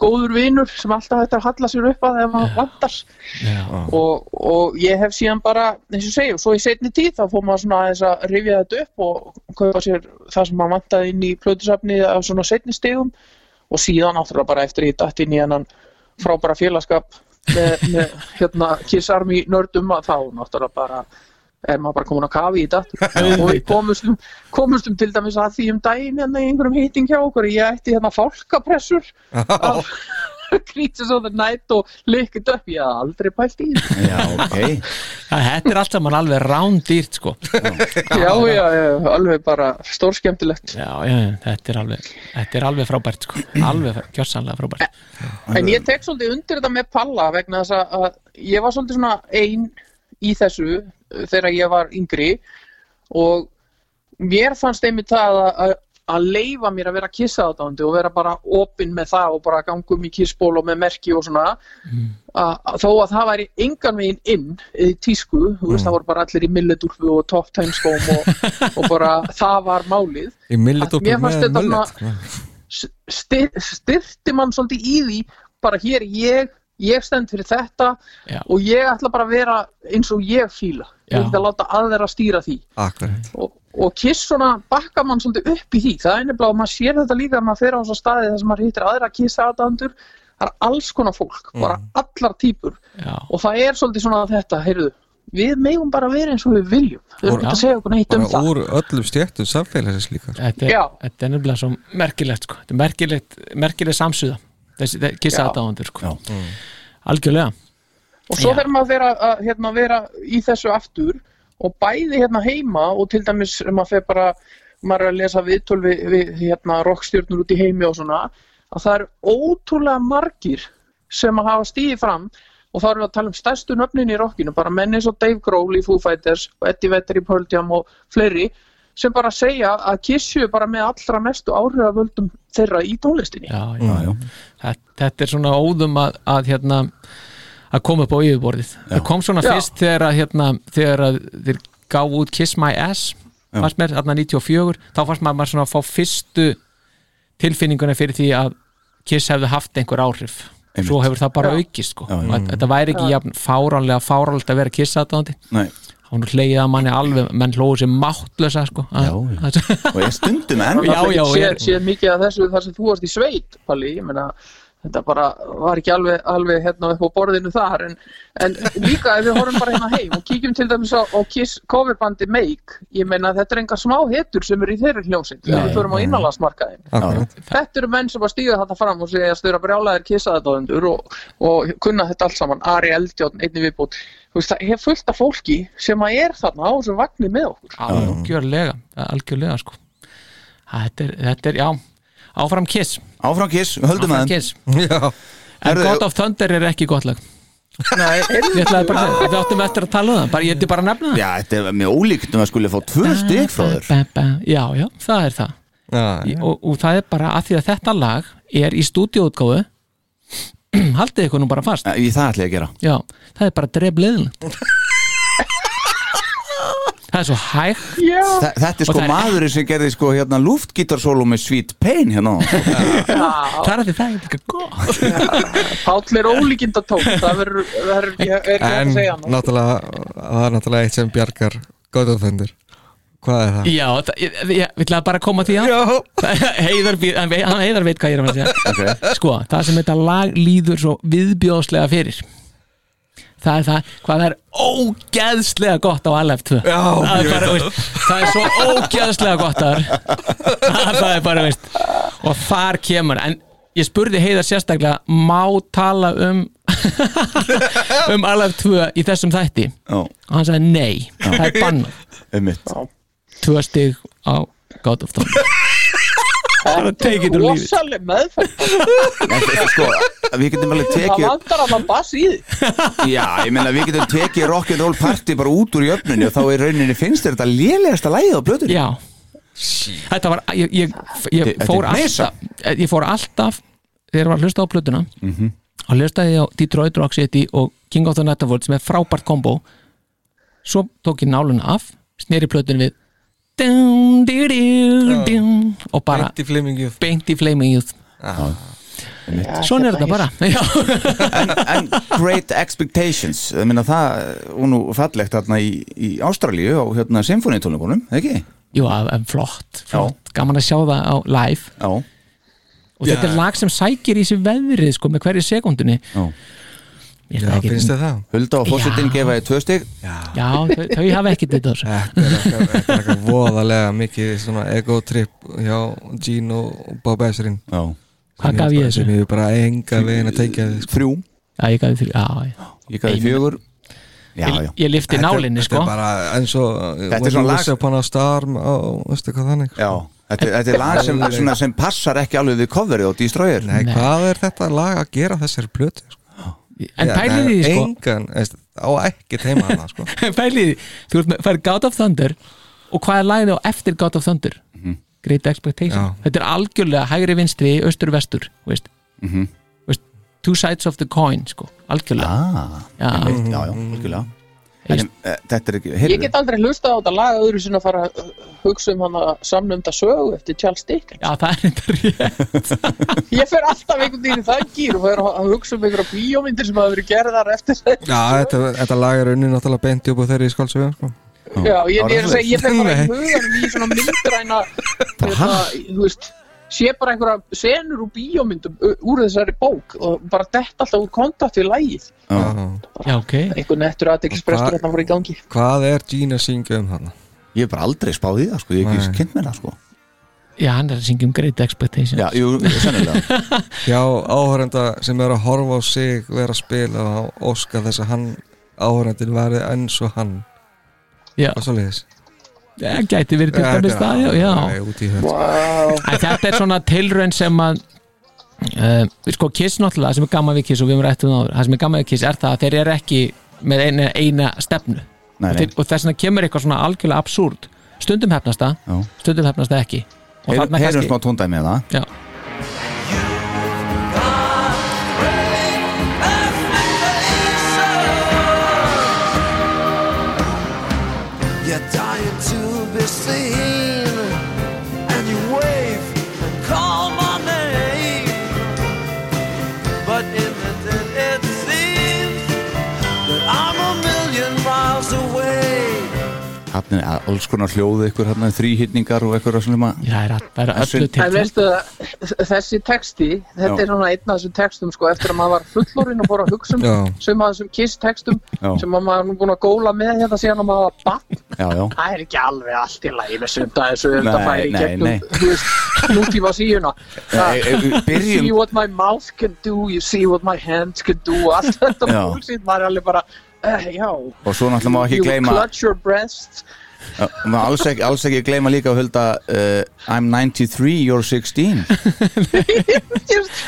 Speaker 8: góður vinur sem alltaf þetta halla sér upp að þegar maður vantar og, og ég hef síðan bara eins og ég segi, og svo í setni tíð þá fór maður svona aðeins að rifja þetta upp og kaupa sér það sem maður vantaði inn í plötusafni af svona setni stigum og síðan náttúrulega bara eftir ég datt inn í hennan frábæra félagskap með, með hérna Kiss Army nördum að þá náttúrulega bara er maður bara komin á kafi í datt og við komustum, komustum til dæmis að því um daginn hérna í einhverjum heiting hjá okkur ég ætti hérna fálkapressur af Creatures of the Night og Licked Up, ég hafði aldrei pælt í því.
Speaker 4: Já, ok
Speaker 3: Þetta er allt saman alveg rándýrt sko
Speaker 8: já, já, já, alveg bara stórskemmtilegt
Speaker 3: Já, já, já, þetta er alveg þetta er alveg frábært sko, alveg frá- gjörsamlega frábært
Speaker 8: en ég tek svolítið undir þetta með Palla vegna þess að- að ég var svolítið svona ein í þessu uh, þegar ég var yngri og mér fannst einmitt það að- að að leifa mér að vera kissaðdándi og vera bara opinn með það og bara gangum í kissból og með merki og svona að, að þó að það væri engan veginn inn í tísku, þú veist það voru bara allir í milledúrfu og top time skóm og, og bara það var málið
Speaker 5: Í milletúpu
Speaker 8: Mér fannst
Speaker 5: með
Speaker 8: þetta
Speaker 5: mullet
Speaker 8: styr, styrti mann svolítið í því bara hér er ég, ég stend fyrir þetta
Speaker 3: Já.
Speaker 8: og ég ætla bara að vera eins og ég fíla ég
Speaker 3: Já.
Speaker 8: ætla að láta aðra stýra því
Speaker 5: Akkurat
Speaker 8: og, og kiss svona bakka mann svolítið upp í því það er nefnilega að maður sér þetta líka að maður fer á þess að staði þar sem maður hittir aðra kiss aðdandur það er alls konar fólk,
Speaker 3: Mm.
Speaker 8: bara allar típur
Speaker 3: Já,
Speaker 8: og það er svolítið svona þetta, heyrðu við megum bara vera eins og við viljum við erum
Speaker 5: Og-
Speaker 8: ekki að segja okkur neitt um
Speaker 5: Bara
Speaker 8: það
Speaker 5: úr öllum stjættum samfélagsins líka sko.
Speaker 3: þetta er,
Speaker 8: Já.
Speaker 3: þetta er nefnilega svo merkilegt sko, þetta er merkilegt, merkileg samsuða þessi þe- kissa
Speaker 8: Já.
Speaker 3: aðdáðandur sko algjörlega,
Speaker 8: og svo
Speaker 3: Já.
Speaker 8: verður maður að vera, að, hérna, vera í þessu aftur og bæði hérna heima og til dæmis ef maður fer bara maður er að lesa viðtöl við, við hérna, rockstjörnur út í heimi og svona að það er ótrúlega margir sem að hafa stíði fram og þá erum við að tala um stærstu nöfnin í rockinu bara menn eins og Dave Grohl í Foo Fighters og Eddie Vedder í Pearl Jam og fleiri sem bara segja að kissju bara með allra mestu áhrifavöldum þeirra í tónlistinni
Speaker 3: já, já,
Speaker 4: Mm.
Speaker 3: Þetta, þetta er svona óðum að, að hérna að koma upp á yfirborðið það kom svona
Speaker 8: Já.
Speaker 3: fyrst þegar að hérna þegar að þeir gáðu út Kiss My Ass fannst mér, þarna 94 þá fannst maður, maður svona að fá fyrstu tilfinninguna fyrir því að Kiss hefði haft einhver áhrif
Speaker 4: Einmitt.
Speaker 3: svo hefur það bara aukist sko.
Speaker 4: Já, já.
Speaker 3: Og að- þetta væri ekki jafn fáránlega fáránlega að vera Kiss aðdáðandi
Speaker 4: Nei.
Speaker 3: þá nú hleyið að manni alveg, menn hlóðu sér máttlösa sko.
Speaker 4: Já, já. Og ég stundum enn
Speaker 3: Já, já,
Speaker 8: séð,
Speaker 3: er-
Speaker 8: séð mikið af þessu þar sem þú varst í sveit Palli, ég meina þetta bara var ekki alveg, alveg hérna upp á borðinu þar en, en líka ef við horfum bara hérna heim og kíkjum til dæmis á, á Kiss coverbandi Make, ég meina þetta er enga smá hetur sem eru í þeirri hljómsind þegar við förum á innanlandsmarkaðin
Speaker 5: Akkurat
Speaker 8: þetta eru menn sem bara stíga þetta fram og segja að stöðra brjálæðir kissaðatóðendur og, og kunna þetta allt saman, Ari Eldjón, einni viðbútt Þú veist, það er fullt af fólki sem að er þarna á þessum vagnir með okkur
Speaker 3: algjörlega, algjörlega sko. þetta, er, þetta er, já áfram Kiss,
Speaker 4: Áfram kiss, við höldum
Speaker 3: áfram
Speaker 4: að
Speaker 3: Kiss.
Speaker 5: Já
Speaker 3: en
Speaker 4: Herðu-
Speaker 3: God of Thunder er ekki gott lag ég ætlaði bara að segja, við áttum eftir að tala um það bara, ég ætti bara að nefna það
Speaker 4: Já, þetta er mjög ólíkt um að skulle fá tvö stig frá þér
Speaker 3: Ba, ba, ba. já, já, það er það
Speaker 5: Já,
Speaker 3: Í- og, og það er bara að því að þetta lag er í stúdíóutgáfu haldið ykkur nú bara fast
Speaker 4: Ég það ætla ég að gera
Speaker 3: já, það er bara drefleðin það er svo hægt
Speaker 4: Þa, þetta er
Speaker 3: Og
Speaker 4: sko
Speaker 3: það er-
Speaker 4: maðurinn sem gerði sko hérna luftgítarsólu með Sweet Pain hérna á.
Speaker 3: það er að því það er líka gott
Speaker 8: Páll er ólíkindatón Það verður, það verður- ég er ekki hægt
Speaker 5: En
Speaker 8: að segja hann
Speaker 5: náttúrulega Það er náttúrulega eitt sem bjargar Godofendur Hvað er það?
Speaker 3: já, það, ég, ég vil bara koma því að heiðar, býr- hann, veit- hann heiðar veit hvað ég er að fara að segja
Speaker 4: Ok.
Speaker 3: sko, það sem þetta lag líður svo viðbjóðslega fyrir það er það, hvað það er ógeðslega gott á LF2
Speaker 5: Já,
Speaker 3: það, er
Speaker 5: ég
Speaker 3: bara, veist, það er svo ógeðslega gott þar það er bara, veist og þar kemur, en ég spurði heiðar sérstaklega, má tala um um LF2 í þessum þætti
Speaker 4: Já,
Speaker 3: og hann sagði nei, það er bannað
Speaker 4: einmitt
Speaker 3: tvö stig á God of Thor bara take it or leave it
Speaker 8: Rosaleg meðferð
Speaker 4: En þetta er sko, við getum alveg
Speaker 8: Það
Speaker 4: tekið
Speaker 8: vantar að það bass í því
Speaker 4: Já, ég meina við getum tekið Rock'n'Roll Party bara út úr jöfnunni og þá er rauninni finnst þér þetta lélegasta lægið á blöðunni
Speaker 3: já þetta var, ég, ég, ég
Speaker 4: Þetta-
Speaker 3: fór
Speaker 4: þetta er
Speaker 3: alltaf ég fór alltaf þegar ég var að hlusta á plötuna og hlustaði ég á Detroit Rock City og King of the Netherworld sem er frábært kombo svo tók ég náluna af sneri plötun við dun, dun, dun, dun, og bara
Speaker 5: Beinti Fleming Youth
Speaker 3: beint í flaming youth svona er þetta bara já,
Speaker 4: en, en Great Expectations ég meina það, hún er fallegt hérna í, í Ástralíu á hérna symfónitónleikunum, ekki?
Speaker 3: Jú, að- en flott, flott. gaman að sjá það á live
Speaker 4: Já,
Speaker 3: og þetta er lag sem sækir í sér veðrið sko, með hverju sekundunni
Speaker 4: já
Speaker 3: Ég
Speaker 5: Já,
Speaker 3: ætla ekki-
Speaker 5: finnst þið það?
Speaker 4: Hulda og Fossettin
Speaker 3: Já.
Speaker 4: gefa þið tvö stig
Speaker 3: já þau, þau hafa ekkert þetta þessu.
Speaker 5: Þetta er eitthvað- þetta er eitthvað voðalega mikið svona ego trip hjá Gene og Bob Esrin
Speaker 4: Já,
Speaker 3: hvað gaf ég
Speaker 5: sem
Speaker 3: þessu?
Speaker 5: ég hef bara enga veginn að teikja því sko.
Speaker 4: þrjú,
Speaker 3: Já, ég gaf því já, já.
Speaker 4: ég gaf þið fjögur Já, já,
Speaker 3: Ég, ég lifti nálinni
Speaker 5: Þetta
Speaker 3: sko
Speaker 5: er bara eins og
Speaker 4: Þetta er
Speaker 5: When
Speaker 4: svona
Speaker 5: you
Speaker 4: lag-
Speaker 5: wish upon a star og veistu hvað þannig
Speaker 4: já Þetta, þetta er lag sem, svona, sem passar ekki alveg við coverið og Destroyer
Speaker 5: Nei, hvað er þetta lag að gera þessari plötu sko?
Speaker 3: en pælið því sko,
Speaker 5: Engan, veist, á ekkert heima hana sko.
Speaker 3: pælið því þú ert með- fær God of Thunder og hvað er lagið á eftir God of Thunder Great Expectation,
Speaker 5: Mhm. Já.
Speaker 3: þetta er algjörlega hægri vinstri, austur vestur veist.
Speaker 5: Mhm.
Speaker 3: veist, two sides of the coin sko, algjörlega
Speaker 4: Ah,
Speaker 3: Já.
Speaker 4: einmitt, já, já, algjörlega En,
Speaker 3: Ég-
Speaker 4: eh, Þetta er ekki,
Speaker 8: Ég
Speaker 4: heyrðu
Speaker 8: get aldrei hlusta á þetta lag öðru sinna að fara að hugsa um hann að samnumda sögu eftir Charles Dickens
Speaker 3: já, það er þetta rétt
Speaker 8: Ég fer alltaf einhvern veginn í þann gýr og fer að hugsa um einhverja bíómyndir sem hafa verið gerðar eftir þetta
Speaker 5: Já, þetta, þetta lag er unni náttúrulega beint upp á þeirri í skálsögu sko.
Speaker 8: Já, ég, ég er að segja, ég fer bara í
Speaker 5: Nei.
Speaker 8: huganum í svona myndræna hérna, þú veist sé bara einhverja senur úr bíómyndum u- úr þessari bók og bara detta alltaf úr kontakt við lægið
Speaker 5: Já.
Speaker 3: já, ok,
Speaker 8: einhver nettur aðdeglisbrestur hérna voru í gangi
Speaker 5: Hvað er Gene að syngja um hana?
Speaker 4: Ég hef bara aldrei spáð í það, sko, ég hef ekki
Speaker 5: Nei.
Speaker 4: kynnt með það, sko
Speaker 3: já, hann er að syngja um Great Expectation
Speaker 4: Já, jú, sennilega
Speaker 5: Já, áhörenda sem er að horfa á sig vera að spila og óska þess að hann áhörendin væri eins og hann
Speaker 3: Já.
Speaker 5: og svoleiðis
Speaker 3: Já, gæti verið til dæmis það já, já.
Speaker 5: Nei, út í þetta.
Speaker 8: Vá,
Speaker 3: En þetta er svona tilraun sem að uh, sko Kiss náttúrulega, það sem er gaman við Kiss og við erum rættum áður, það sem er gaman við Kiss er það að þeir eru ekki með eina, eina stefnu
Speaker 4: Nei,
Speaker 3: og,
Speaker 4: nei,
Speaker 3: þeir, og þess vegna kemur eitthvað svona algjörlega absúrt stundum hefnast það,
Speaker 4: já
Speaker 3: stundum hefnast það ekki og
Speaker 4: Heyrum heyrum smá tóndæmi með það
Speaker 3: já,
Speaker 7: You're dying to be seen, and you wave and call my name. But in the end, it seems that I'm a million miles away.
Speaker 4: Hann er alls konar hljóðu ykkur hann þrýhittningar og eitthvað svona
Speaker 3: já, það er, all- það er
Speaker 4: En
Speaker 3: öllu
Speaker 4: sund-
Speaker 3: til
Speaker 8: En veistu það, þessi texti, þetta
Speaker 4: Já.
Speaker 8: er svona einn af þessum textum sko, eftir að maður var fullorinn og fór að hugsa um
Speaker 5: Já.
Speaker 8: sem að þessum kiss textum
Speaker 4: Já.
Speaker 8: sem að maður er nú búin að góla með hérna síðan að maður var bann.
Speaker 4: Já, já,
Speaker 8: Það er ekki alveg allt í lagi með sumt að þessu þetta
Speaker 4: Nei,
Speaker 8: færi í
Speaker 4: nei, nei.
Speaker 8: gegnum þú veist, nútíma síuna.
Speaker 4: Nei, ef við
Speaker 8: You see
Speaker 4: byrjum
Speaker 8: what my mouth can do, you see what my hands can do og allt þetta
Speaker 4: Já.
Speaker 8: múlsýtt, maður er alveg bara, eh, já,
Speaker 4: og svo náttúrulega má ekki
Speaker 8: you
Speaker 4: gleyma
Speaker 8: clutch your breasts.
Speaker 4: Já, má alls ekki, alls ekki gleyma líka að hulda uh, I'm 93, you're 16
Speaker 8: Ég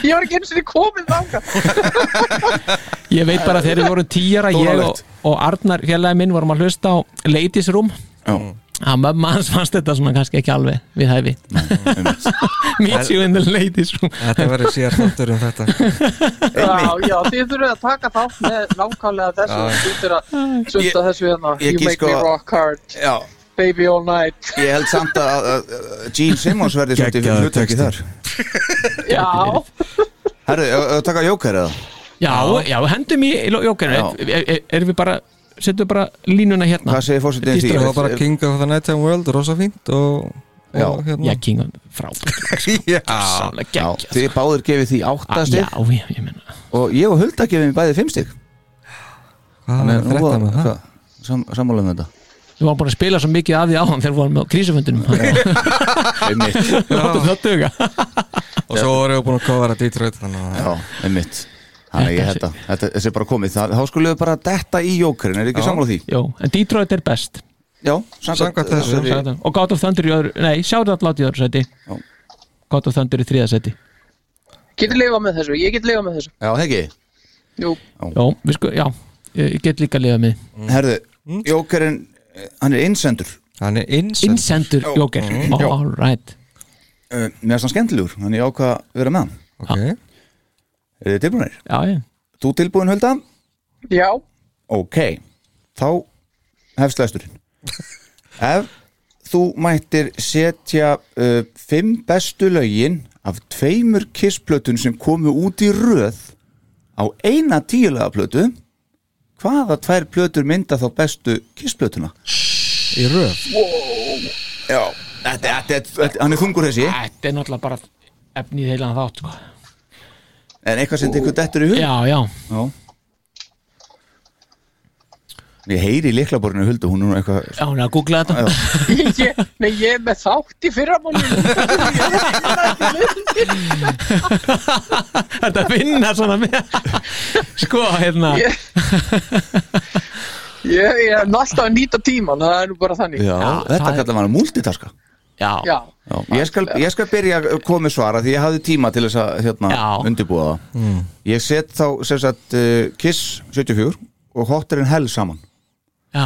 Speaker 8: ég var ekki eins og þið komið þangað.
Speaker 3: ég veit bara þegar við vorum tíjara ég og,
Speaker 4: Dónalegt.
Speaker 3: og Arnar félagi minn vorum að hlusta á Ladies Room
Speaker 4: Já,
Speaker 5: Mm.
Speaker 3: að mamma hans fannst þetta svona kannski ekki alveg við hæfi
Speaker 4: einmitt.
Speaker 3: meet you in the ladies room
Speaker 5: Þetta verður sér þáttur um þetta
Speaker 8: Já, já, þið þurfum að taka þátt með nákvæmlega þessu, þið þurfum að sunda þessu hérna,
Speaker 4: ég
Speaker 8: you
Speaker 4: gís
Speaker 8: make
Speaker 4: sko-
Speaker 8: me rock hard.
Speaker 4: Já,
Speaker 8: baby all night
Speaker 4: Ég held samt að, að, að Gene Simmons verði svolítið
Speaker 5: Geggjaður
Speaker 4: hlutverki þar
Speaker 5: texti.
Speaker 8: Já,
Speaker 4: Herru, ef við taka jókar eða?
Speaker 3: Já, já, hendum í í lo- jókerinu
Speaker 4: Já.
Speaker 3: Er- er- eh, Erum við bara, setjum við bara línuna hérna
Speaker 4: Hvað segir forsetinn við því?
Speaker 3: Distro-
Speaker 5: Það var bara King of the Nighttime World, rosa fínt og, og
Speaker 4: Já.
Speaker 3: Já,
Speaker 5: hérna
Speaker 3: King of frábært
Speaker 5: Já.
Speaker 3: Sálega
Speaker 4: Já,
Speaker 3: geggjað
Speaker 4: þið báðir gefið því
Speaker 8: Ah,
Speaker 4: átta
Speaker 3: Já,
Speaker 4: stygg
Speaker 3: já, ég meina
Speaker 4: og ég og Hulda gefið mér bæðið fimm stygg
Speaker 5: Hvað er þetta með það?
Speaker 4: Sam, Sammála um þetta
Speaker 3: Við varum búin að spila svo mikið af því á hann þegar við varum á krísufundinum
Speaker 4: Einmitt
Speaker 3: Láttu það duga
Speaker 5: Og svo vorum við búin að kofara Detroit þannig að
Speaker 4: Já, einmitt Þannig ég
Speaker 3: Þetta
Speaker 4: þetta, þetta, þessi er bara komið það, Þá skulum við bara detta í jókurinn, er ekki sammála því?
Speaker 3: Jó, en Detroit er best
Speaker 4: Já,
Speaker 5: Samkvæmt þessu.
Speaker 4: þessari-
Speaker 3: sagði hann. Og God of Thunder í öðru, nei, Shoutout Loud í öðru seti
Speaker 4: Já.
Speaker 3: God of Thunder í þriða seti
Speaker 8: getur lifað með þessu, ég get lifað með þessu
Speaker 4: Já, heggi
Speaker 8: Jú,
Speaker 3: Jó, við sko, já, ég ég get líka að lifa með
Speaker 4: Mm. Herðu, jókurinn, hann er innsendur
Speaker 5: Hann er innsend
Speaker 3: Insendur Joker
Speaker 4: Já.
Speaker 3: All right
Speaker 4: uh, Mér er það skemmtilegur, þannig ég ákvað að vera með hann
Speaker 5: Ok,
Speaker 4: Er þið tilbúinir?
Speaker 3: Já, já
Speaker 4: Þú tilbúin, Hulda?
Speaker 8: já,
Speaker 4: Ok, þá hefst læsturinn Ef þú mættir setja uh, fimm bestu lögin af tveimur kissplötun sem komu út í röð á eina tíulega plötu hvaða tvær plötur mynda þá bestu kissplötuna?
Speaker 5: í röf
Speaker 4: Já, þetta, þetta, þetta, þetta, hann er þungur þessi
Speaker 3: Þetta er náttúrulega bara efnið heilan þátt sko.
Speaker 4: en eitthvað sem tekur dettur í hug
Speaker 3: Já, já,
Speaker 4: Já Ég heyri í liklaborinu huldu, hún er nú eitthvað
Speaker 3: já, hún er að googla þetta
Speaker 4: Já.
Speaker 8: ég, nei, ég er með þátt í fyrramálinu
Speaker 3: Þetta vinna svona með Sko, hérna
Speaker 8: Ég- Ég ég er alltaf að nýta tíman, það er nú bara þannig
Speaker 4: Já,
Speaker 3: Já,
Speaker 4: þetta
Speaker 3: það er-
Speaker 4: kallar maður multitaska
Speaker 3: Já,
Speaker 8: Já,
Speaker 4: Já, ég, skal, ég skal byrja að koma með svara því ég hafði tíma til þess að hérna,
Speaker 3: Já.
Speaker 4: undirbúa það Ég set þá sem sagt uh, Kiss 74 og Hotter en Hell saman
Speaker 3: já,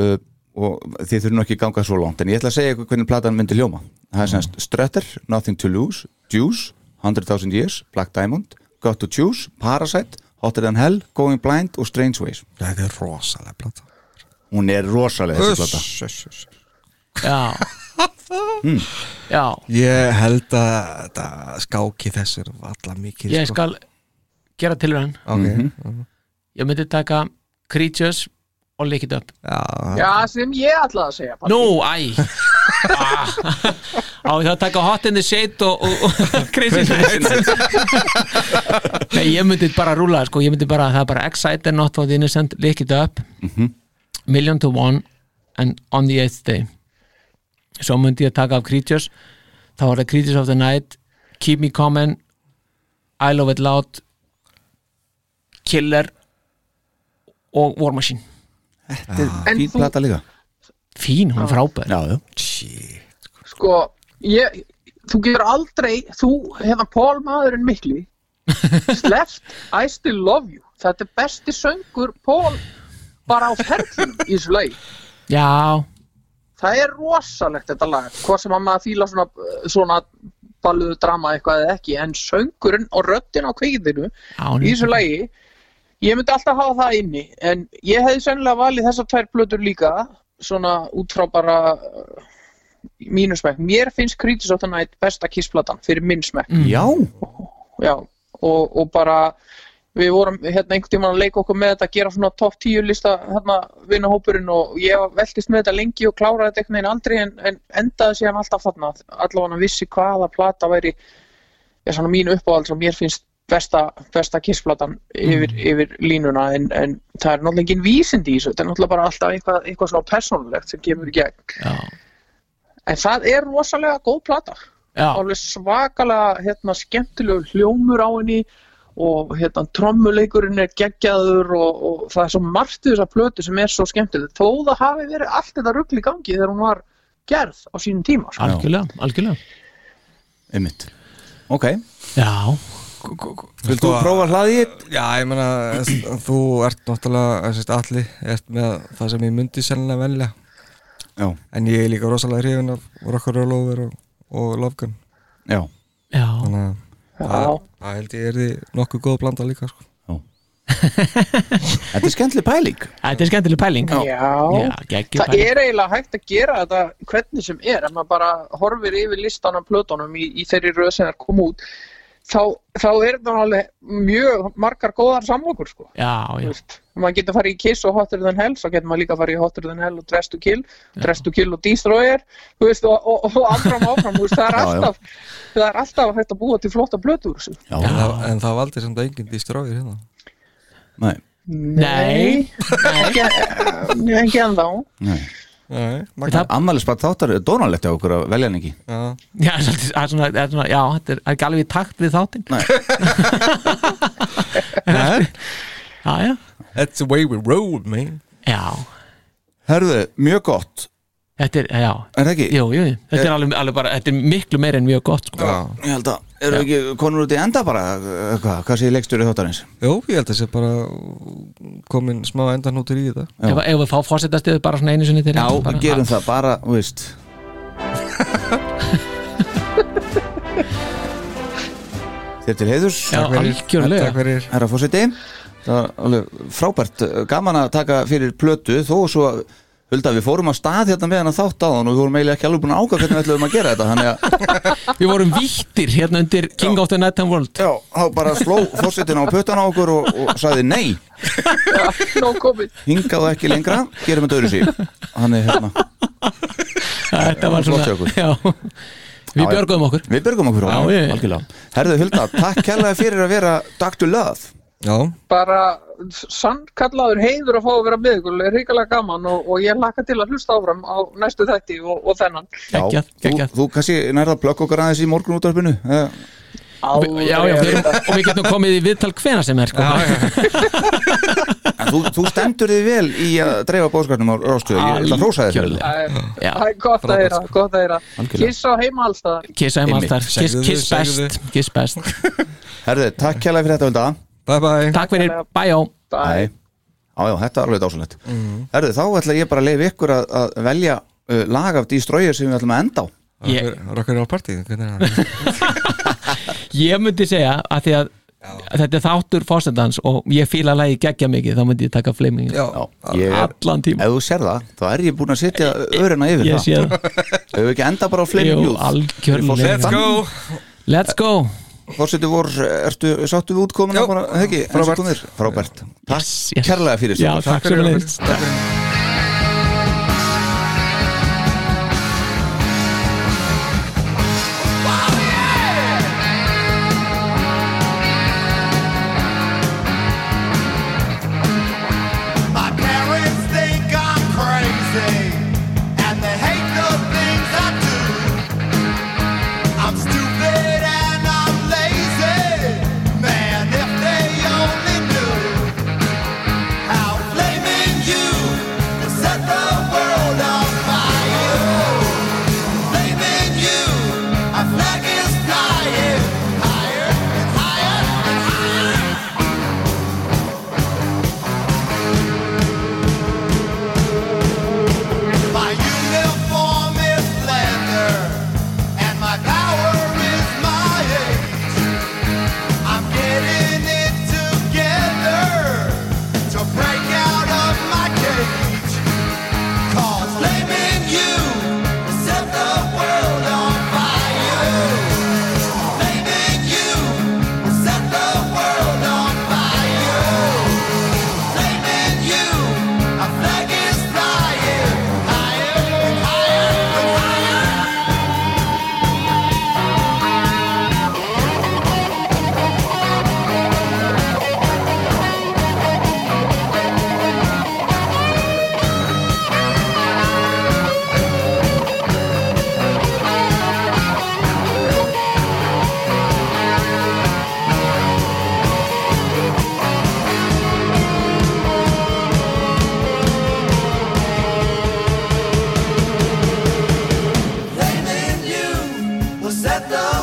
Speaker 4: uh, og þið þurfum ekki að ganga svo langt en ég ætla að segja ykkur hvernig platan myndi hljóma það er semst Strutter, Nothing to Lose Juice, 100.000 Years, Black Diamond Got to Choose, Parasite Hotter than Hell, Going Blind og Strange Ways
Speaker 5: Þetta er rosalega plata
Speaker 4: hún er rosalega þessi plata
Speaker 5: Uss, uss, uss.
Speaker 3: já Já,
Speaker 5: Ég held að þetta skáki þessir allar mikið
Speaker 3: ég
Speaker 5: sko.
Speaker 3: skal gera tilraun
Speaker 5: Ok,
Speaker 4: Mhm.
Speaker 3: Ég myndi taka Creatures og Lick It Up
Speaker 4: Ah.
Speaker 5: já,
Speaker 8: já, sem ég ætlaði að segja
Speaker 3: Nú, æ Ah. Á ég þá að taka Hot in the Shade og, og, og Crazy Night Nei, ég myndi bara rúla sko, ég myndi bara, það er bara Excited, Not for the Innocent, Lick It Up Million to One and On the Eighth Day Svo myndi ég taka af Creatures þá var það Creatures of the Night Keep Me Common I Love It Loud Killer og War Machine
Speaker 4: Þetta er
Speaker 8: En
Speaker 4: fín
Speaker 8: þú-
Speaker 4: plata líka
Speaker 3: Fín, hún er frábær
Speaker 4: já, já.
Speaker 8: Sko, ég, þú getur aldrei, þú, hérna Paul maðurinn mikli Sleft, I still love you Þetta er besti söngur Paul bara á ferðlum í þessu lagi
Speaker 3: Já,
Speaker 8: Það er rosalegt þetta lag Hvað sem að maður fíla svona, svona balluðu drama eitthvað eða ekki En söngurinn og röddinn á kveikinu
Speaker 3: já hún
Speaker 8: í
Speaker 3: er-
Speaker 8: þessu lagi ég myndi alltaf hafa það inni en ég hefði sennilega valið þessar tvær blötur líka svona út frá bara uh, mínu smekk mér finnst Creatures of the Night besta kissplatan fyrir minn smekk
Speaker 4: já,
Speaker 8: já, og, og bara við vorum hérna einhvern tímann að leika okkur með þetta að gera svona topp 10 lista hérna vinahópurinn og ég veltist með þetta lengi og kláraði þetta einhvern veginn aldrei en, en endaði síðan alltaf þarna allavega vissi hvaða plata væri ég svona mín uppáhald sem mér finnst besta, besta kissplatan yfir, yfir línuna en, en það er náttúrulega engin vísindi í þessu þetta er náttúrulega bara alltaf eitthvað, eitthvað svona persónulegt sem kemur í gegn
Speaker 3: Já,
Speaker 8: en það er rosalega góð plata
Speaker 3: já,
Speaker 8: alveg svakalega hérna, skemmtilegu hljómur á henni og hérna, trommuleikurinn er geggjaður og, og það er svo margt í þessa plötu sem er svo skemmtileg þó það hafi verið allt þetta rugl í gangi þegar hún var gerð á sínum tíma sko.
Speaker 3: algjörlega, algjörlega
Speaker 4: einmitt ok,
Speaker 3: Já,
Speaker 4: vil þú prófa hlaðið
Speaker 5: já ég meina þess- þú ert náttúrulega sérst, allir ert með það sem ég myndi sennilega velja
Speaker 4: já,
Speaker 5: en ég er líka rosalega hrifin af Rockar og Lover og, og Love Gun
Speaker 4: já
Speaker 3: já
Speaker 5: þannig að
Speaker 8: Já.
Speaker 3: Ah,
Speaker 5: það held ég er því nokkuð góð blanda líka sko.
Speaker 4: Þetta er skemmtileg pæling
Speaker 3: Þetta er skemmtileg pæling
Speaker 8: Já,
Speaker 3: Já, geggjuð
Speaker 8: það
Speaker 3: pæling.
Speaker 8: er eiginlega hægt að gera þetta hvernig sem er, ef maður bara horfir yfir listan af plötunum í, í þeirri röð sem er koma út, þá, þá er það alveg mjög margar góðar samlokur sko.
Speaker 3: Já,
Speaker 8: Þú
Speaker 3: já,
Speaker 8: veist, maður getur farið í Kiss og Hotter Than Hell, svo getur maður líka farið í Hotter Than Hell og Dress to Kill, Dress to Kill og Destroyer, þú veist, og, og, og áfram og áfram, þú veist, það er
Speaker 4: Já, já.
Speaker 8: alltaf, það er alltaf hægt að búa til flotta plötur. Sko.
Speaker 5: en, það, en það valdi sem það enginn distróir hérna
Speaker 4: Nei,
Speaker 3: Nei.
Speaker 8: ekki, eh, ekki ennþá.
Speaker 4: nei
Speaker 5: Nei,
Speaker 3: Það-
Speaker 5: Magna,
Speaker 4: Ammælis bara þáttar dónalegt af okkur að velja hann ekki
Speaker 5: já,
Speaker 3: já, svolítið- það er svona, það er svona, já þetta er það er ekki alveg í takt við þáttinn
Speaker 5: Nei,
Speaker 3: Já, já,
Speaker 5: That's the way we roll, man
Speaker 3: já,
Speaker 4: Herðu, mjög gott
Speaker 3: þetta er, já
Speaker 4: Er það ekki?
Speaker 3: Jú, jú, jú. þetta er alveg, alveg bara, þetta er miklu meira en mjög gott sko.
Speaker 5: Já.
Speaker 4: Ég held að, eru ekki konur út í enda bara eh, Hvað, hvað sé leikstjóri þáttarins?
Speaker 5: Jó, ég held að sé bara komin smá endanútur í þetta
Speaker 3: ef, ef við fá fósettastöðu bara svona einu sinni til
Speaker 4: Já,
Speaker 3: bara,
Speaker 4: gerum það bara, þú veist Þér til heiðurs
Speaker 3: Já, algjörlega
Speaker 5: Takk fyrir
Speaker 4: Herra fórseti Það var alveg frábært Gaman að taka fyrir plötu Þó svo Hulda, við fórum að stað hérna með hana þátt á hann og við vorum eiginlega ekki alveg búin að ákvæða hvernig við ætluðum að gera þetta þannig að,
Speaker 3: Við vorum vittir hérna undir King of the Night and World
Speaker 4: já, þá bara sló fórsetin á puttan á okkur og, og sagði nei
Speaker 8: Já, Nóg komið.
Speaker 4: hingaðu ekki lengra, gerum þetta öðru sí hann er hérna,
Speaker 3: Þetta var
Speaker 4: flott
Speaker 3: svona
Speaker 4: hjá okkur.
Speaker 3: já. Við björgum okkur
Speaker 4: við björgum okkur
Speaker 3: Já,
Speaker 4: honum,
Speaker 3: ég-
Speaker 4: algjörlega. Herðu Hulda, takk kærlega fyrir að vera Dr. Love
Speaker 5: Já,
Speaker 8: bara sannkallaður heiður að fá að vera með ykkur, er ríkilega gaman og, og ég laka til að hlusta áfram á næstu þætti og, og þennan.
Speaker 3: Geggjað,
Speaker 4: þú,
Speaker 3: geggjað.
Speaker 4: þú kannski nærða að plögg okkar aðeins í Eh, morgun útvarpinu
Speaker 3: Já, já, við erum, og við getum komið í viðtal hvena sem er sko.
Speaker 4: en þú, þú stendur þig vel í að dreifa bóðskarnum á rástöðu, ég ætla að hrósa þér fyrir
Speaker 3: Algjörlega.
Speaker 4: það.
Speaker 8: Það er-
Speaker 3: Já.
Speaker 8: það er gott að heyra, gott að heyra.
Speaker 4: Algjörlega.
Speaker 8: Kiss á heima alls það.
Speaker 3: Kiss heim alls
Speaker 4: Einmitt.
Speaker 3: þar Kiss,
Speaker 5: Segðu,
Speaker 3: kiss
Speaker 5: segðu.
Speaker 3: best, kiss best
Speaker 4: herðu, takk kærlega fyrir þetta Hulda
Speaker 5: bye bye
Speaker 3: Takk fyrir, bæjó
Speaker 4: Nei, á, já, þetta er alveg dásanlegt
Speaker 3: Mhm.
Speaker 4: herðu, þá ætla ég bara að leifa ykkur að, að velja uh, lag af dýstróið sem við ætlum að enda á
Speaker 3: Ég-
Speaker 5: Rokkar á partí hvernig er það?
Speaker 3: Ég myndi segja að því að Þetta er þáttur fórstendans og ég fíla lagi geggja mikið, þá myndi ég taka flaming
Speaker 5: Já,
Speaker 4: ég,
Speaker 3: allan tíma
Speaker 4: ef þú sér það, þá er ég búin að setja örina yfir
Speaker 3: Eh, Ég sé
Speaker 4: það
Speaker 3: það,
Speaker 4: ef við ekki enda bara á fleiri
Speaker 3: jú,
Speaker 4: mjúð
Speaker 5: let's
Speaker 3: algjörlega
Speaker 5: go
Speaker 3: Let's go
Speaker 4: Fórsetu vor, ertu, sáttu við útkomin
Speaker 5: Jó,
Speaker 4: ekki,
Speaker 5: frábært.
Speaker 4: frábært, frábært. Takk
Speaker 3: Yes, yes.
Speaker 4: kærlega fyrir
Speaker 3: Já, takk fyrir leist
Speaker 7: My parents think I'm crazy, and they hate the things I do. I'm stupid and I'm lazy. Man, if they only knew how blaming you has set the world on fire. Blaming you, our flag is flying higher and higher and higher. My uniform is leather, and my power is my age. I'm getting it together to break out of my cage. Cause blaming you set the world on fire. Blaming you set the world on fire. Blaming you, our flag is flying higher and higher and higher. Blaming you will set the